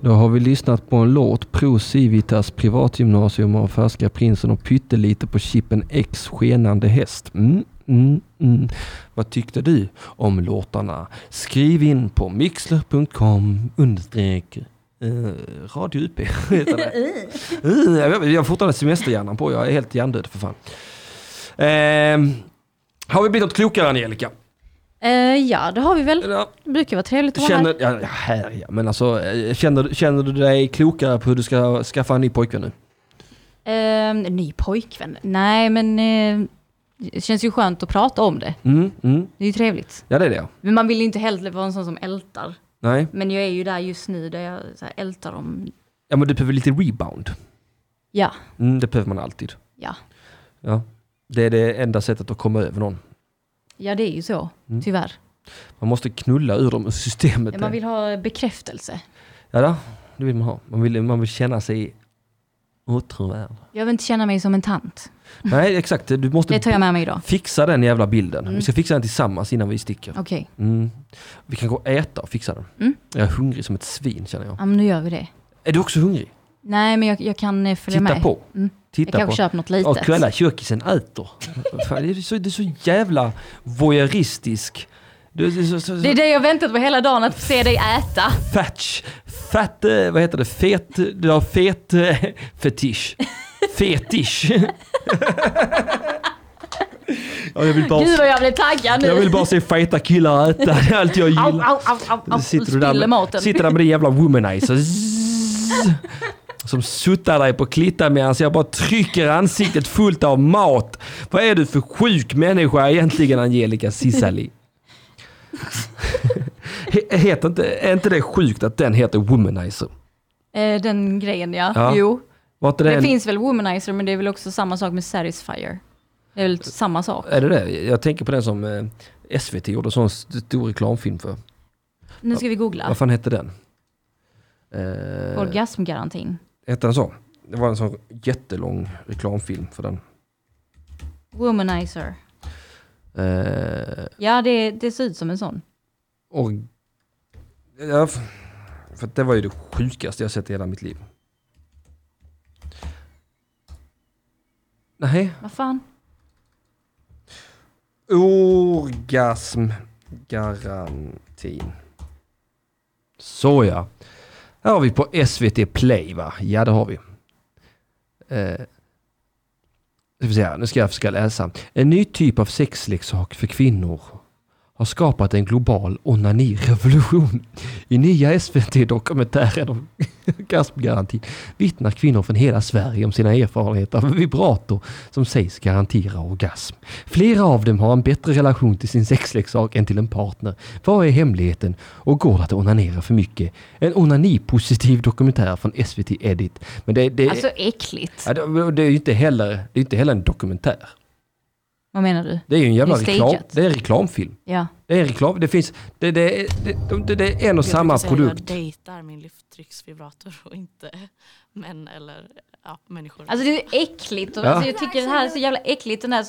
S6: Då har vi lyssnat på en låt, Pro Civitas privatgymnasium av Färska Prinsen och pyttelite på Chippen X skenande häst. Mm, mm, mm. Vad tyckte du om låtarna? Skriv in på mixler.com understreck eh, Radio UP heter det. Eh, jag vet- jag har fortfarande semesterhjärnan på, jag är helt hjärndöd för fan. Eh, har vi blivit något klokare Angelica?
S8: Eh, ja, det har vi väl.
S6: Ja,
S8: Det brukar vara trevligt att vara
S6: Känner,
S8: här.
S6: ja, ja, här ja. Men alltså, eh, känner, känner du dig klokare på hur du ska skaffa en ny pojkvän nu?
S8: Ehm, ny pojkvän. Nej, men eh, det känns ju skönt att prata om det.
S6: Mm, mm.
S8: Det är ju trevligt.
S6: Ja, det är det.
S8: Men man vill ju inte heller vara en sån som ältar.
S6: Nej.
S8: Men jag är ju där just nu där jag så här, ältar om...
S6: Ja, men du behöver lite rebound.
S8: Ja,
S6: Mm, det behöver man alltid.
S8: ja.
S6: Ja. Det är det enda sättet att komma över någon. Mm.
S8: Ja, det är ju så. Tyvärr.
S6: Man måste knulla ur dem ur systemet.
S8: Man vill ha bekräftelse.
S6: Ja, då, det vill man ha. Man vill, man vill känna sig åtråvärd.
S8: Jag vill inte känna mig som en tant.
S6: Nej, exakt. Du måste
S8: Det tar jag med mig idag.
S6: fixa den jävla bilden. Vi ska fixa den tillsammans innan vi sticker.
S8: Okej,
S6: Mm. Vi kan gå och äta och fixa den.
S8: Mm.
S6: Jag är hungrig som ett svin känner jag.
S8: ja, men nu gör vi det.
S6: Är du också hungrig?
S8: Nej, men jag, jag kan eh, följa
S6: Titta
S8: med.
S6: på.
S8: Mm. Jag
S6: Titta på.
S8: kanske köper något litet.
S6: Och kolla, kökisen äter. Fan, det, är så, det är så jävla voyeuristisk. Det är så, så, så
S8: Det är det jag väntat på hela dagen, att se dig äta.
S6: fatch, fat, eh, vad heter det, fet, du har fet eh, fetisch. Fetisch. ja, jag vill bara
S8: Gud vad jag blir taggad nu.
S6: Jag vill bara se feta killar äta, det är allt jag
S8: Au,
S6: gillar.
S8: au, au, au, au.
S6: Sitter du
S8: Spiller
S6: där med,
S8: maten.
S6: sitter där med din jävla womanizer. Zzz. Som suttar dig på klittan medan jag bara trycker ansiktet fullt av mat. Vad är du för sjuk människa egentligen Angelica Cissali? He- Heter inte, är inte det sjukt att den heter womanizer?
S8: Eh, den grejen ja.
S6: Ja.
S8: Jo.
S6: Var inte det,
S8: Det
S6: en,
S8: finns väl womanizer men det är väl också samma sak med satisfier. Det är väl samma sak.
S6: Är det det? Jag tänker på den som eh, SVT gjorde en sån st- stor reklamfilm för.
S8: Nu ska vi googla.
S6: Vad fan hette den? Eh,
S8: Orgasmgarantin.
S6: Hette den så? Det var en sån jättelång reklamfilm för den.
S8: Womanizer.
S6: Eh,
S8: Ja det, det ser ut som en sån.
S6: och... Ja, f- för att det var ju det sjukaste jag sett i hela mitt liv. Nej.
S8: Vad fan?
S6: Orgasmgarantin. Så ja. Här har vi på SVT Play va? Ja det har vi. Eh, ska vi se här. nu ska jag försöka läsa. En ny typ av sexleksak för kvinnor har skapat en global onanirevolution. I nya SVT-dokumentären om orgasmgarantin vittnar kvinnor från hela Sverige om sina erfarenheter av vibrator som sägs garantera orgasm. Flera av dem har en bättre relation till sin sexleksak än till en partner. Vad är hemligheten? Och går det att onanera för mycket? En onanipositiv dokumentär från SVT Edit. Men det, det,
S8: Alltså äckligt.
S6: ja, det, det är ju inte heller, det är inte heller en dokumentär.
S8: Vad menar du?
S6: Det är ju en jävla
S8: Det är
S6: reklam,
S8: stageat.
S6: det är en reklamfilm.
S8: Ja.
S6: Det är en reklam, det finns, det, det, det, det, det är en
S10: Jag
S6: och samma
S10: brukar säga
S6: produkt.
S10: Jag dejtar min lyfttrycksvibrator och inte män eller ja, människor.
S8: Alltså det är äckligt. Och,
S6: Ja.
S8: alltså, jag tycker det här är så jävla äckligt. Den här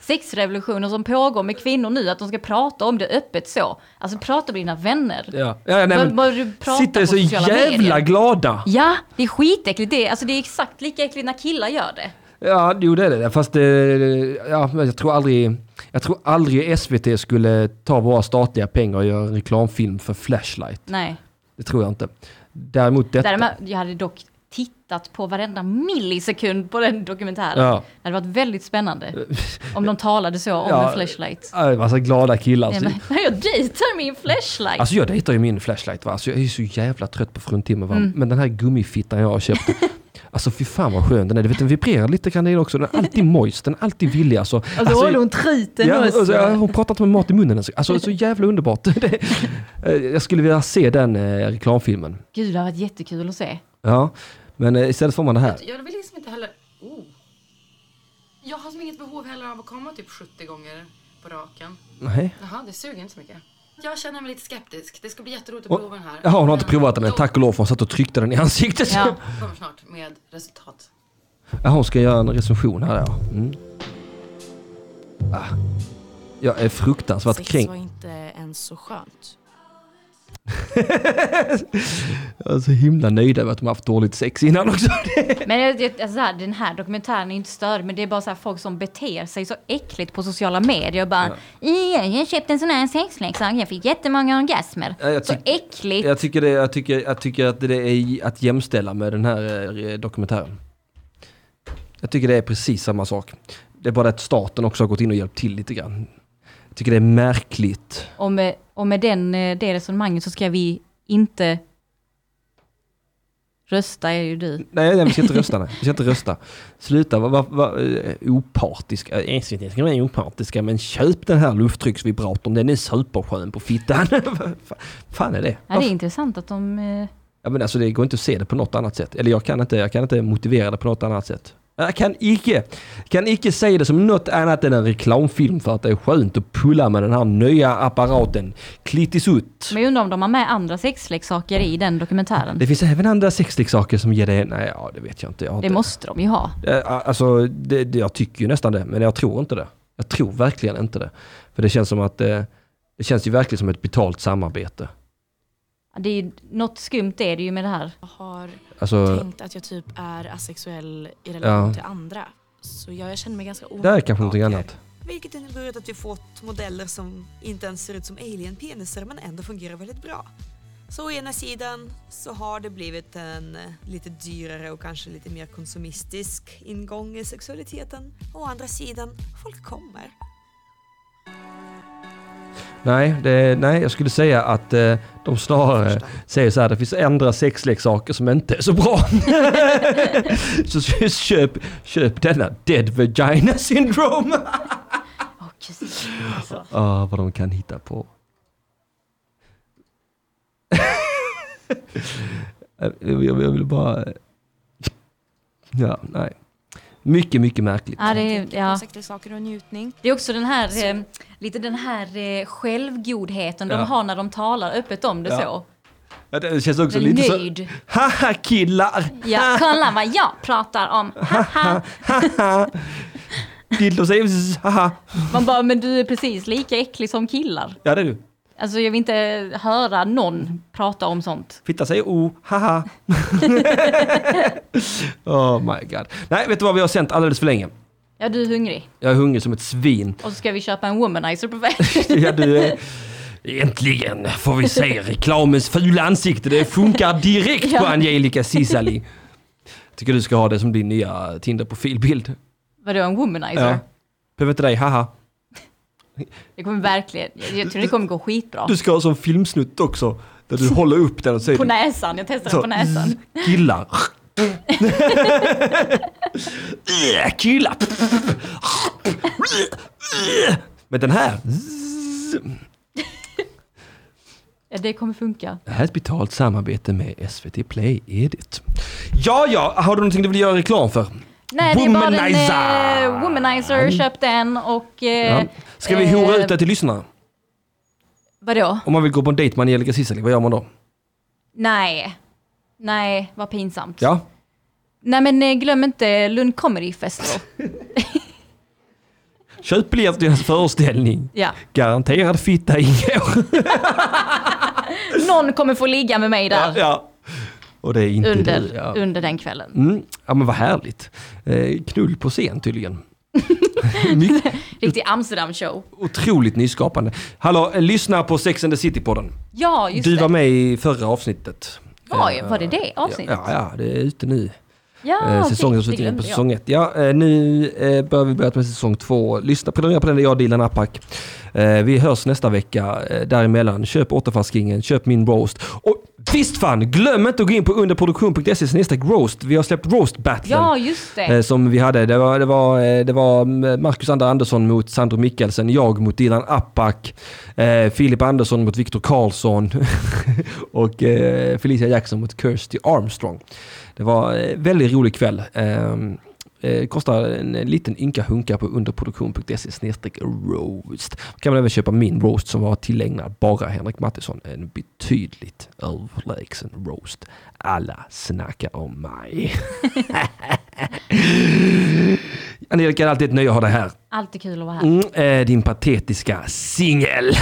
S8: sexrevolutionen som pågår med kvinnor nu. Att de ska prata om det öppet så. Alltså prata med dina vänner.
S6: Ja, ja, nej,
S8: Vad-
S6: men,
S8: vad du pratar
S6: sitter
S8: på
S6: så
S8: sociala
S6: jävla
S8: medier.
S6: glada.
S8: Ja, det är skitäckligt. Det är, alltså, det är exakt lika äckligt när killar gör det.
S6: Ja, jo det är det. Fast eh, ja, men jag, tror aldrig, jag tror aldrig SVT skulle ta våra statliga pengar och göra en reklamfilm för Flashlight.
S8: Nej.
S6: Det tror jag inte. Däremot detta.
S8: Däremot, jag hade dock tittat på varenda millisekund på den dokumentären.
S6: Ja.
S8: Det hade varit väldigt spännande om de talade så om
S6: Ja.
S8: en flashlight.
S6: Ja, Massa glada killar.
S8: Nej,
S6: Alltså,
S8: men, jag dejtar min flashlight!
S6: alltså jag dejtar ju min Flashlight va. Alltså, jag är ju så jävla trött på fruntimmer
S8: Mm.
S6: va. Men den här gummifittan jag har köpt. alltså fy fan vad skön den är. Du vet den vibrerar lite grann i den också. Den är alltid moist. Den är alltid villig alltså.
S8: alltså, håller hon truten
S6: Ja,
S8: också.
S6: alltså, jag- hon pratar inte med mat i munnen. ens. Alltså, så jävla underbart. Det, eh, jag skulle vilja se den eh, reklamfilmen.
S8: Gud, det har varit jättekul att se.
S6: Ja, men eh, istället får man det här.
S11: Jag vill liksom inte heller... Oh. Jag har som inget behov heller av att komma typ 70 gånger på raken.
S6: Nej.
S11: Jaha, det suger inte så mycket. Jag känner mig lite skeptisk. Det ska bli jätteroligt
S6: Och-
S11: att prova den här.
S6: Jaha, hon har inte provat den än.
S11: Då-
S6: Tack och lov för hon satt och tryckte den i ansiktet. Ja.
S8: Ja.
S11: kommer snart med resultat.
S6: hon ska göra en recension här ja. Mm. Ah. Jag är fruktansvärt
S10: Sex
S6: kränkt.
S10: var inte ens så skönt.
S6: Jag är så himla nöjd över att de har haft dåligt sex innan också.
S8: Men jag- jag- alltså, så här, den här dokumentären är inte störd, men det är bara så här, folk som beter sig så äckligt på sociala medier. Och bara, ja. jag köpte en sån här sexleksak, jag fick jättemånga orgasmer.
S6: Ja, typ. jag
S8: så
S6: tyck-
S8: äckligt!
S6: Jag tycker, det, jag, tycker, jag tycker att det är att jämställa med den här eh, dokumentären. Jag tycker det är precis samma sak. Det är bara att staten också har gått in och hjälpt till lite grann. Jag tycker det är märkligt.
S8: Och med, och med den, eh, det resonemanget så ska vi inte rösta är ju du.
S6: Nej, nej vi ska inte rösta. Nej. Vi ska inte rösta. Sluta vara var, opartisk. Eh, SVT ska vara opartiska, men köp den här lufttrycksvibratorn. Den är superskön på fittan. Vad fa- fan är det?
S8: Ja, det är intressant att de... eh,
S6: Ja, men alltså, det går inte att se det på något annat sätt. Eller jag kan inte, jag kan inte motivera det på något annat sätt. Jag kan icke, kan icke se det som något annat än en reklamfilm för att det är skönt att pulla med den här nya apparaten. Klittisut.
S8: Men jag undrar om de har med andra sexleksaker i den dokumentären.
S6: Det finns även andra sexleksaker som ger det... Nej, ja, det vet jag inte. Jag har
S8: Det
S6: inte-
S8: måste de ju ha.
S6: Eh, Alltså, det, det, jag tycker ju nästan det, men jag tror inte det. Jag tror verkligen inte det. För det känns som att eh, det känns ju verkligen som ett betalt samarbete.
S8: Det är ju, något skumt är det ju med det här.
S10: Jag har
S6: Alltså-
S10: tänkt att jag typ är asexuell i relation
S6: Ja.
S10: till andra. Så jag, jag känner mig ganska
S6: Det här är
S10: omogen.
S6: kanske någonting annat.
S12: Vilket inneburit att vi fått modeller som inte ens ser ut som alien-peniser men ändå fungerar väldigt bra. Så å ena sidan så har det blivit en eh, lite dyrare och kanske lite mer konsumistisk ingång i sexualiteten. Å andra sidan, folk kommer.
S6: Nej, det, nej, jag skulle säga att eh, de snarare säger så här, det finns andra sexleksaker som inte är så bra. så köp, köp denna Dead Vagina Syndrome.
S8: Alltså.
S6: Ah, vad de kan hitta på. jag, jag vill bara... Ja, nej. Mycket, mycket märkligt.
S8: Ja, det, är- ja.
S10: Sexleksaker och njutning.
S8: det är också den här, eh, lite den här eh, självgodheten
S6: Ja.
S8: de har när de talar öppet om det
S6: Ja.
S8: så.
S6: Ja, Det känns också
S8: Väl
S6: lite
S8: nöjd.
S6: så... Haha killar!
S8: Ja, kolla vad jag pratar om. Haha.
S6: Haha! Dildos är... Haha!
S8: Man bara, men du är precis lika äcklig som killar.
S6: Ja det är du.
S8: Alltså jag vill inte höra någon prata om sånt.
S6: Fitta säger O, haha. oh my god. Nej, vet du vad vi har sänt alldeles för länge?
S8: Ja, du är hungrig.
S6: Jag är hungrig som ett svin.
S8: Och så ska vi köpa en womanizer på väg.
S6: Ja, du är... Äntligen får vi se reklamens fula ansikte. Det funkar direkt på
S8: Ja.
S6: Angelica Cicali. Tycker du ska ha det som din nya Tinder-profilbild.
S8: Vadå, en womanizer?
S6: Ja. Behöver inte dig, haha.
S8: Det kommer verkligen, jag, jag tror det kommer gå skitbra.
S6: Du ska ha som filmsnutt också. Där du håller upp den och säger...
S8: På näsan, jag testar
S6: Så, Mm.
S8: den på näsan.
S6: Killar. Äh, Killar. Men den här.
S8: Ja, det kommer funka.
S6: Det här är ett betalt samarbete med SVT Play Edit. Ja, ja, har du någonting du vill göra reklam för?
S8: Nej, det är bara
S6: Womanizer! Mm.
S8: den, eh, womanizer, köp den och... Eh,
S6: Ja. Ska vi hora
S8: eh,
S6: ut det till lyssnarna?
S8: Vadå?
S6: Om man vill gå på en dejt med Angelica Ciceli, vad gör man då?
S8: Nej. Nej, vad pinsamt.
S6: Ja,
S8: Nej men eh, glöm inte Lund Comedy Festival.
S6: köp biljett till hennes föreställning.
S8: Ja.
S6: Garanterad fitta ingår.
S8: Någon kommer få ligga med mig där
S6: Ja. Och det är inte
S8: under,
S6: du. Ja.
S8: under den kvällen.
S6: Mm. ja, men vad härligt. Eh, knull på scen tydligen.
S8: Riktig Amsterdam-show.
S6: Otroligt nyskapande. Hallå, eh, lyssna på Sex and the City-podden.
S8: Ja, just
S6: Du
S8: det.
S6: var med i förra avsnittet.
S8: Oj, var det det avsnittet?
S6: Ja, ja, det är ute nu.
S8: Ja,
S6: eh,
S8: okej,
S6: säsongen
S8: det
S6: som sitter inne på
S8: glömde jag.
S6: säsong ett. Ja, eh, nu eh, börjar vi börja med säsong två. Lyssna, prenumerera på den, det är jag Dilan Apak. Eh, vi hörs nästa vecka. Eh, däremellan, köp återfallskingen, köp min roast. Och visst fan, glöm inte att gå in på underproduktion.se snedstreck roast. Vi har släppt roast-battlen.
S8: Ja, just
S6: Eh,
S8: det.
S6: som vi hade. Det var, det var, eh, det var mm, Marcus Ander Andersson mot Sandro Mikkelsen, jag mot Dilan Apak, eh, Filip Andersson mot Viktor Karlsson och eh, Felicia Jackson mot Kirsty Armstrong. Det var eh, väldigt rolig kväll. Ehm, eh, kostar en liten ynka hunka på underproduktion.se E snedstreck roast. Kan man även köpa min roast som var tillägnad bara Henrik Mattisson. En betydligt överlägsen roast. Alla snackar om mig. Angelica, det är alltid ett nöje att ha dig här. eh,
S8: Alltid kul att vara här.
S6: Mm, eh, din patetiska singel.